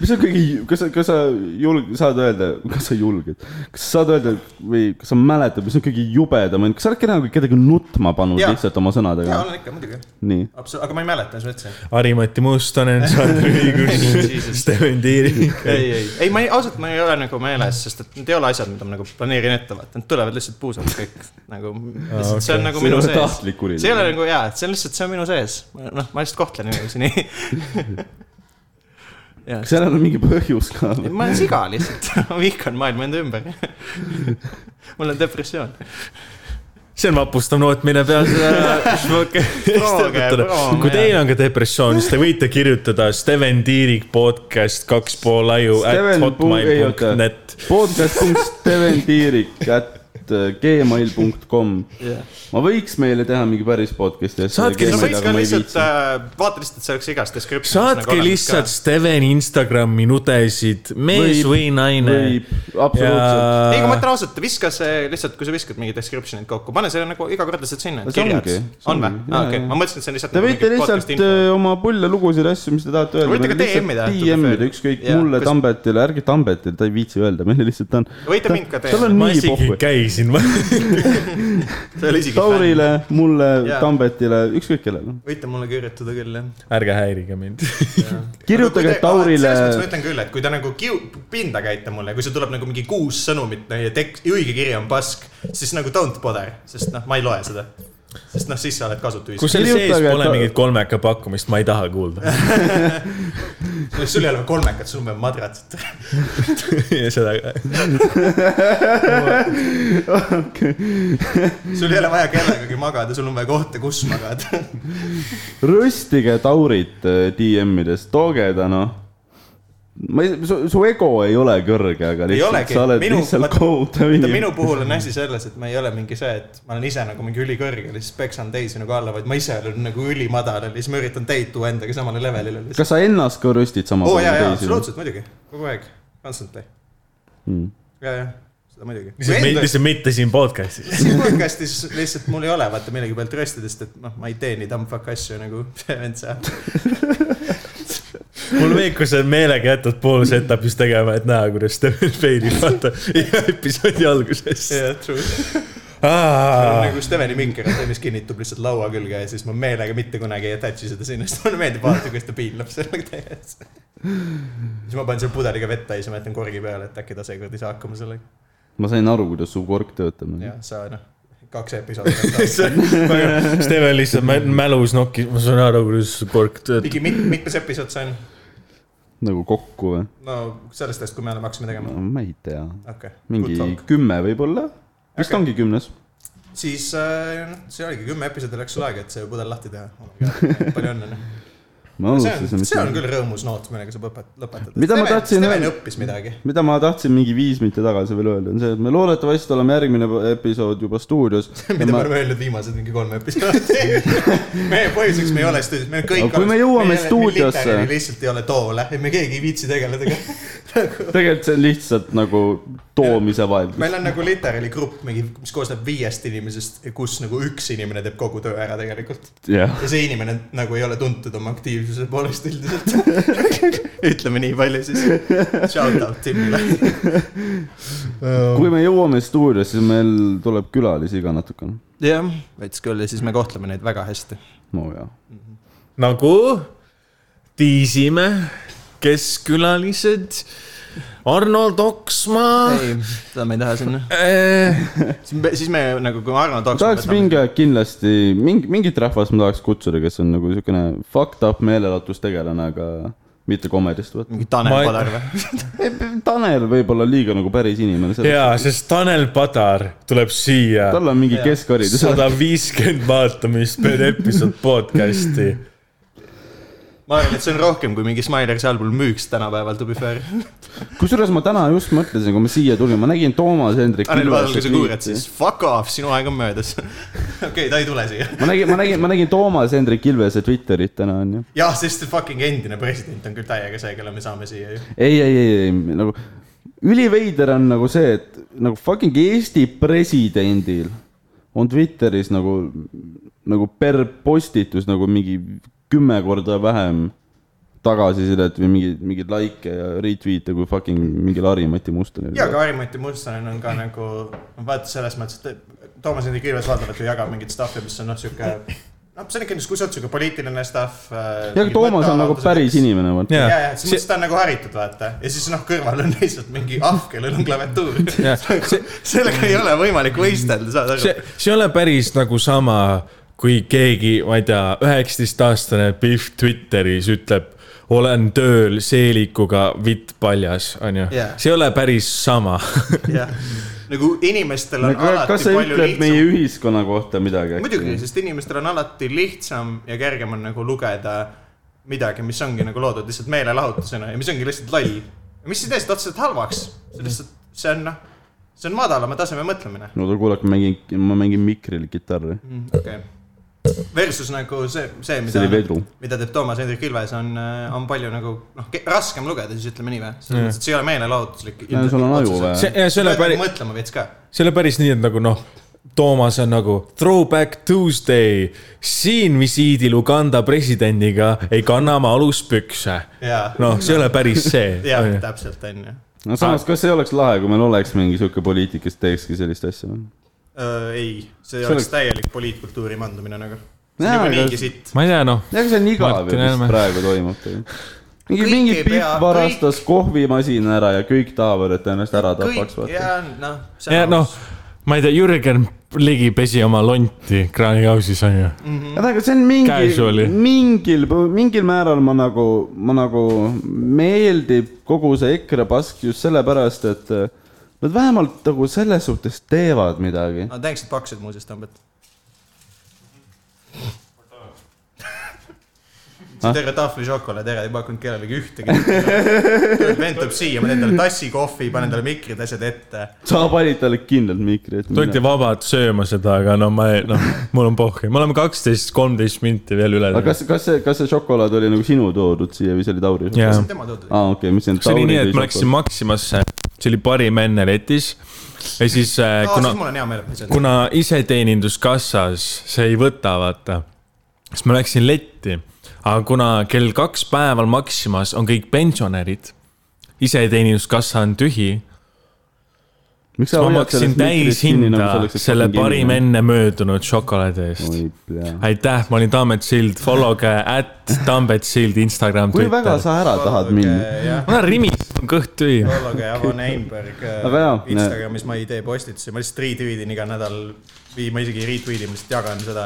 Speaker 3: mis on kõige , kas sa , kas sa julg- , saad öelda , kas sa julged , kas sa saad öelda või kas sa mäletad , mis on kõige jubedam , kas sa oled kedagi , kedagi nutma pannud
Speaker 1: Jaa.
Speaker 3: lihtsalt oma sõnadega
Speaker 1: jaa ,? olen ikka , muidugi .
Speaker 3: nii .
Speaker 1: absoluutselt , aga ma ei mäleta , mis ma ütlesin .
Speaker 2: Harimati Mustonen , Sandri Õigus ,
Speaker 1: Jesus.
Speaker 2: Steven Tiirik .
Speaker 1: ei , ei , ei , ma ei , ausalt ma ei ole nagu meeles , sest et need ei ole asjad , mida ma nagu planeerin ette , vaata , need tulevad lihtsalt puusalt kõik nagu , lihtsalt see on
Speaker 2: okei.
Speaker 1: nagu
Speaker 3: See ei
Speaker 1: minu
Speaker 3: ole
Speaker 1: sees .
Speaker 3: tahtlik kuritegu.
Speaker 1: see ei ole nagu jaa , et see on lihtsalt , see on minu sees , noh , ma lihtsalt kohtlen inimesi nii .
Speaker 3: kas sellel on mingi põhjus ka ?
Speaker 1: Ei, ma olen siga lihtsalt , ma vihkan maailma enda ümber . mul on depressioon .
Speaker 2: see on vapustav noot , mille peal seda šmoke-
Speaker 1: Prooge, proovime,
Speaker 2: kui teil
Speaker 1: jah.
Speaker 2: on ka depressioon , siis te võite kirjutada Steven Tiirik podcast kaks pool aju at
Speaker 3: Steven Pu- ei, oota.
Speaker 2: hotmail.net .
Speaker 3: podcast.steventiirik at gmail.com . ma võiks meile teha mingi päris podcast'i .
Speaker 2: Saatke
Speaker 1: no
Speaker 2: lihtsalt-
Speaker 1: võiks ka lihtsalt , vaata lihtsalt , et see oleks igas description'is . nagu
Speaker 2: saatke lihtsalt . Steven Instagrami nudesid , mees
Speaker 3: Võib-
Speaker 2: või
Speaker 1: äh,
Speaker 2: naine .
Speaker 3: võib, absoluutselt.
Speaker 1: ei , kui ma ütlen ausalt , viska see lihtsalt , kui sa viskad mingi description'id kokku , pane selle nagu iga kord lihtsalt sinna
Speaker 3: No . see
Speaker 1: kirjad
Speaker 3: ongi, . see
Speaker 1: on või
Speaker 3: ongi, ? jaa,
Speaker 1: aa , okei ,
Speaker 3: jaa.
Speaker 1: ma mõtlesin , et see on lihtsalt . nagu
Speaker 3: Te võite lihtsalt äh, öö, oma pulle lugusid , asju , mis te tahate öelda . Nagu
Speaker 1: Võite ka DM-ida,
Speaker 3: DM-ida ükskõik
Speaker 1: Jaa,
Speaker 3: mulle
Speaker 1: kas- ,
Speaker 3: Tambetile , ärge Tambetile , ta ei viitsi öelda , meile lihtsalt ta on .
Speaker 1: Võite mind ka
Speaker 3: tal on
Speaker 2: ma
Speaker 3: nii
Speaker 2: isegi
Speaker 3: pohhu .
Speaker 2: käisin ,
Speaker 1: see oli isegi fänn .
Speaker 3: Taurile , mulle
Speaker 1: Jaa. ,
Speaker 3: Tambetile , ükskõik kellele .
Speaker 1: võite mulle kirjutada küll , jah .
Speaker 2: ärge häirige mind .
Speaker 3: kirjutage Taurile
Speaker 1: selles mõttes ma ütlen küll , et kui ta nagu kiu- , pinda käite mulle , kui sul tuleb nagu mingi kuus sõnumit no, ja tekst , õige kiri on pask , siis nagu don't bother , sest noh , ma ei loe seda . sest noh , siis sa oled kasutu
Speaker 2: kui
Speaker 1: ühiskond
Speaker 2: seal sees
Speaker 3: Kirjutage,
Speaker 2: pole
Speaker 3: et-
Speaker 2: mingit kolmeka pakkumist , ma ei taha kuulda .
Speaker 1: Kus... , sul ei ole kolmekat , sul on vaja madratsit .
Speaker 2: seda ka .
Speaker 1: sul ei ole vaja kellegagi magada , sul on vaja kohta , kus magada .
Speaker 3: röstige Taurit äh, DM-ides , tooge ta noh . ma ei , su , su ego ei ole kõrge , aga lihtsalt
Speaker 1: olegi.
Speaker 3: sa oled
Speaker 1: Minu-
Speaker 3: lihtsalt
Speaker 1: vaata-
Speaker 3: kohutav
Speaker 1: vaata
Speaker 3: inimene .
Speaker 1: minu puhul on asi selles , et ma ei ole mingi see , et ma olen ise nagu mingi ülikõrgel ja siis peksan teisi nagu alla , vaid ma ise olen nagu ülimadalal ja siis ma üritan teid tuua endaga samale levelile .
Speaker 3: kas sa ennast ka röstid sama
Speaker 1: oo jaa , jaa ,? absoluutselt muidugi , kogu aeg , constantly . ja , ja , seda muidugi .
Speaker 2: lihtsalt , lihtsalt mitte siin podcast'is .
Speaker 1: siin podcast'is lihtsalt mul ei ole vaata millegi pealt röstidest , et noh , ma ei tee nii tampfak asju nagu see vend seal .
Speaker 2: mul Veikos on meelega jätnud pool setup'is tegema , et näha , kuidas ta failib , vaata , iga episoodi alguses .
Speaker 1: jah , true .
Speaker 2: aa ,
Speaker 1: nagu Steveni minker , mis kinnitub lihtsalt laua külge ja siis ma meelega mitte kunagi ei attach'i seda sinna , sest mulle meeldib vaadata , kuidas ta piinleb sellega tehes . siis ma panen selle pudeliga vett täis ja ma jätan korgi peale , et äkki ta seekord ei saa hakkama sellega .
Speaker 3: ma sain aru , kuidas su kork töötab . nagu
Speaker 1: ja sa noh , kaks episoodi . nagu-
Speaker 2: Steven lihtsalt mä- mälus nokkis , ma saan aru , kuidas su kork töötab .
Speaker 1: ligi noh, mit- , mitmes episood see on ?
Speaker 3: nagu kokku või ?
Speaker 1: no sellest ajast , kui me oleme hakkasime tegema .
Speaker 3: ma ei tea ,
Speaker 1: okei
Speaker 3: Mm. mingi
Speaker 1: okay. .
Speaker 3: kümme võib-olla , vist
Speaker 1: Okei.
Speaker 3: ongi kümnes .
Speaker 1: siis äh, noh, see oligi kümme episoodi läks sul aega , et see pudel lahti teha oh . palju õnne .
Speaker 3: ma
Speaker 1: see on ,
Speaker 3: alustasin .
Speaker 1: see on küll rõõmus noot , millega saab õpet- , lõpetada .
Speaker 3: Mida ma tahtsin
Speaker 1: Steven
Speaker 3: öelda-
Speaker 1: õppis midagi .
Speaker 3: mida ma tahtsin mingi viis minutit tagasi veel öelda , on see , et me loodetavasti oleme järgmine episood juba stuudios .
Speaker 1: mida me oleme öelnud viimased mingi kolm episoodi . meie põhjuseks me ei ole stuudios , me kõik .
Speaker 3: Aga kui me jõuame stuudiosse-
Speaker 1: lihtsalt ei ole toole , me keegi ei viitsi tegeleda ka .
Speaker 3: tegelikult see on lihtsalt nagu toomise vahel .
Speaker 1: meil on nagu literaali grupp mingi , mis koosneb viiest inimesest , kus nagu üks inimene teeb kogu töö ära tegelikult .
Speaker 3: jah ,
Speaker 1: ja see inimene nagu ei ole tuntud oma aktiivsuse poolest üldiselt . ütleme nii palju siis . Shout out Timile .
Speaker 3: kui me jõuame stuudiosse , siis meil tuleb külalisi ka natukene .
Speaker 1: jah , veits küll ja siis me kohtleme neid väga hästi .
Speaker 3: no jaa .
Speaker 2: nagu tiisime , kes külalised , Arnold Oksmaa . Eh.
Speaker 1: ei , seda me ei taha sinna . siis me nagu , kui Arno
Speaker 3: ma
Speaker 1: tooks .
Speaker 3: tahaks mingi aeg kindlasti , mingi , mingit rahvast ma tahaks kutsuda , kes on nagu siukene fucked up meelelahutustegelane , aga mitte komedist , vaata .
Speaker 1: mingi Tanel
Speaker 2: Ma-
Speaker 1: Padar või ?
Speaker 3: Tanel võib olla liiga nagu päris inimene , see ,
Speaker 2: jaa , sest Tanel Padar tuleb siia .
Speaker 3: tal on mingi
Speaker 1: Jaa.
Speaker 3: keskharidus .
Speaker 2: sada viiskümmend vaatamist per episood podcast'i .
Speaker 1: ma arvan , et see on rohkem kui mingi Smilersi album müüks tänapäeval , to be fair .
Speaker 3: kusjuures ma täna just mõtlesin , kui ma siia tulin , ma nägin Toomas Hendrik .
Speaker 1: Tanel Padar , kui sa kuulad , siis fuck off , sinu aeg on möödas . okei , ta ei tule siia .
Speaker 3: ma nägin , ma nägin , ma nägin Toomas Hendrik Ilvese Twitterit täna onju .
Speaker 1: jah , sest fucking endine president on küll täiega see , kelle me saame siia ju .
Speaker 3: ei , ei , ei , ei nagu üliveider on nagu see , et nagu fucking Eesti presidendil on Twitteris nagu , nagu per postitus nagu mingi kümme korda vähem tagasisidet või mingi , mingeid likee ja retweet'e kui fucking mingil Harimati Mustonil .
Speaker 1: ja , aga Harri-Mati Mustonen on ka nagu , vaata selles mõttes , et Toomas Hendrik Ilves valdavalt ju jagab mingit stuff'i , mis on noh , sihuke , noh , see on ikka , kui sa oled sihuke poliitiline stuff . äh,
Speaker 3: ja aga Toomas on nagu päris . inimene , vaata .
Speaker 1: ja , ja selles mõttes ta on nagu haritud , vaata , ja siis noh , kõrval on lihtsalt mingi ahv , kellel on klaviatuur .
Speaker 2: Jah, see-
Speaker 1: sellega ei ole võimalik võistelda , saad
Speaker 2: see
Speaker 1: aru .,
Speaker 2: see ei ole päris nagu sama , kui keegi , ma ei tea , üheksateistaastane Pihv Twitteris ütleb , olen tööl seelikuga vitt paljas , onju
Speaker 1: Jaa. .
Speaker 2: see ei ole päris sama .
Speaker 1: jah , nagu inimestel on
Speaker 3: Aga
Speaker 1: alati
Speaker 3: kas sa
Speaker 1: palju
Speaker 3: ütled
Speaker 1: lihtsam
Speaker 3: meie ühiskonna kohta midagi ?
Speaker 1: muidugi , sest inimestel on alati lihtsam ja kergem on nagu lugeda midagi , mis ongi nagu loodud lihtsalt meelelahutusena ja mis ongi lihtsalt loll . mis ei tee seda otseselt halvaks , see lihtsalt , see on noh , see on madalama taseme mõtlemine .
Speaker 3: no ta kuulab , ma mängin , ma mängin mikril kitarri .
Speaker 1: okei . Versus nagu see , see ,
Speaker 3: see
Speaker 1: mida ,
Speaker 3: oli vedru .
Speaker 1: mida teeb Toomas Hendrik Ilves , on , on palju nagu noh , raskem lugeda , siis ütleme nii või ? selles mõttes , et see ei ole meelelahutuslik .
Speaker 3: Ja sul on aju vaja.
Speaker 2: see , ja see ei ole päris ,
Speaker 1: mõtlema veits ka .
Speaker 2: see ei ole päris nii , et nagu noh , Toomas on nagu throwback Tuesday , siin visiidil Uganda presidendiga ei kanna ma aluspükse .
Speaker 1: jaa ,
Speaker 2: noh , see ei ole päris see .
Speaker 1: jaa , täpselt , on ju .
Speaker 3: no samas , kas ei oleks lahe , kui meil oleks mingi sihuke poliitik , kes teekski sellist asja ?
Speaker 1: ei , see
Speaker 3: See
Speaker 1: oleks
Speaker 3: oleks-
Speaker 1: täielik poliitkultuuri mandumine nagu . see on
Speaker 3: Jaa, aga-
Speaker 1: niikuinii sitt .
Speaker 2: ma ei tea , noh ,
Speaker 3: ega see on igav
Speaker 2: Martin
Speaker 3: ju , mis
Speaker 2: Helme.
Speaker 3: praegu toimub tegelikult . mingi ,
Speaker 1: Kõik
Speaker 3: mingi
Speaker 1: ei
Speaker 3: Pipp
Speaker 1: pea-
Speaker 3: varastas kohvimasina ära ja kõik tahavad , et ta ennast ära tapaks ,
Speaker 1: kõik
Speaker 3: vaata .
Speaker 1: ja noh ,
Speaker 2: ja noh , ma ei tea , Jürgen Ligi pesi oma lonti kraanikausis onju .
Speaker 3: aga aga see on mingi
Speaker 2: Casually. ,
Speaker 3: mingil , mingil määral ma nagu , ma nagu meeldib kogu see EKRE pask just sellepärast , et äh, nad vähemalt nagu selles suhtes teevad midagi .
Speaker 1: Nad näeksid paksuid muuseas tõmbet .
Speaker 3: Ah?
Speaker 1: terve tahvli šokolaad ära , ei pakkunud kellelegi ühtegi . vend tuleb siia , ma teen talle tassi kohvi , panen talle mikrid , asjad ette .
Speaker 3: sa panid talle kindlalt mikri , et .
Speaker 2: tunti vabad sööma seda , aga no ma ei , noh , mul on pohhi , me oleme kaksteist , kolmteist minti veel üle .
Speaker 3: aga kas , kas see , kas see šokolaad oli nagu sinu toodud siia või see oli Tauri ?
Speaker 2: jaa ,
Speaker 1: tema toodud .
Speaker 3: aa , okei , mis see on ?
Speaker 2: see oli nii , et ma läksin Maximasse see oli parim enne letis . ja siis äh,
Speaker 1: no, Ah,
Speaker 2: kuna
Speaker 1: siis , mul on hea meel , et ma ise tean .
Speaker 2: kuna iseteeninduskassas see ei võta , vaata , siis ma läksin letti . aga kuna kell kaks päeval Maximas on kõik pensionärid , iseteeninduskassa on tühi
Speaker 3: miks
Speaker 2: ma maksin
Speaker 3: nagu
Speaker 2: täishinda selle parim . enne möödunud šokolaadi eest .
Speaker 3: oi pea .
Speaker 2: aitäh , ma olin Tambet Sild , followge at Tambet Sild Instagram ,
Speaker 3: kui väga
Speaker 2: Twitter .
Speaker 3: sa ära tahad minna ?
Speaker 1: jah ,
Speaker 2: ma olen rimis , kõht tühi .
Speaker 1: Olloge ja Von Einberg äh,
Speaker 3: Aga jaa, näe.
Speaker 1: Instagramis ma ei tee postitusi , ma lihtsalt retweet in iga nädal või ma isegi ei retweet in , ma lihtsalt jagan seda .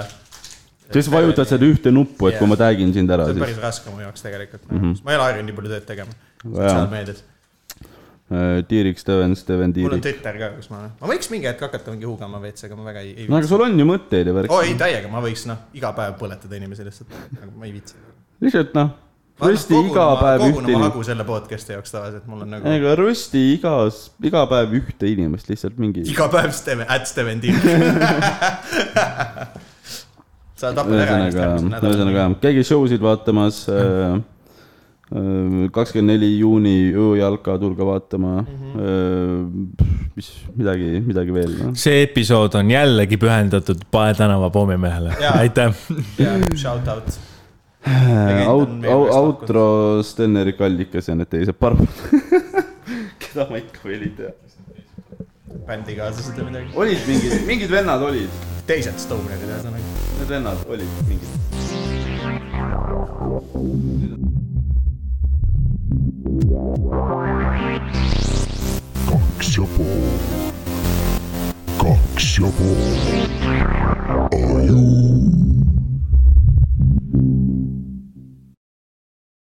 Speaker 3: siis vajutad seda ühte nuppu , et kui ma tag'in sind ära ,
Speaker 1: see on
Speaker 3: siis Mhm.
Speaker 1: päris raske mu jaoks tegelikult mm , -hmm. ma ei ole harjunud nii palju tööd tegema
Speaker 3: jaa.
Speaker 1: sotsiaalmeedias .
Speaker 3: äh, Tiirik Steven , Steven
Speaker 1: mul on
Speaker 3: Tiirik .
Speaker 1: Twitter ka , kus ma olen , ma võiks mingi hetk hakata mingi huugama veits , aga ma väga ei , ei
Speaker 3: no aga
Speaker 1: viitsi .
Speaker 3: sul on ju mõtteid ja värk
Speaker 1: oo . ei , täiega , ma võiks noh , iga päev põletada inimesi lihtsalt , aga ma ei viitsi .
Speaker 3: lihtsalt noh , rösti iga päev
Speaker 1: kogun
Speaker 3: ühte
Speaker 1: oma
Speaker 3: inimest .
Speaker 1: hagu selle podcast'i jaoks tavaliselt , mul on nagu
Speaker 3: ei , aga rösti igas , iga päev ühte inimest lihtsalt mingi .
Speaker 1: iga päev Steven , at Steven Tiirik . sa tapad ära ennast järgmisel
Speaker 3: ühesõnaga , ühesõnaga
Speaker 1: nädalal .
Speaker 3: jah , käige show sid vaatamas .
Speaker 1: Mhm.
Speaker 3: kakskümmend neli juuni ööjalka , tulge vaatama .
Speaker 1: Mhm.
Speaker 3: mis , midagi , midagi veel noh. no. .
Speaker 2: see episood on jällegi pühendatud Pae tänava pommimehele
Speaker 1: Jaa. .
Speaker 2: aitäh .
Speaker 1: jaa , shout out . Legend on
Speaker 3: Äh, Out- ,
Speaker 1: meie pärast
Speaker 3: outro Sten-Erik Allikas ja need teised parmad . keda ma ikka veel ei tea .
Speaker 1: bändikaaslased või midagi .
Speaker 3: olid mingid , mingid vennad olid ,
Speaker 1: teised Stoned ühesõnaga .
Speaker 3: need vennad olid mingid .
Speaker 4: kaks ja pool . kaks ja pool .